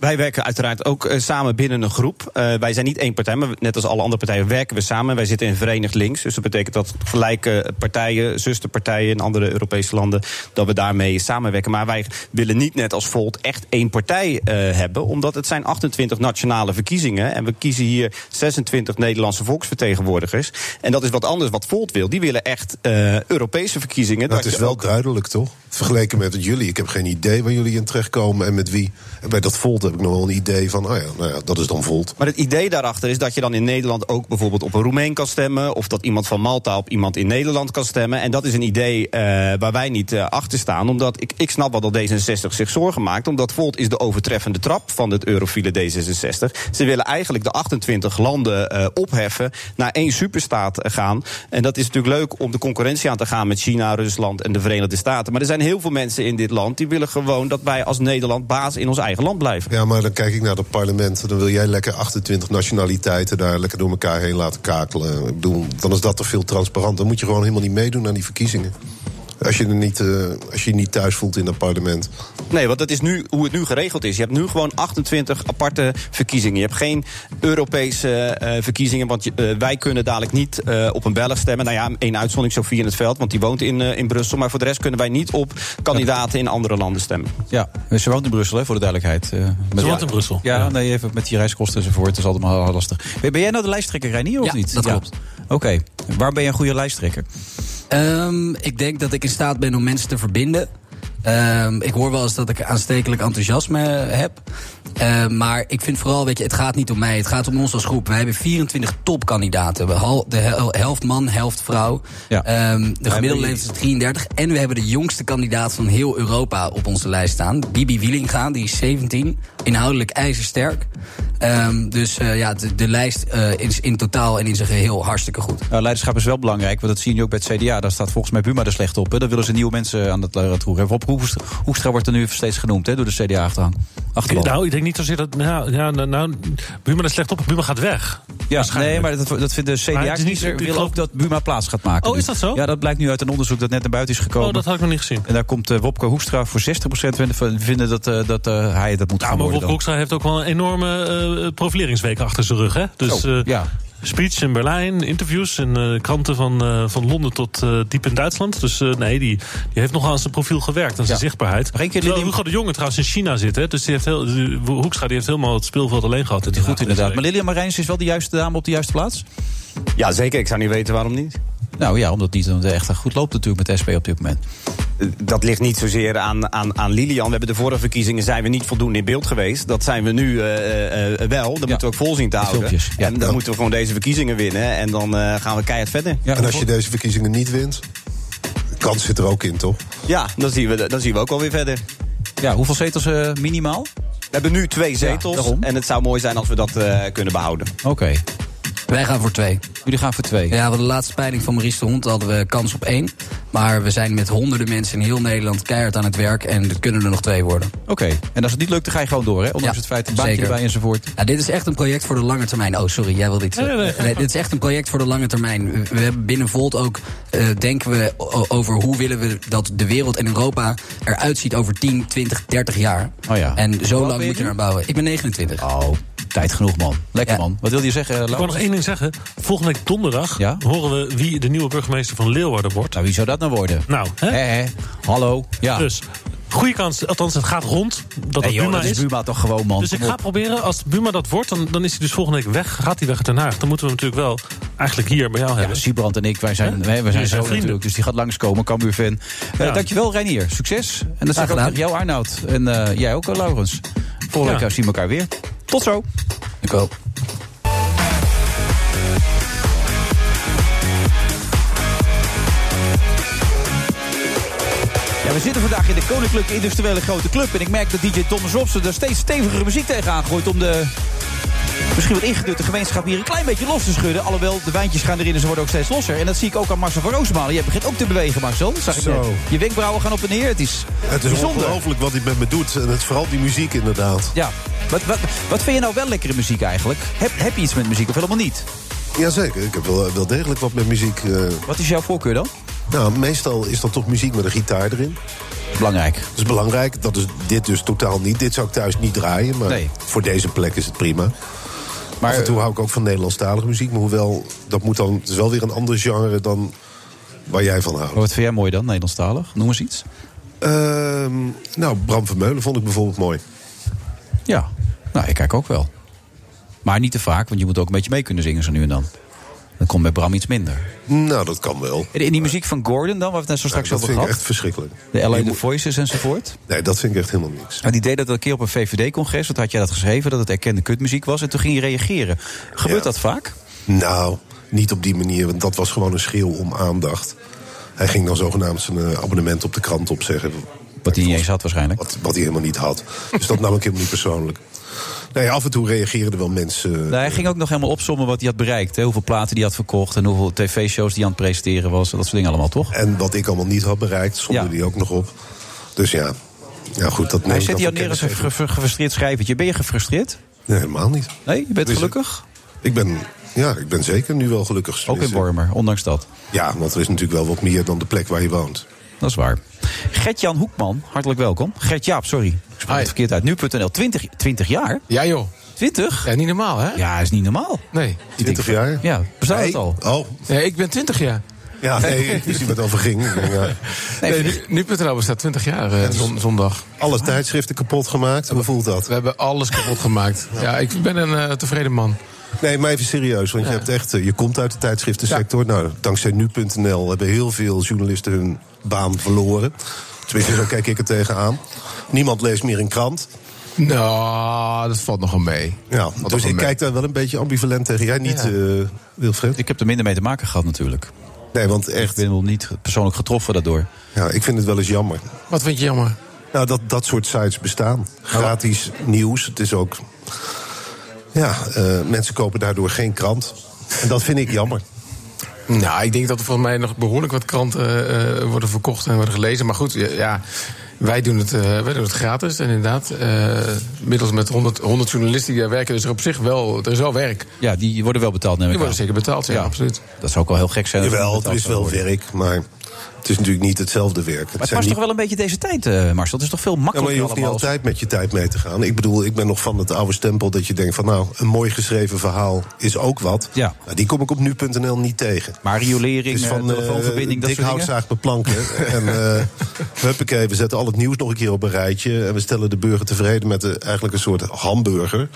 Wij werken uiteraard ook eh, samen binnen een groep. Eh, wij zijn niet één partij, maar net als alle andere partijen werken we samen. Wij zitten in Verenigd Links. Dus dat betekent dat gelijke partijen, zusterpartijen in andere Europese landen, dat we daarmee samenwerken. Maar wij willen niet net als Volt echt één partij eh, hebben, omdat het zijn 28 nationale verkiezingen. En we kiezen hier 26 Nederlandse volksvertegenwoordigers. En dat is wat anders wat Volt wil. Die willen echt eh, Europese verkiezingen. Dat Dat Nou, is je wel ook- duidelijk, toch? Vergeleken met jullie. Ik heb geen idee waar jullie in terechtkomen en met wie. En bij dat Volt heb ik nog wel een idee van, oh ja, nou ja, dat is dan Volt. Maar het idee daarachter is dat je dan in Nederland ook bijvoorbeeld op een Roemeen kan stemmen. Of dat iemand van Malta op iemand in Nederland kan stemmen. En dat is een idee eh, waar wij niet eh, achter staan. Omdat ik, ik snap wel dat D66 zich zorgen maakt. Omdat Volt is de overtreffende trap van het eurofiele D66. Ze willen eigenlijk de 28 landen eh, opheffen. Naar één superstaat eh, gaan. En dat is natuurlijk leuk om de concurrentie aan te gaan met China, Rusland en de Verenigde Staten. Maar er zijn heel veel mensen in dit land die willen gewoon dat wij als Nederland baas in ons eigen land blijven. Ja, maar dan kijk ik naar dat parlement. Dan wil jij lekker 28 nationaliteiten daar lekker door elkaar heen laten kakelen. Ik bedoel, dan is dat toch veel transparant. Dan moet je gewoon helemaal niet meedoen aan die verkiezingen. Als je, er niet, eh, als je je niet thuis voelt in dat parlement. Nee, want dat is nu hoe het nu geregeld is. Je hebt nu gewoon 28 aparte verkiezingen. Je hebt geen Europese eh, verkiezingen, want je- eh, wij kunnen dadelijk niet eh, op een Belg stemmen. Nou ja, één uitzondering, Sofie in het veld, want die woont in, eh, in Brussel. Maar voor de rest kunnen wij niet op kandidaten in andere landen stemmen. Ja, ze woont in Brussel, hè, voor de duidelijkheid. Eh, met- Ze woont in Brussel. Ja, nee, even met die reiskosten enzovoort. Dat is allemaal heel lastig. Ben ben jij nou de lijsttrekker, Reinier, of Ja, niet? dat klopt. Oké, waarom ben jij een goede lijsttrekker? Ehm, ik denk dat ik in staat ben om mensen te verbinden. Ehm, ik hoor wel eens dat ik aanstekelijk enthousiasme heb. Ehm, maar ik vind vooral, weet je, het gaat niet om mij. Het gaat om ons als groep. Wij hebben 24 topkandidaten. We hal- De hel- helft man, helft vrouw. Ehm, de gemiddelde leeftijd is 33. En we hebben de jongste kandidaat van heel Europa op onze lijst staan. Bibi Wielinga, die is 17. Inhoudelijk ijzersterk. Ehm, dus eh, ja, de, de lijst eh, is in totaal en in zijn geheel hartstikke goed. Nou, leiderschap is wel belangrijk, want dat zie je nu ook bij het CDA. Daar staat volgens mij Buma er slecht op. Hè. Daar willen ze nieuwe mensen aan het eh, roer hebben. Rob Hoekstra- Hoekstra wordt er nu steeds genoemd hè, door de CDA-achterhang. Nou, ik denk niet zozeer dat. Nou, ja, nou, nou, Buma is slecht op, Buma gaat weg. Ja, nee, maar dat, dat vindt de CDA-kiezer wil ook dat Buma plaats gaat maken. Oh, is dat zo? Ja, dat blijkt nu uit een onderzoek dat net naar buiten is gekomen. Oh, dat had ik nog niet gezien. En daar komt eh, Wopke Hoekstra voor 60% vinden- van- vinden dat, eh, dat eh, hij dat moet gaan Ja, maar worden Bob dan. Hoekstra heeft ook wel een enorme eh, profileringsweek achter zijn rug. Hè? Dus Zo, eh, Oh, ja. speech in Berlijn, interviews in eh, kranten van, eh, van Londen tot eh, diep in Duitsland. Dus eh, nee, die, die heeft nogal aan zijn profiel gewerkt, aan zijn zichtbaarheid. Geen keer Terwijl Hugo de Jonge trouwens in China zit. Hè? Dus die heeft heel, die- Hoekstra die heeft helemaal het speelveld alleen gehad. Goed inderdaad. Maar Lilian Marijns is wel de juiste dame op de juiste plaats? Ja, zeker. Ik zou niet weten waarom niet. eh, Nou ja, omdat het niet echt goed loopt natuurlijk met de SP op dit moment. dat ligt niet zozeer aan, aan, aan Lilian. We hebben de vorige verkiezingen zijn we niet voldoende in beeld geweest. Dat zijn we nu eh, eh, wel. Dat moeten we ook vol zien te houden. filmpjes, ja. En dan Ja. moeten we gewoon deze verkiezingen winnen. En dan eh, gaan we keihard verder. en als je deze verkiezingen niet wint, kans zit er ook in, toch? Ja, dan zien we, dan zien we ook alweer verder. Ja, hoeveel zetels eh, minimaal? We hebben nu twee zetels. daarom. en het zou mooi zijn als we dat eh, kunnen behouden. Oké. Wij gaan voor twee. Jullie gaan voor twee? Ja, want de laatste peiling van Maurice de Hond hadden we kans op één. Maar we zijn met honderden mensen in heel Nederland keihard aan het werk. En er kunnen er nog twee worden. Oké, en als het niet lukt, dan ga je gewoon door, hè? Ondanks het feit dat baantje erbij is. enzovoort. Ja, dit is echt een project voor de lange termijn. Oh, sorry, jij wil dit. Nee, nee, nee. Nee, dit is echt een project voor de lange termijn. We hebben binnen Volt ook, eh, denken we o- over hoe willen we dat de wereld en Europa eruit ziet over 10, 20, 30 jaar. Oh ja. En Hoe zo oud lang ben je moet je nu? naar bouwen. Ik ben 29. Oh, tijd genoeg, man. Lekker, man. Wat wil je zeggen, Ik wil nog één ding zeggen. Volgende week donderdag horen we wie de nieuwe burgemeester van Leeuwarden wordt. Nou, wie zou dat nou worden? Nou, hè? Hallo. Ja. Dus, goede kans. Althans, het gaat rond dat het Hey, joh, Buma dat is Buma toch gewoon, man. Dus ik Kom ga op. proberen, als Buma dat wordt, dan, dan is hij dus volgende week weg. Gaat hij weg uit Den Haag. Dan moeten we hem natuurlijk wel eigenlijk hier bij jou Ja, hebben. Siebrand en ik, wij zijn, Hè? wij, wij Jullie zijn zijn zo vrienden. natuurlijk. Dus die gaat langskomen, Cambuur-fan. Eh, Ja. Dankjewel, Reinier. Succes. En Graag dat zeg ik ook gedaan. tegen jou, Arnoud. En eh, jij ook, eh, Laurens. Volgende Ja. week zien we elkaar weer. Tot zo. Ik wel. Ja, we zitten vandaag in de Koninklijke Industriële Grote Club. En ik merk dat DJ Thomas Robson er steeds stevigere muziek tegenaan gooit om de... Misschien wat ingedutte gemeenschap hier een klein beetje los te schudden. Alhoewel, de wijntjes gaan erin en ze worden ook steeds losser. En dat zie ik ook aan Marcel van Roosmalen. Jij begint ook te bewegen, Marcel. Dat Zag ik Zo. net. Je wenkbrauwen gaan op en neer. Het is, Het is bijzonder. ongelooflijk wat hij met me doet. En het, vooral die muziek, inderdaad. Ja. Wat, wat, wat vind je nou wel lekkere muziek eigenlijk? Heb, heb je iets met muziek of helemaal niet? Jazeker, ik heb wel, wel degelijk wat met muziek. eh. Wat is jouw voorkeur dan? Nou, meestal is dat toch muziek met een gitaar erin. Belangrijk. Dat is belangrijk. Dat is dit dus totaal niet. Dit zou ik thuis niet draaien, maar Nee. voor deze plek is het prima. Maar, Af en toe hou ik ook van Nederlandstalige muziek. Maar hoewel, dat moet dan, het is wel weer een ander genre dan waar jij van houdt. Wat vind jij mooi dan, Nederlandstalig? Noem eens iets. nou, Bram Vermeulen vond ik bijvoorbeeld mooi. Ja, nou, ik kijk ook wel. Maar niet te vaak, want je moet ook een beetje mee kunnen zingen zo nu en dan. Dan komt bij Bram iets minder. Nou, dat kan wel. En in die muziek van Gordon dan, waar we het net zo straks dat over vind ik gehad. echt verschrikkelijk. De LA The Voices enzovoort. Nee, dat vind ik echt helemaal niks. En die deed dat een keer op een VVD-congres. Wat had jij dat geschreven, dat het erkende kutmuziek was. En toen ging je reageren. Gebeurt dat vaak? Nou, niet op die manier, want dat was gewoon een schreeuw om aandacht. Hij ging dan zogenaamd zijn eh, abonnement op de krant opzeggen. Wat hij niet eens had waarschijnlijk. Wat, wat hij helemaal niet had. Dus dat nam ik helemaal niet persoonlijk. Nee, af en toe reageerden er wel mensen. eh, Nou, hij ging ook nog helemaal opsommen wat hij had bereikt. Hè? Hoeveel platen die had verkocht en hoeveel tv-shows die aan het presenteren was. en Dat soort dingen allemaal, toch? En wat ik allemaal niet had bereikt, somde die ook nog op. Dus ja, ja goed, dat neem Hij ik zet dan jou voor neer als een kennisgeving. ge- ge- gefrustreerd schrijvertje. Ben je gefrustreerd? Nee, helemaal niet. Nee, je bent Dus gelukkig? Ik ben, ja, ik ben zeker nu wel gelukkig. Ook in Wormer, ondanks dat. Ja, want er is natuurlijk wel wat meer dan de plek waar je woont. Dat is waar. Gert-Jan Hoekman, hartelijk welkom. Gert-Jaap, sorry. Ik spreek het verkeerd uit. Nu.nl, 20, 20 jaar? Ja, joh. 20? Ja, niet normaal, hè? Ja, is niet normaal. Nee. 20 Oh, jaar? Ja, bestaat het al? Oh. Nee, ik ben 20 jaar. Ja, nee, ik wist niet wat het over ging. Nee, nu- Nu.nl bestaat 20 jaar eh, zon- zondag. Alle tijdschriften kapot gemaakt, hoe voelt dat? We hebben alles kapot gemaakt. Ja, ik ben een eh, tevreden man. Nee, maar even serieus, want je, hebt echt, eh, je komt uit de tijdschriftensector. Nou, dankzij nu.nl hebben heel veel journalisten hun baan verloren. Tenminste, zo kijk ik er tegenaan. Niemand leest meer een krant. Nou, dat valt nogal mee. Ja, Valt dus nogal ik mee. kijk daar wel een beetje ambivalent tegen. Jij niet, Ja. eh, Wilfred? Ik heb er minder mee te maken gehad natuurlijk. Nee, want echt... Ik ben wel niet persoonlijk getroffen daardoor. Ja, ik vind het wel eens jammer. Wat vind je jammer? Nou, dat, dat soort sites bestaan. Gratis nieuws. Het is ook... Ja, eh, mensen kopen daardoor geen krant. En dat vind ik jammer. Nou, ik denk dat er volgens mij nog behoorlijk wat kranten eh, eh, worden verkocht en worden gelezen. Maar goed, ja, ja, wij, doen het, eh, wij doen het gratis. En inderdaad, eh, middels met 100, 100 journalisten die daar werken, dus er op zich wel, er is wel werk. Ja, die worden wel betaald, neem ik Die worden aan. zeker betaald, ja, Ja. absoluut. Dat zou ook wel heel gek zijn. als Jawel, dat er is wel betaald zou werk, maar het is natuurlijk niet hetzelfde werk. Maar het past toch wel een beetje deze tijd, eh, Marcel? Het is toch veel Ja, maar makkelijker je hoeft niet allemaal als- altijd met je tijd mee te gaan. Ik bedoel, ik ben nog van het oude stempel dat je denkt van... nou, een mooi geschreven verhaal is ook wat. Ja. Nou, die kom ik op nu.nl niet tegen. Maar riolering, Dus eh, telefoonverbinding, dat dik soort hout dingen? zaagt beplanken. en eh huppakee, we zetten al het nieuws nog een keer op een rijtje... en we stellen de burger tevreden met eh, eigenlijk een soort hamburger...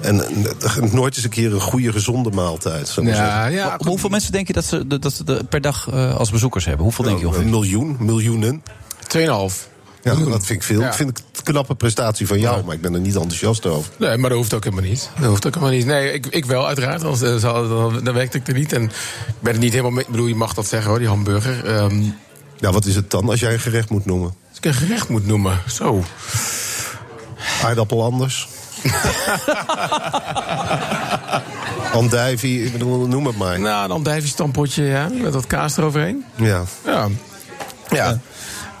En eh, nooit eens een keer een goede, gezonde maaltijd. zou ik maar Ja, zeggen. Maar hoeveel mensen denk je dat ze, dat ze de- per dag eh, als bezoekers hebben? Hoeveel denk je ongeveer? Een miljoen, miljoenen. Tweeënhalf. Ja, dat vind ik veel. Ja. Ik vind het een knappe prestatie van jou, maar ik ben er niet enthousiast over. Nee, maar dat hoeft ook helemaal niet. Dat hoeft ook helemaal niet. Nee, ik, ik wel, uiteraard. Anders eh, zou- dan, dan werkte ik er niet. En ik ben het niet helemaal mee. Ik bedoel, je mag dat zeggen hoor, die hamburger. Ehm, ja, wat is het dan als jij een gerecht moet noemen? Als ik een gerecht moet noemen, zo. Aardappel anders. Andijvie, ik bedoel, noem het maar. Nou, een andijvie-stampotje, ja. Met wat kaas eroverheen. Ja. Ja. Ja.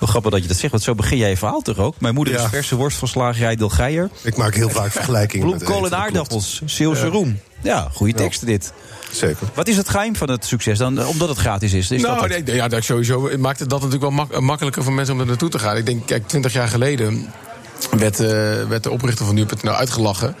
Wel grappig dat je dat zegt, want zo begin jij je verhaal toch ook? Mijn moeder Ja. is verse worst van slagerij Delgeijer. Ik maak heel vaak vergelijkingen met Bloemkool eten, en dat aardappels, klopt. Zeeuwse Ja. roem. Ja, goede teksten dit. Zeker. Wat is het geheim van het succes dan? eh, Omdat het gratis is. is nou, dat het? nee, ja, dat sowieso het maakt het dat natuurlijk wel mak- makkelijker voor mensen om er naartoe te gaan. Ik denk, kijk, twintig jaar geleden werd, eh, werd de oprichter van nu.nl uitgelachen.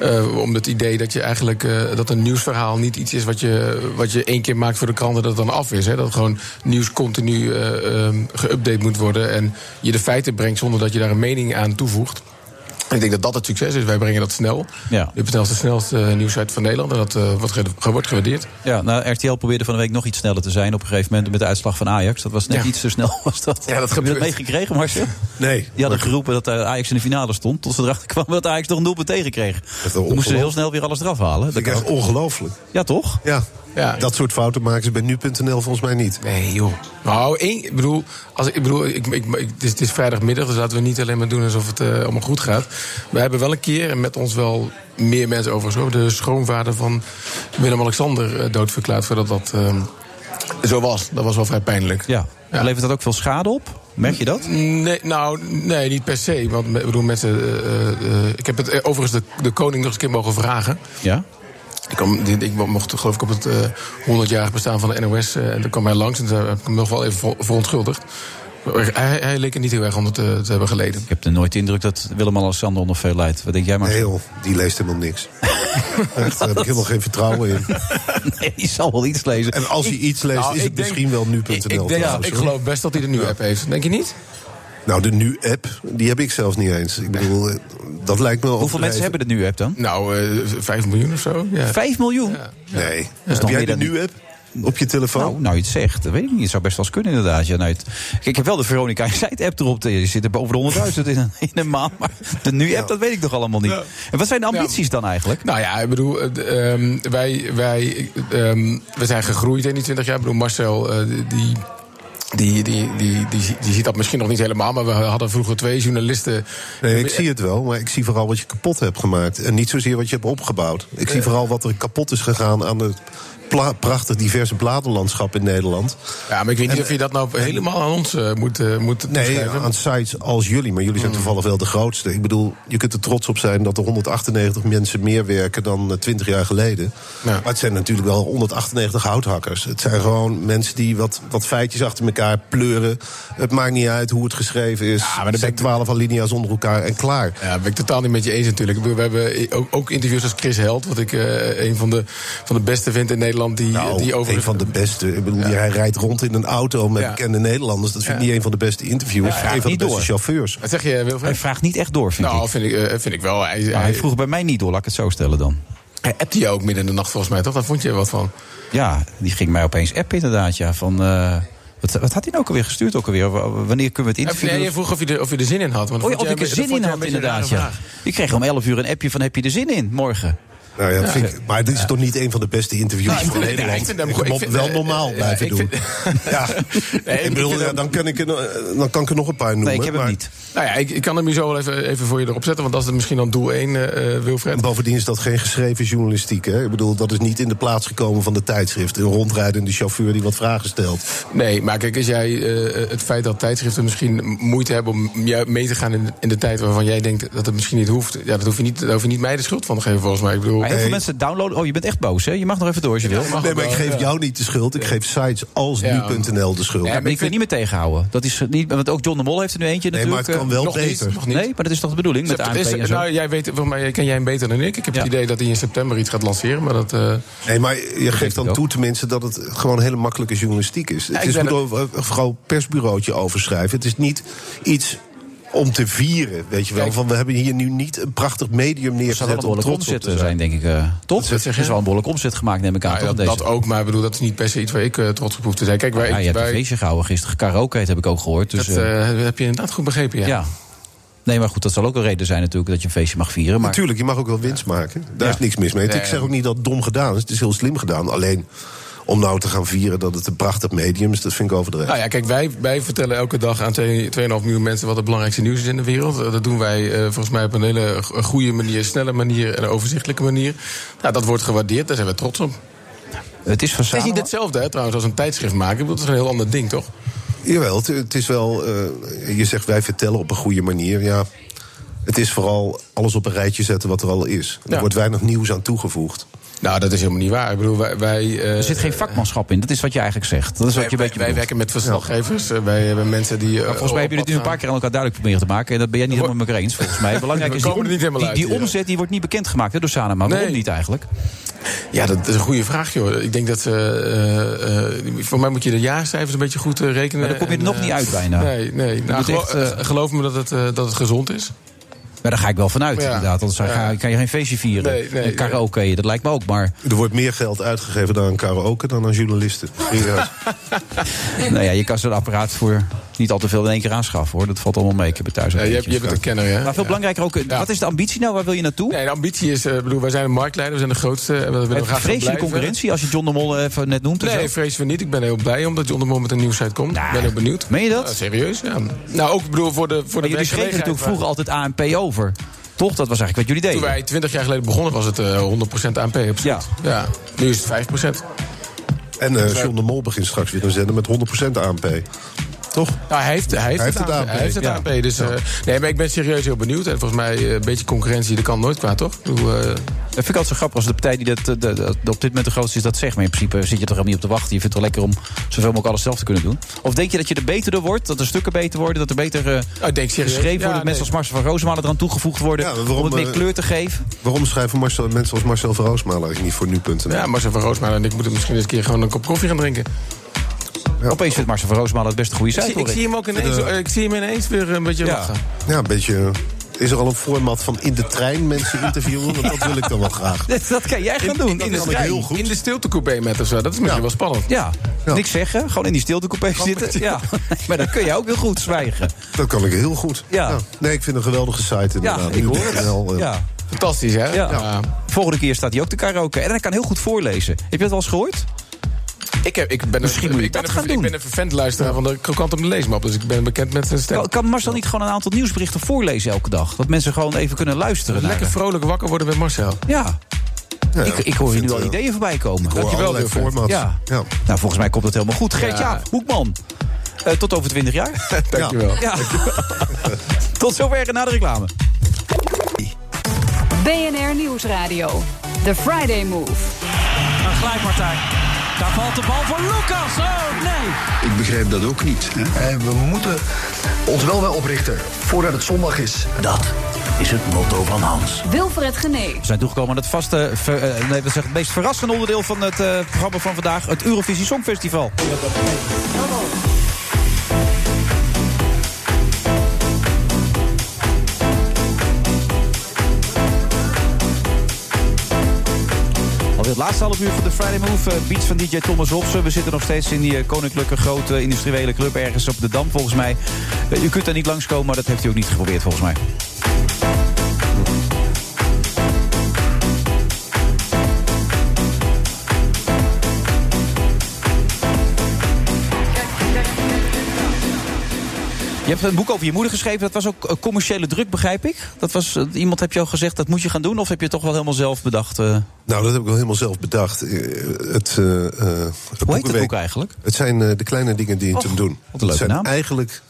eh, om het idee dat je eigenlijk eh, dat een nieuwsverhaal niet iets is wat je, wat je één keer maakt voor de kranten dat het dan af is. Hè? Dat gewoon nieuws continu eh, ehm, geüpdate moet worden en je de feiten brengt zonder dat je daar een mening aan toevoegt. En Ik denk dat dat het succes is. Wij brengen dat snel. Ja. Nu.nl is de snelste eh, nieuwsite van Nederland. En dat eh, wordt, ge- wordt gewaardeerd. Ja, nou, RTL probeerde van de week nog iets sneller te zijn op een gegeven moment met de uitslag van Ajax. Dat was net iets te snel. Was dat. Ja, dat Heb je dat meegekregen, Marcel? Nee. Die hadden geroepen dat eh, Ajax in de finale stond. Tot ze erachter kwamen dat Ajax nog een doelpunt tegenkreeg. Toen moesten ze heel snel weer alles eraf halen. Dat is echt ongelooflijk. Ja, toch? Ja. Ja. Dat soort fouten maken ze bij nu.nl volgens mij niet. Nee, joh. Nou, één, ik bedoel, als, ik ik bedoel ik, ik, ik- het, is, het is vrijdagmiddag, dus laten we niet alleen maar doen alsof het eh, allemaal goed gaat. We hebben wel een keer, en met ons wel meer mensen overigens, hoor, de schoonvader van Willem-Alexander eh, doodverklaard voordat dat ehm, zo was. Dat was wel vrij pijnlijk. Ja. Levert dat ook veel schade op? Merk je dat? Nee, nou, nee, niet per se. Want me- ik bedoel, mensen. eh, eh, ik heb het eh, overigens de, de koning nog eens een keer mogen vragen. Ja. Ik, kwam, dit- ik mocht geloof ik op het eh 100-jarig bestaan van de NOS. eh, en toen kwam hij langs en toen heb ik hem nog wel even ver- verontschuldigd. Maar Hij, hij leek er niet heel erg onder te, te hebben geleden. Ik heb er nooit de indruk dat Willem-Alexander onder veel lijdt. Wat denk jij maar? Nee joh, die leest helemaal niks. Echt, daar heb ik helemaal geen vertrouwen in. nee, die zal wel iets lezen. En als hij iets leest, Nou, is ik het denk- misschien wel nu.nl. ik denk- trouwens, ik hoor. geloof best dat hij de nu-app heeft. Denk je niet? Nou, de nu-app, die heb ik zelfs niet eens. Ik bedoel, eh, dat lijkt me Hoeveel mensen hebben de nu-app dan? Nou, eh 5 miljoen of zo. Ja. 5 miljoen? Nee. is Heb nog jij de meer dan- nu-app op je telefoon? Nou, nou je het zegt, dat weet ik niet. Het zou best wel eens kunnen inderdaad. Ja, nou, het- Kijk, ik heb wel de Veronica Insight app erop. Je zit er boven de 100.000 in, een- in een maand. Maar de nu-app, dat weet ik toch allemaal niet. En wat zijn de ambities dan eigenlijk? Nou ja, ik bedoel, eh, d- ehm, wij, wij, ehm, we zijn gegroeid in die 20 jaar. Ik bedoel, Marcel, eh, die. Die, die, die, die, die ziet dat misschien nog niet helemaal, maar we hadden vroeger twee journalisten. Nee, ik zie het wel, maar ik zie vooral wat je kapot hebt gemaakt. En niet zozeer wat je hebt opgebouwd. Ik Eh. zie vooral wat er kapot is gegaan aan het pla- prachtig diverse bladenlandschap in Nederland. Ja, maar ik weet niet En- of je dat nou helemaal aan ons eh, moet, eh, moet Nee, toeschrijven. aan sites als jullie, maar jullie zijn Hmm. toevallig wel de grootste. Ik bedoel, je kunt er trots op zijn dat er 198 mensen meer werken dan eh, 20 jaar geleden. Maar het zijn natuurlijk wel 198 houthakkers. Het zijn gewoon mensen die wat, wat feitjes achter elkaar pleuren. Het maakt niet uit hoe het geschreven is. Ja, maar er zijn 12 alinea's onder elkaar en klaar. Ja, ben ik totaal niet met je eens natuurlijk. Ik bedoel, We hebben ook, ook interviews als Chris Held, wat ik eh, een van de, van de beste vind in Nederland. Die, die over... Nou, een van de beste. Ik bedoel, die- hij rijdt rond in een auto met Ja. bekende Nederlanders. Dat vind ik niet een van de beste interviewers. Hij vraagt een van de niet beste door. chauffeurs. Wat zeg je, Wilfred? Hij vraagt niet echt door, vind nou, ik. vind ik, eh, vind ik wel. Hij, Maar hij vroeg bij mij niet door, laat ik het zo stellen dan. Hij appte je ook midden in de nacht volgens mij, toch? Daar vond je wat van. Ja, die ging mij opeens appen inderdaad. Ja, van, eh, wat, wat had hij nou ook alweer gestuurd? Ook alweer? W- Wanneer kunnen we het interview? Nee, je vroeg of je, er- of je er zin in had. Nou, want Oh ja, dat of ik vond er jij- zin dat in vond jij een had beetje een inderdaad, rare ja. Ik kreeg om 11 uur een appje van heb je er zin in morgen? Nou ja, dat Ja. vind ik- maar dit is toch niet een van de beste interviews Nou, ik van vind- Nederland. nee, ik vind hem Ik goed. Ik moet vind- wel eh, normaal eh, blijven ik doen. vind- ja. ik bedoel, ja, dan, kan ik, er nog- dan kan ik er nog een paar noemen. maar- Nou ja, ik, ik kan hem hier zo wel even, even voor je erop zetten, want dat is misschien dan doel 1, eh, Wilfred. Bovendien is dat geen geschreven journalistiek. Hè? Ik bedoel, dat is niet in de plaats gekomen van de tijdschrift. Een rondrijdende chauffeur die wat vragen stelt. Nee, maar kijk, als jij eh, het feit dat tijdschriften misschien moeite hebben om jou mee te gaan in de, in de tijd waarvan jij denkt dat het misschien niet hoeft, ja, dat hoef je niet, daar hoef je niet mij de schuld van te geven, volgens mij. Ik bedoel, Maar heel veel mensen downloaden. Oh, je bent echt boos, hè? Je mag nog even door als je wil. nee, maar ik geef eh, jou niet de schuld. Ik geef sites als nu.nl de schuld. Ja, maar ik wil niet meer tegenhouden. Dat is eh, niet, want ook John de Mol heeft er nu eentje Nee, maar natuurlijk. het kan eh, wel nog beter. Niet, nog niet. Nee, maar dat is toch de bedoeling met ANP Sept- is- en zo? nou, jij weet, volgens mij ken jij hem beter dan ik. Ik heb het idee dat hij in september iets gaat lanceren, maar dat. eh, Nee, maar je geeft dan toe tenminste dat het gewoon hele makkelijke journalistiek is. ik het is ben hoe er- eh, gewoon persbureautje overschrijven. Het is niet iets om te vieren. Weet je wel, van we hebben hier nu niet een prachtig medium Er zal wel een neergezet om behoorlijke trots op omzet te zijn, zijn. denk ik. eh, toch? zeg Er je? is wel een behoorlijke omzet gemaakt, neem ik aan. Ja, toch, dat, deze? dat ook, maar ik bedoel, dat is niet per se iets waar ik eh, trots op hoef te zijn. Kijk, waar ja, ik, je hebt waar een ik- feestje gehouden gisteren. Karaoke heb ik ook gehoord. Dus, dat eh, eh, heb je inderdaad goed begrepen, ja. ja. Nee, maar goed, dat zal ook een reden zijn natuurlijk dat je een feestje mag vieren. Maar... Natuurlijk, je mag ook wel winst maken. Daar is niks mis mee. Nee, ik zeg ook niet dat het dom gedaan is. Het is heel slim gedaan. Alleen om nou te gaan vieren dat het een prachtig medium is, dat vind ik overdreven. Nou ja, kijk, wij, wij vertellen elke dag aan twee- 2,5 miljoen mensen wat het belangrijkste nieuws is in de wereld. Eh, Dat doen wij eh, volgens mij op een hele go- goede manier, snelle manier en een overzichtelijke manier. Nou, dat wordt gewaardeerd, daar zijn we trots op. Het is, het is niet hetzelfde hè, trouwens als een tijdschrift maken. Ik bedoel, Dat is een heel ander ding, toch? Jawel, het, het is wel. eh, je zegt wij vertellen op een goede manier. Ja, het is vooral alles op een rijtje zetten wat er al is. Er Ja. wordt weinig nieuws aan toegevoegd. Nou, dat is helemaal niet waar. Ik bedoel, wij, er zit geen vakmanschap in, dat is wat je eigenlijk zegt. Dat is wat je een Eh, wij, beetje wij bedoelt. werken met Eh, verslaggevers. eh, Wij hebben mensen die. Maar volgens mij hebben jullie het nu een paar keer aan elkaar duidelijk proberen te maken. En dat ben jij niet helemaal met me eens, volgens mij. Belangrijk We is die, komen er niet helemaal die, die uit hier. omzet die wordt niet bekendgemaakt hè, door Sanema. Waarom Nee. niet eigenlijk? Ja, dat is een goede vraag, joh. Ik denk dat. eh eh, eh, voor mij moet je de jaarcijfers een beetje goed eh, rekenen. Maar dan kom je er En, nog eh, niet uit bijna. Nee, nee. Je Nou, moet gelo- echt, eh, eh, geloof me dat het, eh, dat het gezond is. Maar daar ga ik wel vanuit, Ja. inderdaad. Anders ga, Ja. kan je geen feestje vieren. Nee, nee, en karaoke, dat lijkt me ook. Maar Er wordt meer geld uitgegeven aan karaoke dan aan journalisten. Serieus. nou ja, je kan zo'n apparaat voor niet al te veel in één keer aanschaffen hoor. Dat valt allemaal mee. Ik heb het thuis ook Ja, je, hebt- eentje. je bent een kenner, hè? Maar veel Ja. belangrijker ook, eh, Ja. wat is de ambitie nou? Waar wil je naartoe? Nee, de ambitie is, eh, ik bedoel, wij zijn de marktleider, we zijn de grootste. En dat willen we Het graag zo vreselijke blijven. concurrentie, als je John de Mol even net noemt. dus- en Nee, zo. vrezen we niet. Ik ben heel blij omdat John de Mol met een nieuwsite komt. Ik ben heel benieuwd. Nou, Meen je dat? Ja, serieus, ja. Nou, ook ik bedoel, voor de, voor Maar de jullie schreven werkgelegenheid natuurlijk waar- vroeger altijd ANP over. Toch? Dat was eigenlijk wat jullie deden. Toen wij 20 jaar geleden begonnen was het eh, 100% ANP, absoluut. Ja. ja. Nu is het 5%. En eh, John de Mol begint straks weer een zender met 100% ANP. Toch? Nou, hij heeft, hij heeft, Hij heeft het, het aan- ANP, Hij heeft het ja. ANP. Dus, eh, nee, maar ik ben serieus heel benieuwd. En volgens mij eh, een beetje concurrentie, dat kan nooit kwaad, toch? Ik bedoel, eh, Dat vind ik altijd zo grappig als de partij die dat, eh, dat- dat op dit moment de grootste is, dat zegt. Maar in principe zit je toch helemaal niet op te wachten. Je vindt het wel lekker om zoveel mogelijk alles zelf te kunnen doen. Of denk je dat je er beter door wordt? Dat er stukken beter worden? Dat er beter eh, Oh, serieus? geschreven wordt? Ja, Dat mensen als nee. Marcel van Roosmalen eraan toegevoegd worden? Ja, om het meer eh, kleur te geven? Waarom schrijven Marcel- mensen als Marcel van Roosmalen eigenlijk niet voor nu.nl? ja, Marcel van Roosmalen en ik moeten misschien eens een keer gewoon een kop koffie gaan drinken. Opeens vindt Marcel van Roosmalen het best een goede Ik site. zie, ik hoor zie hem ook ineens, De- eh, ik zie hem ineens weer een beetje Ja. lachen. Ja, een beetje. Is er al een format van in de trein mensen interviewen? Want dat wil ik dan wel graag. Dat, dat kan jij gaan doen. In, Dat in, is de, trein, heel in de stiltecoupé met of zo. Dat is misschien wel spannend. Ja, niks zeggen. Gewoon in die stiltecoupé zitten. Ja. maar dan kun je ook heel goed zwijgen. Dat kan ik heel goed. Ja. Nee, ik vind een geweldige site inderdaad. ik hoor het. Nu.nl, eh. Ja. Fantastisch, hè? Ja. Volgende keer staat hij ook te karaoke. En hij kan heel goed voorlezen. Heb je dat wel eens gehoord? Ik, heb, ik ben Misschien een, moet je ik ben dat een, gaan doen. Ik ben een vervent luisteraar van de krokant op de leesmap. Dus ik ben bekend met zijn stem. Kan, kan Marcel niet gewoon een aantal nieuwsberichten voorlezen elke dag? Dat mensen gewoon even kunnen luisteren. naar Lekker hem. vrolijk wakker worden met Marcel. Ja. ik, ik hoor hier nu al ideeën voorbij komen. Dankjewel, Wilfred. Ja. Nou, volgens mij komt dat helemaal goed. Gert, ja, Hoekman. Eh, tot over 20 jaar. Dankjewel. Ja. tot zover en na de reclame. BNR Nieuwsradio. The Friday Move. Een glijpartij. Daar valt de bal voor Lucas. Oh nee. Ik begrijp dat ook niet. Eh, we moeten ons wel wel oprichten voordat het zondag is. Dat is het motto van Hans. Wilfred Gené. We zijn toegekomen aan het vaste, ver- eh, nee, dat is het meest verrassende onderdeel van het eh, programma van vandaag: het Eurovisie Songfestival. Alweer het laatste half uur van de Friday Move. eh, Beats van DJ Thomas Robson. We zitten nog steeds in die eh, koninklijke grote industriële club ergens op de Dam, volgens mij. Eh, U kunt daar niet langskomen, maar dat heeft u ook niet geprobeerd, volgens mij. Je hebt een boek over je moeder geschreven. Dat was ook eh, commerciële druk, begrijp ik. Dat was, eh, iemand heb je al gezegd, dat moet je gaan doen? Of heb je het toch wel helemaal zelf bedacht? eh? Nou, dat heb ik wel helemaal zelf bedacht. Eh, Het, eh, eh, het boekenweek- boek eigenlijk? Het zijn eh, de kleine dingen die je te doen. een leuke het zijn naam. eigenlijk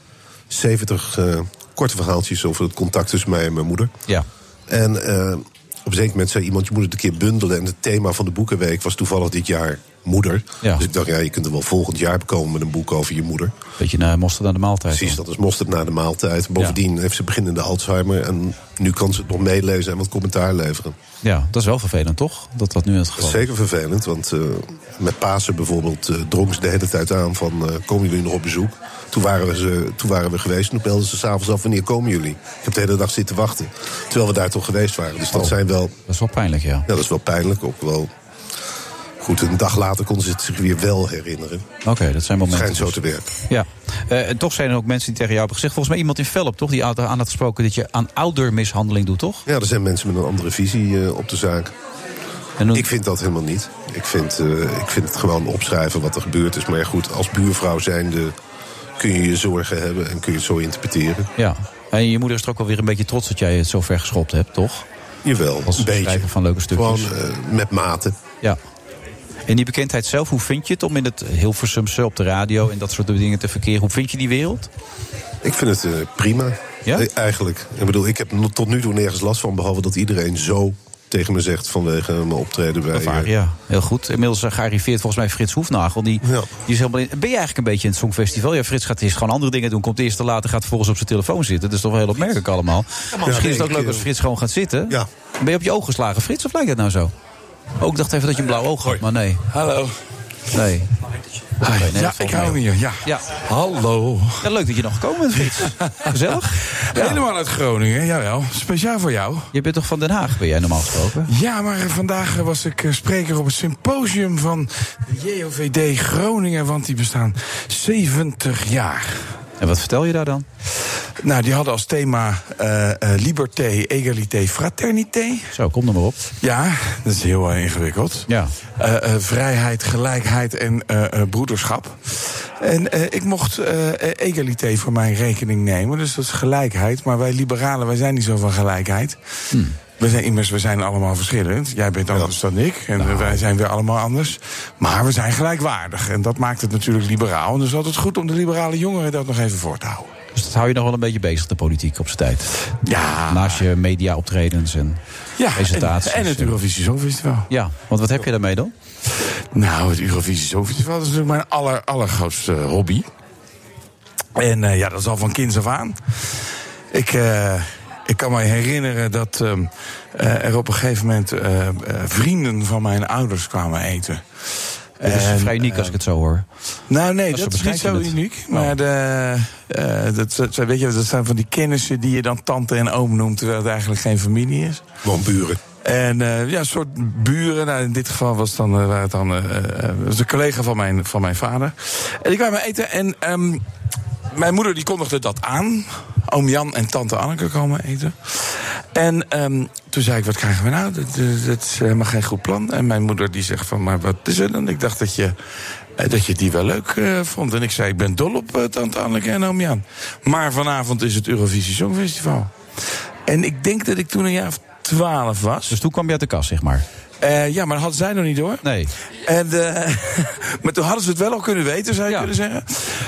70 eh, korte verhaaltjes over het contact tussen mij en mijn moeder. Ja. En eh, op een zeker moment zei iemand, je moet het een keer bundelen. En het thema van de boekenweek was toevallig dit jaar moeder. Dus ik dacht, ja, je kunt er wel volgend jaar komen met een boek over je moeder. Beetje naar mosterd aan de maaltijd. Precies, dat is mosterd na de maaltijd. Bovendien heeft ze beginnende Alzheimer. En nu kan ze het nog meelezen en wat commentaar leveren. Ja, dat is wel vervelend, toch? Dat dat nu in het Dat geval is is. zeker vervelend, want eh, met Pasen bijvoorbeeld eh drong ze de hele tijd aan van... eh, komen jullie nog op bezoek? Toen waren we, ze, toen waren we geweest en toen belden ze s'avonds af wanneer komen jullie? Ik heb de hele dag zitten wachten, terwijl we daar toch geweest waren. Dus dat zijn wel... Oh, Dat is wel pijnlijk, ja. Ja, dat is wel pijnlijk, ook wel... Goed, een dag later kon ze het zich weer wel herinneren. Oké, dat zijn momenten. Schijnt dus. zo te werken. Ja, Eh, en toch zijn er ook mensen die tegen jou hebben gezegd... volgens mij iemand in Velp, toch? Die aan aan had gesproken dat je aan oudermishandeling doet, toch? Ja, er zijn mensen met een andere visie eh, op de zaak. Ik vind dat helemaal niet. Ik vind, eh, ik vind het gewoon opschrijven wat er gebeurd is. Maar ja, goed, als buurvrouw zijnde kun je je zorgen hebben en kun je het zo interpreteren. Ja. En je moeder is er ook wel weer een beetje trots dat jij het zo ver geschopt hebt, toch? Jawel, Als een beetje. schrijver van leuke stukjes. Gewoon eh, met mate. Ja. En die bekendheid zelf, hoe vind je het om in het Hilversumse op de radio... en dat soort dingen te verkeren? Hoe vind je die wereld? Ik vind het eh, prima, Eh, eigenlijk. Ik bedoel, ik heb no- tot nu toe nergens last van... behalve dat iedereen zo tegen me zegt vanwege mijn optreden bij... Vaak, eh, ja, heel goed. Inmiddels eh, gearriveerd volgens mij Frits Hoefnagel. Die, die is helemaal in, ben je eigenlijk een beetje in het Songfestival? Ja, Frits gaat eerst gewoon andere dingen doen. Komt eerst te later, gaat vervolgens op zijn telefoon zitten. Dat is toch wel heel opmerkelijk allemaal. maar Misschien is nee, het ook leuk ik, als eh, Frits gewoon gaat zitten. Ben je op je ogen geslagen, Frits? Of lijkt dat nou zo? Ook dacht even dat je een blauw oog had, maar nee. Hallo. Nee. Hi. nee, ja, dat valt ik mee, hou hem hoor. hier. Ja. Hallo. Ja, leuk dat je nog gekomen bent, Frits. Gezellig. Helemaal uit Groningen, jawel. Speciaal voor jou. Je bent toch van Den Haag, ben jij normaal gesproken? Ja, maar vandaag was ik eh, spreker op het symposium van de JOVD Groningen, want die bestaan 70 jaar. En wat vertel je daar dan? Nou, die hadden als thema eh, eh, liberté, egalité, fraternité. Zo, kom er maar op. Ja, dat is heel eh, ingewikkeld. Ja. Eh, eh, vrijheid, gelijkheid en eh, eh, broederschap. En eh, ik mocht eh, eh, egalité voor mijn rekening nemen, dus dat is gelijkheid. Maar wij liberalen, wij zijn niet zo van gelijkheid. Hm. We zijn immers, we zijn allemaal verschillend. Jij bent anders dan ik en Nou. eh, wij zijn weer allemaal anders. Maar we zijn gelijkwaardig en dat maakt het natuurlijk liberaal. En dus altijd goed om de liberale jongeren dat nog even voor te houden. Dus dat hou je nog wel een beetje bezig, de politiek op zijn tijd. Ja. Naast je media-optredens en Ja, presentaties. en, en het Eurovisie Songfestival. Ja, want wat heb je daarmee dan? Nou, het Eurovisie Songfestival dat is natuurlijk mijn aller, allergrootste eh, hobby. En eh, ja, dat is al van kinds af aan. Ik, eh, ik kan me herinneren dat ehm, eh, er op een gegeven moment eh, eh, vrienden van mijn ouders kwamen eten. Dit is En, vrij uniek als ik het zo hoor. nou, nee, Als ze dat is niet zo beschrijven het. uniek. Maar de, eh, dat, dat- weet je, dat zijn van die kennissen die je dan tante en oom noemt, terwijl het eigenlijk geen familie is. Gewoon buren. En eh, ja, een soort buren. Nou, in dit geval was het dan, eh, waren het dan eh, eh, was een collega van mijn, van mijn vader. En die kwamen eten en ehm, mijn moeder die kondigde dat aan. Oom Jan en tante Anneke komen eten. En ehm, toen zei ik, wat krijgen we nou? Dat, dat- dat is helemaal geen goed plan. En mijn moeder die zegt van, maar wat is er dan? Ik dacht dat je, eh, dat je die wel leuk eh, vond. En ik zei, ik ben dol op eh, tante Anneke en oom Jan. Maar vanavond is het Eurovisie Songfestival. En ik denk dat ik toen een jaar of twaalf was. Dus toen kwam je uit de kast, zeg maar. Eh, ja, maar dat had zij nog niet door. Nee. En, eh, maar toen hadden ze het wel al kunnen weten, zou je kunnen zeggen.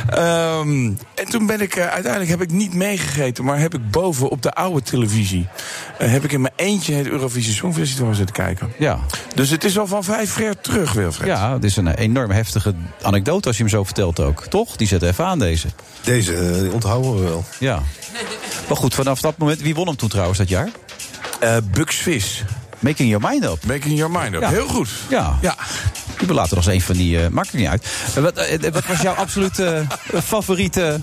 Ehm, en toen ben ik, eh, uiteindelijk heb ik niet meegegeten, maar heb ik boven op de oude televisie. eh, heb ik in mijn eentje het Eurovisie Songfestival zitten kijken. Ja. Dus het is al van vijf jaar terug, Wilfred. Ja, het is een enorm heftige anekdote als je hem zo vertelt ook. Toch? Die zet even aan, deze. Deze eh, onthouden we wel. Ja. Maar goed, vanaf dat moment... Wie won hem toen trouwens dat jaar? Bugsvis. Making Your Mind Up. Eh, Making Your Mind Up. Heel goed. Ja. ja. Die belaten nog eens een van die... eh, maakt het niet uit. Eh, wat, eh, wat was jouw absolute eh, favoriete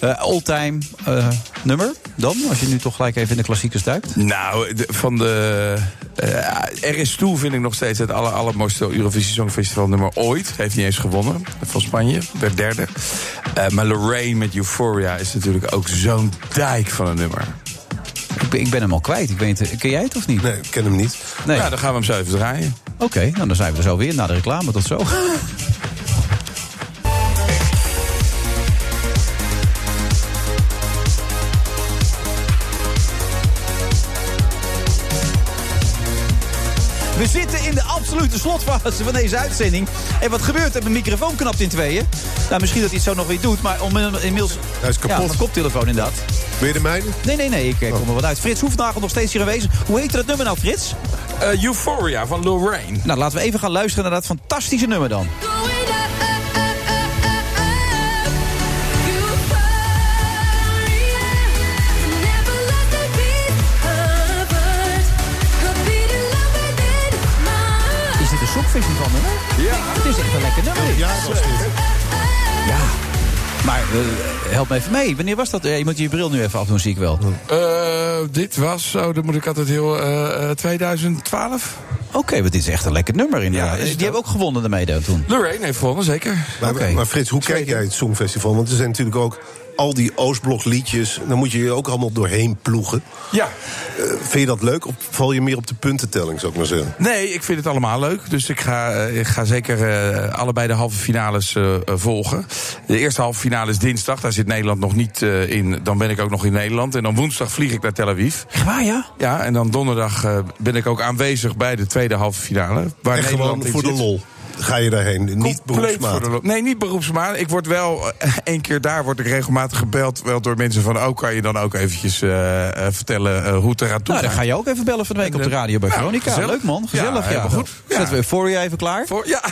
eh, all-time eh, nummer dan? Als je nu toch gelijk even in de klassiekers duikt. Nou, de- van de. eh, er is toe, vind ik nog steeds het aller, allermooiste Eurovisie Songfestival nummer ooit. Heeft niet eens gewonnen van Spanje, werd derde. Eh, maar Lorraine met Euphoria is natuurlijk ook zo'n dijk van een nummer. Ik ben, ik ben hem al kwijt. Ik weet, het- ken jij het of niet? Nee, ik ken hem niet. Nee. Nou, dan gaan we hem zo even draaien. Oké, nou dan zijn we er zo weer na de reclame. Tot zo. We zitten in de absolute slotfase van deze uitzending. En wat gebeurt er? Mijn microfoon knapt in tweeën. Nou, misschien dat hij het zo nog weer doet, maar om, eh, inmiddels... Hij is kapot. Ja, mijn koptelefoon inderdaad. Wil je de mijne? Nee, nee, nee, ik eh, kom er wat uit. Frits Hoefnagel nog steeds hier aanwezig. Hoe heet dat nummer nou, Frits? Eh, Euphoria van Lorraine. Nou, laten we even gaan luisteren naar dat fantastische nummer dan. Is dit een soepversie van hem? Ja. Het is echt een lekker nummer. Ja, Ja. Maar eh, help me even mee. Wanneer was dat? Eh, je moet je bril nu even afdoen, zie ik wel. Eh, dit was, zo, dan moet ik altijd heel, eh, eh, 2012. Oké, want dit is echt een lekker nummer inderdaad. die hebben ook gewonnen daarmee dan toen. Lorraine heeft gewonnen, zeker. Maar, maar Frits, hoe kijk jij het Songfestival? Want er zijn natuurlijk ook al die Oostblok liedjes. Dan moet je je ook allemaal doorheen ploegen. Eh, Ja. vind je dat leuk? Of val je meer op de puntentelling, zou ik maar zeggen? Nee, ik vind het allemaal leuk. Dus ik ga, eh, ik ga zeker eh, allebei de halve finales eh, eh, volgen. De eerste halve finale is dinsdag. Daar zit Nederland nog niet eh, in. Dan ben ik ook nog in Nederland. En dan woensdag vlieg ik naar Tel Aviv. Waar ja? Ja, en dan donderdag eh, ben ik waar aanwezig bij de tweede halve finale. Waar en gewoon Nederland in voor de zit. lol ga je daarheen. Niet Compleet beroepsmatig. voor de lo- Nee, niet beroepsmaat. Ik word wel eh, één keer daar word ik regelmatig gebeld wel door mensen van... oh, kan je dan ook eventjes eh, eh, vertellen eh, hoe het eraan toe Nou, dan gaat? eh, ga je ook even bellen van de week op de radio bij Ja, Veronica. gezellig. Leuk man, Ja, gezellig. Ja, helemaal goed. Zetten we Euphoria even klaar? ja.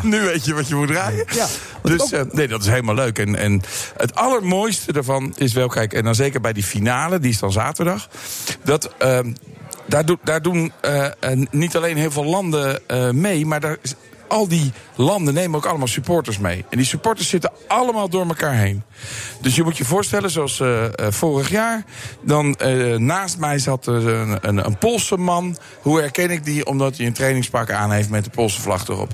nu weet je wat je moet draaien. Dus eh, nee, dat is helemaal leuk. En, en het allermooiste daarvan is wel, kijk, en dan zeker bij die finale, die is dan zaterdag. Dat. ehm, daar, doet- daar doen eh, eh, niet alleen heel veel landen eh, mee, maar daar, is- al die landen nemen ook allemaal supporters mee. En die supporters zitten allemaal door elkaar heen. Dus je moet je voorstellen, zoals eh, eh, vorig jaar, dan eh, naast mij zat er een, een, een Poolse man. Hoe herken ik die? Omdat hij een trainingspak aan heeft met de Poolse vlag erop.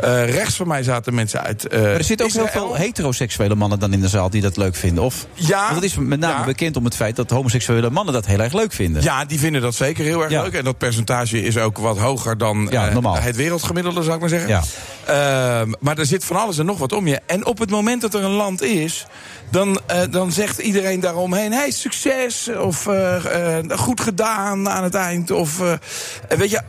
Eh, rechts van mij zaten mensen uit. eh, Maar er zitten ook heel Israël. veel heteroseksuele mannen dan in de zaal die dat leuk vinden. Of, Ja. Want dat is met name bekend om het feit dat homoseksuele mannen dat heel erg leuk vinden. Ja, die vinden dat zeker heel erg Ja. leuk. En dat percentage is ook wat hoger dan Ja, eh, normaal. het wereldgemiddelde, zou ik maar zeggen. Ja. Ehm, maar er zit van alles en nog wat om je. En op het moment dat er een land is, dan, eh, dan zegt iedereen daaromheen: hey, succes! Of eh, eh, goed gedaan aan het eind. Of eh, weet je,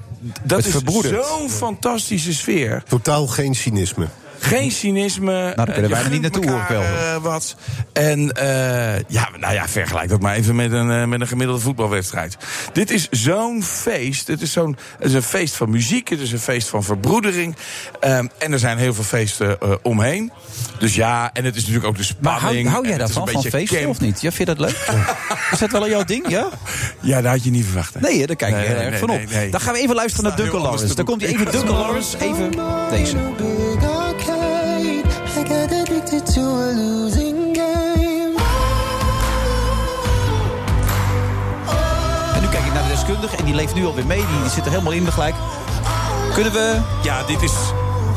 dat Het is verbroedert. zo'n fantastische sfeer. Totaal geen cynisme. Geen cynisme. Nou, daar kunnen wij er niet naartoe, ook hoor ik wel. eh, wat. En eh, ja, nou ja, vergelijk dat maar even met een, eh, met een gemiddelde voetbalwedstrijd. Dit is zo'n feest. Het is, zo'n, het is een feest van muziek. Het is een feest van verbroedering. Ehm, en er zijn heel veel feesten eh, omheen. Dus ja, en het is natuurlijk ook de Maar spanning. hou, hou en jij het is daarvan, een van beetje feesten camp. of niet? Ja, vind je dat leuk? is dat wel jouw ding, ja? Ja, dat had je niet verwacht. hè? Nee, hè, daar kijk je Nee, heel nee, erg nee, van op. nee, nee. Dan gaan we even luisteren naar Sta heel Duncan anders Lawrence. te Dan komt hij doen. even Duncan Lawrence, even deze. big arcade. I got addicted to a losing game. En nu kijk ik naar de deskundige en die leeft nu alweer mee. Die, die zit er helemaal in gelijk. Kunnen we... Ja, dit is...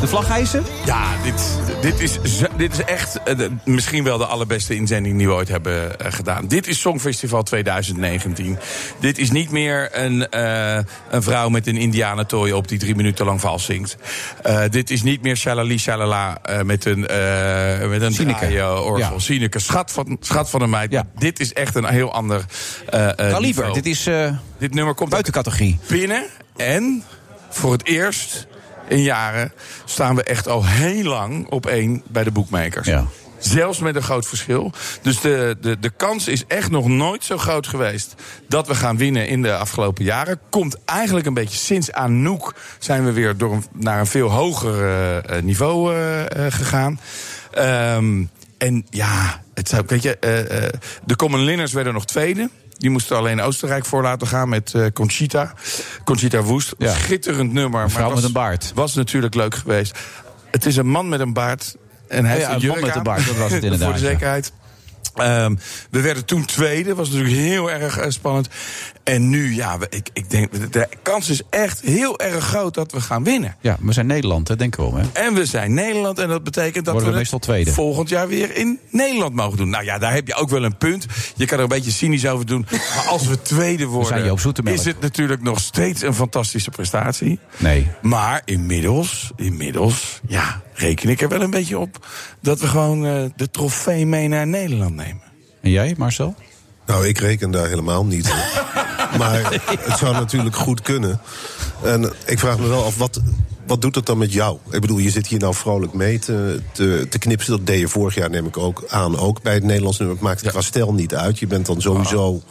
De vlag hijsen? Ja, dit, dit, is, zo- dit is echt eh, de- misschien wel de allerbeste inzending die we ooit hebben eh, gedaan. Dit is Songfestival 2019. Dit is niet meer een, eh, een vrouw met een indianentooi op die drie minuten lang vals zingt. Eh, dit is niet meer shalali shalala eh, met een, eh met een Sineke. orgel. Ja. Sineke, schat van, schat van een meid. Dit is echt een heel ander eh eh, Kaliber, niveau. dit is... eh Dit nummer komt buiten categorie. binnen. En voor het eerst in jaren staan we echt al heel lang op één bij de boekmakers. Zelfs met een groot verschil. Dus de, de, de kans is echt nog nooit zo groot geweest dat we gaan winnen in de afgelopen jaren. Komt eigenlijk een beetje sinds Anouk zijn we weer door een- naar een veel hoger eh, eh, niveau eh, eh, gegaan. Ehm, en ja, het zou, weet je, eh, eh, de Common Linners werden nog tweede. Die moesten alleen Oostenrijk voor laten gaan met eh, Conchita. Conchita Woest, Ja. schitterend nummer. vrouw was, met een baard. Was natuurlijk leuk geweest. Het is een man met een baard. En hij Oh ja, heeft een een jurk man met aan. een baard, dat was het Voor de inderdaad, ja. zekerheid. Ehm, we werden toen tweede, was natuurlijk heel erg eh, spannend. En nu, ja, we- ik, ik denk, de kans is echt heel erg groot dat we gaan winnen. Ja, we zijn Nederland, hè, denk ik wel. Hè? En we zijn Nederland en dat betekent dat Worden we het meestal tweede. volgend jaar weer in Nederland mogen doen. Nou ja, daar heb je ook wel een punt. Je kan er een beetje cynisch over doen. Maar als we tweede zijn Joop worden, Zoetemelk. is het natuurlijk nog steeds een fantastische prestatie. Nee. Maar inmiddels, inmiddels, ja, reken ik er wel een beetje op... dat we gewoon eh, de trofee mee naar Nederland nemen. En jij, Marcel? Nou, ik reken daar helemaal niet op. maar het zou natuurlijk goed kunnen. En ik vraag me wel af, wat, wat doet dat dan met jou? Ik bedoel, je zit hier nou vrolijk mee te, te, te knipsen. Dat deed je vorig jaar, neem ik ook aan. Ook bij het Nederlands nummer. Het maakt het qua stijl niet uit. Je bent dan sowieso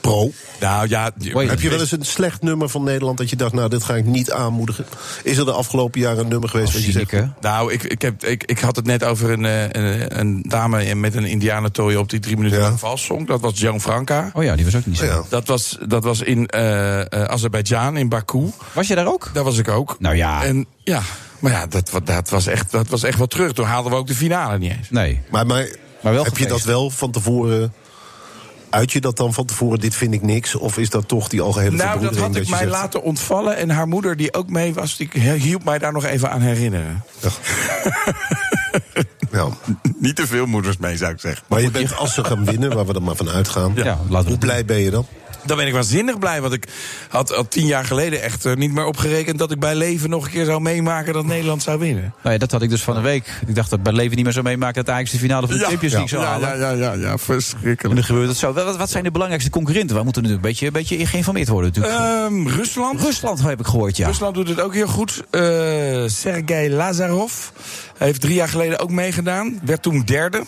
Pro. Nou ja, Heb je wel eens een slecht nummer van Nederland dat je dacht, nou, dit ga ik niet aanmoedigen? Is er de afgelopen jaren een nummer geweest? wat je zegt, Nou, ik, ik, heb, ik, ik had het net over een, eh, een, een dame met een indianentooi op die drie minuten lang vals zong. Dat was Joan Franca. Oh ja, die was ook niet zo. Dat was, dat was in eh eh, Azerbeidzjan, in Baku. Was je daar ook? Daar was ik ook. Nou ja. En ja, maar ja, dat, wa- dat, was, echt, dat was echt wel terug. Toen haalden we ook de finale niet eens. Nee. Maar, maar, wel heb je dat gefeest. wel van tevoren... Uit je dat dan van tevoren, dit vind ik niks? Of is dat toch die algehele Nou, dat verbroedering had ik je mij zegt, laten ontvallen. En haar moeder, die ook mee was, die hielp mij daar nog even aan herinneren. Niet te veel moeders mee, zou ik zeggen. Maar je bent, als ze gaan winnen, waar we dan maar van uitgaan... hoe blij ben je dan? Dan ben ik waanzinnig blij, want ik had al tien jaar geleden echt eh, niet meer opgerekend dat ik bij leven nog een keer zou meemaken dat Nederland zou winnen. Nou ja, dat had ik dus van een week. Ik dacht dat bij leven niet meer zo meemaken dat Ajax de finale van de Champions League zou halen. ja, ja, ja, ja, verschrikkelijk. En dan gebeurt het zo. Wat, wat zijn de belangrijkste concurrenten? Wij moeten natuurlijk een beetje, een beetje geïnformeerd worden. Natuurlijk. Ehm, Rusland. Rusland heb ik gehoord, ja. Rusland doet het ook heel goed. Eh Sergei Lazarov heeft drie jaar geleden ook meegedaan. Werd toen derde.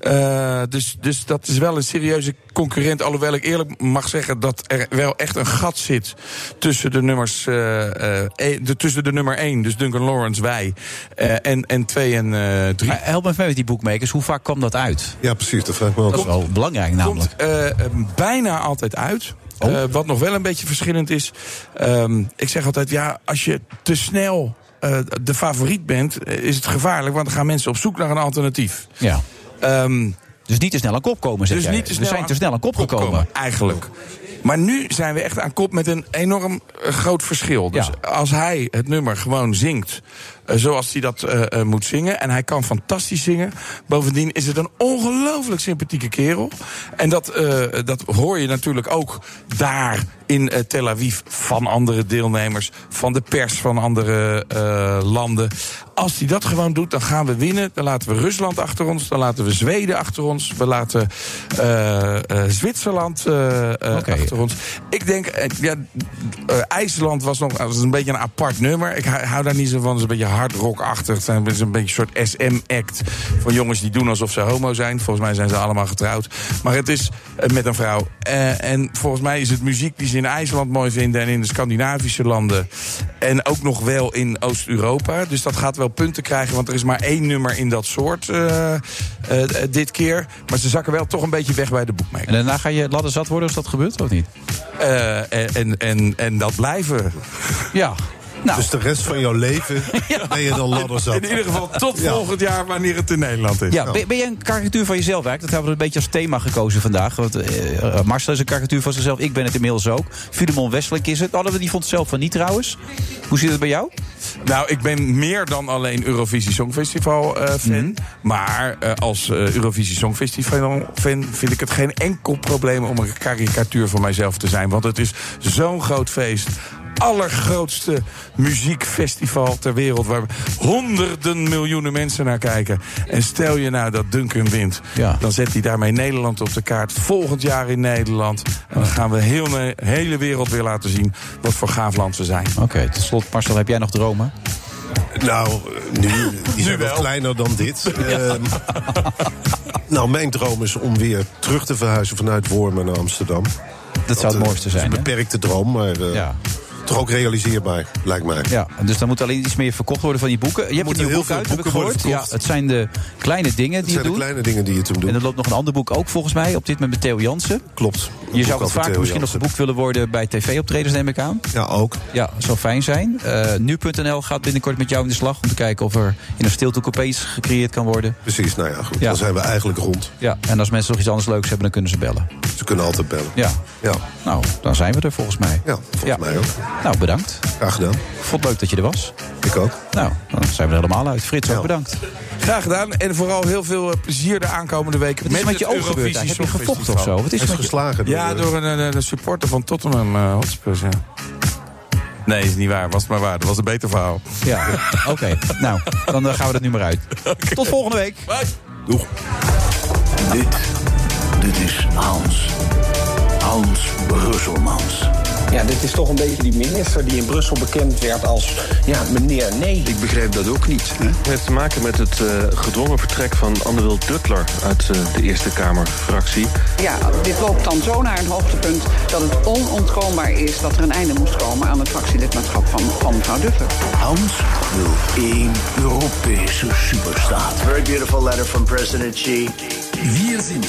Eh, dus, dus dat is wel een serieuze concurrent. Alhoewel ik eerlijk mag zeggen dat er wel echt een gat zit tussen de nummers. eh, eh, eh, de, tussen de nummer 1, dus Duncan Lawrence, wij. eh, en, en 2 en eh, 3. help me even met die boekmakers. Hoe vaak kwam dat uit? Ja, precies. Dat vraag ik me ook. Dat is wel belangrijk namelijk. Oh. komt eh, eh, bijna altijd uit. Eh, wat nog wel een beetje verschillend is. ehm, ik zeg altijd, ja, als je te snel eh, de favoriet bent, eh, is het gevaarlijk. Want dan gaan mensen op zoek naar een alternatief. Ja. dus niet te snel aan kop komen, zeg dus jij. Niet te We snel zijn te snel aan kop gekomen. Eigenlijk. Maar nu zijn we echt aan kop met een enorm eh, groot verschil. Dus als hij het nummer gewoon zingt eh, zoals hij dat eh, eh, moet zingen... en hij kan fantastisch zingen... bovendien is het een ongelooflijk sympathieke kerel. En dat, eh, dat hoor je natuurlijk ook daar in eh, Tel Aviv... van andere deelnemers, van de pers van andere eh, landen. Als hij dat gewoon doet, dan gaan we winnen. Dan laten we Rusland achter ons, dan laten we Zweden achter ons... we laten eh, eh, Zwitserland eh, eh, achter ons. Ik denk, eh, ja, eh, IJsland was nog was een beetje een apart nummer. Ik hou hou daar niet zo van. Het is een beetje hard rockachtig. Het zijn- het is een beetje een soort SM-act. Van jongens die doen alsof ze homo zijn. Volgens mij zijn ze allemaal getrouwd. Maar het is eh, met een vrouw. Eh, en volgens mij is het muziek die ze in IJsland mooi vinden. En in de Scandinavische landen. En ook nog wel in Oost-Europa. Dus dat gaat wel punten krijgen. Want er is maar één nummer in dat soort. eh, eh, dit keer. Maar ze zakken wel toch een beetje weg bij de boekmakers. En daarna ga je ladder zat worden als dat gebeurt, of niet? Eh, en, en, en, en dat blijven. Ja. Dus de rest van jouw leven ben je dan ladderzat. In ieder geval tot volgend jaar wanneer het in Nederland is. Ja, ben, ben jij een karikatuur van jezelf eigenlijk? Dat hebben we een beetje als thema gekozen vandaag. Want eh, eh, Marcel is een karikatuur van zichzelf. Ik ben het inmiddels ook. Filemon Westelijk is het. Hadden we die vond het zelf van niet trouwens. Hoe zit het bij jou? Nou, ik ben meer dan alleen Eurovisie Songfestival eh, fan. Mhm. Maar eh, als eh, Eurovisie Songfestival fan vind ik het geen enkel probleem om een karikatuur van mijzelf te zijn. Want het is zo'n groot feest. Allergrootste muziekfestival ter wereld. Waar honderden miljoenen mensen naar kijken. En stel je nou dat Duncan wint. Dan zet hij daarmee Nederland op de kaart. Volgend jaar in Nederland. En dan gaan we heel de hele wereld weer laten zien wat voor gaaf land we zijn. Oké, tot slot Marcel, heb jij nog dromen? Nou, eh, nu die zijn wel kleiner dan dit. Ehm, nou, mijn droom is om weer terug te verhuizen vanuit Wormen naar Amsterdam. Dat, zou het eh, mooiste zijn, is hè? een beperkte droom, maar eh, toch ook realiseerbaar, lijkt mij. Ja, dus dan moet alleen iets meer verkocht worden van die boeken. Je hebt een moeten nieuw heel boek veel uit, heb ik boeken worden gehoord. Ja, verkocht. het zijn de kleine dingen die zijn je de doet. kleine dingen die je toen doet. En er loopt nog een ander boek ook volgens mij, op dit moment met Theo Jansen. Klopt. Je boek zou over het vaker Theo misschien Jansen. nog geboekt willen worden bij tv-optredens, neem ik aan. Ja, ook. Ja, zou fijn zijn. Eh, Nu.nl gaat binnenkort met jou in de slag om te kijken of er in een stilte coupés gecreëerd kan worden. Precies, nou ja, goed. Ja. Dan zijn we eigenlijk rond. Ja, en als mensen nog iets anders leuks hebben, dan kunnen ze bellen. Ze kunnen altijd bellen. Ja. ja. Nou, dan zijn we er volgens mij. Ja, volgens mij ook. Nou, bedankt. Graag gedaan. Vond het leuk dat je er was. Ik ook. Nou, dan zijn we er helemaal uit. Frits, ook bedankt. Oh. Graag gedaan. En vooral heel veel eh, plezier de aankomende weken. Wat is er met je het oog gebeurd Eurovisie eigenlijk? Heb je Songfestival. gevochten of zo? Wat is er Hij is met je- geslagen door Ja, de- door een, eh, een supporter van Tottenham eh, Hotspur. ja. Nee, is niet waar. Was het maar waar. Dat was een beter verhaal. Ja, oké. Nou, dan eh, gaan we dat nu maar uit. Tot volgende week. Dit, dit is Hans. Hans Brusselmans. Ja, dit is toch een beetje die minister die in Brussel bekend werd als ja, meneer nee. Ik begrijp dat ook niet. Hè? Het heeft te maken met het eh, gedwongen vertrek van Anne-Wil Duttler uit eh, de Eerste Kamerfractie. Ja, dit loopt dan zo naar een hoogtepunt dat het onontkoombaar is dat er een einde moest komen aan het fractielidmaatschap van, van mevrouw Duffler. Hans wil één Europese superstaat. Very beautiful letter from President Xi. Wir sind,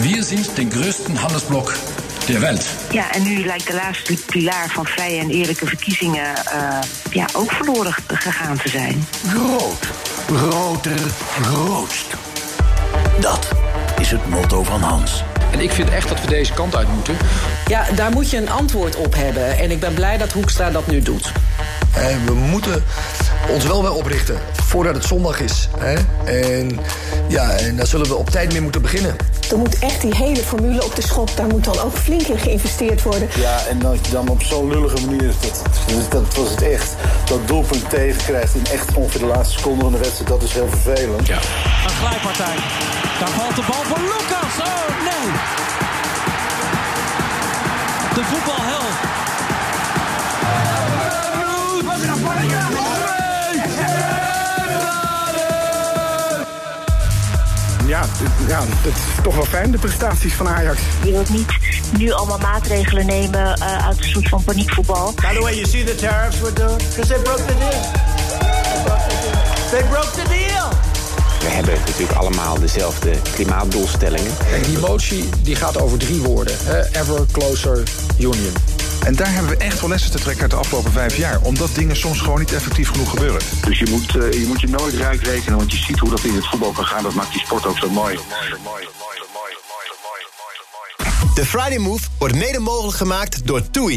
wir sind den größten Handelsblock der Welt. Ja, en nu lijkt de laatste pilaar van vrije en eerlijke verkiezingen eh, ja, ook verloren g- gegaan te zijn. Groot, groter, grootst. Dat is het motto van Hans. En ik vind echt dat we deze kant uit moeten. Ja, daar moet je een antwoord op hebben. En ik ben blij dat Hoekstra dat nu doet. Eh, we moeten ons wel weer oprichten voordat het zondag is. Hè? En, ja, en daar zullen we op tijd mee moeten beginnen. Er moet echt die hele formule op de schop, daar moet dan ook flink in geïnvesteerd worden. Ja, en als je dan op zo'n lullige manier, dat, dat, dat was het echt, dat doelpunt tegenkrijgt in echt ongeveer de laatste seconde van de wedstrijd, dat is heel vervelend. Ja. Een glijpartij. Daar valt de bal voor Lucas. Oh nee! De voetbalhel. Ja, d- ja, dat is toch wel fijn, de prestaties van Ajax. Je wilt niet nu allemaal maatregelen nemen eh, uit een soort van paniekvoetbal. By the way, you see the tariffs were doing? Because they broke the deal. They broke the deal. We hebben natuurlijk allemaal dezelfde klimaatdoelstellingen. Kijk, die motie die gaat over drie woorden. hè. Ever closer union. En daar hebben we echt wel lessen te trekken uit de afgelopen vijf jaar. Omdat dingen soms gewoon niet effectief genoeg gebeuren. Dus je moet, eh, je, moet je nooit rijk rekenen, want je ziet hoe dat in het voetbal kan gaan. Dat maakt die sport ook zo mooi. De Friday Move wordt mede mogelijk gemaakt door TUI.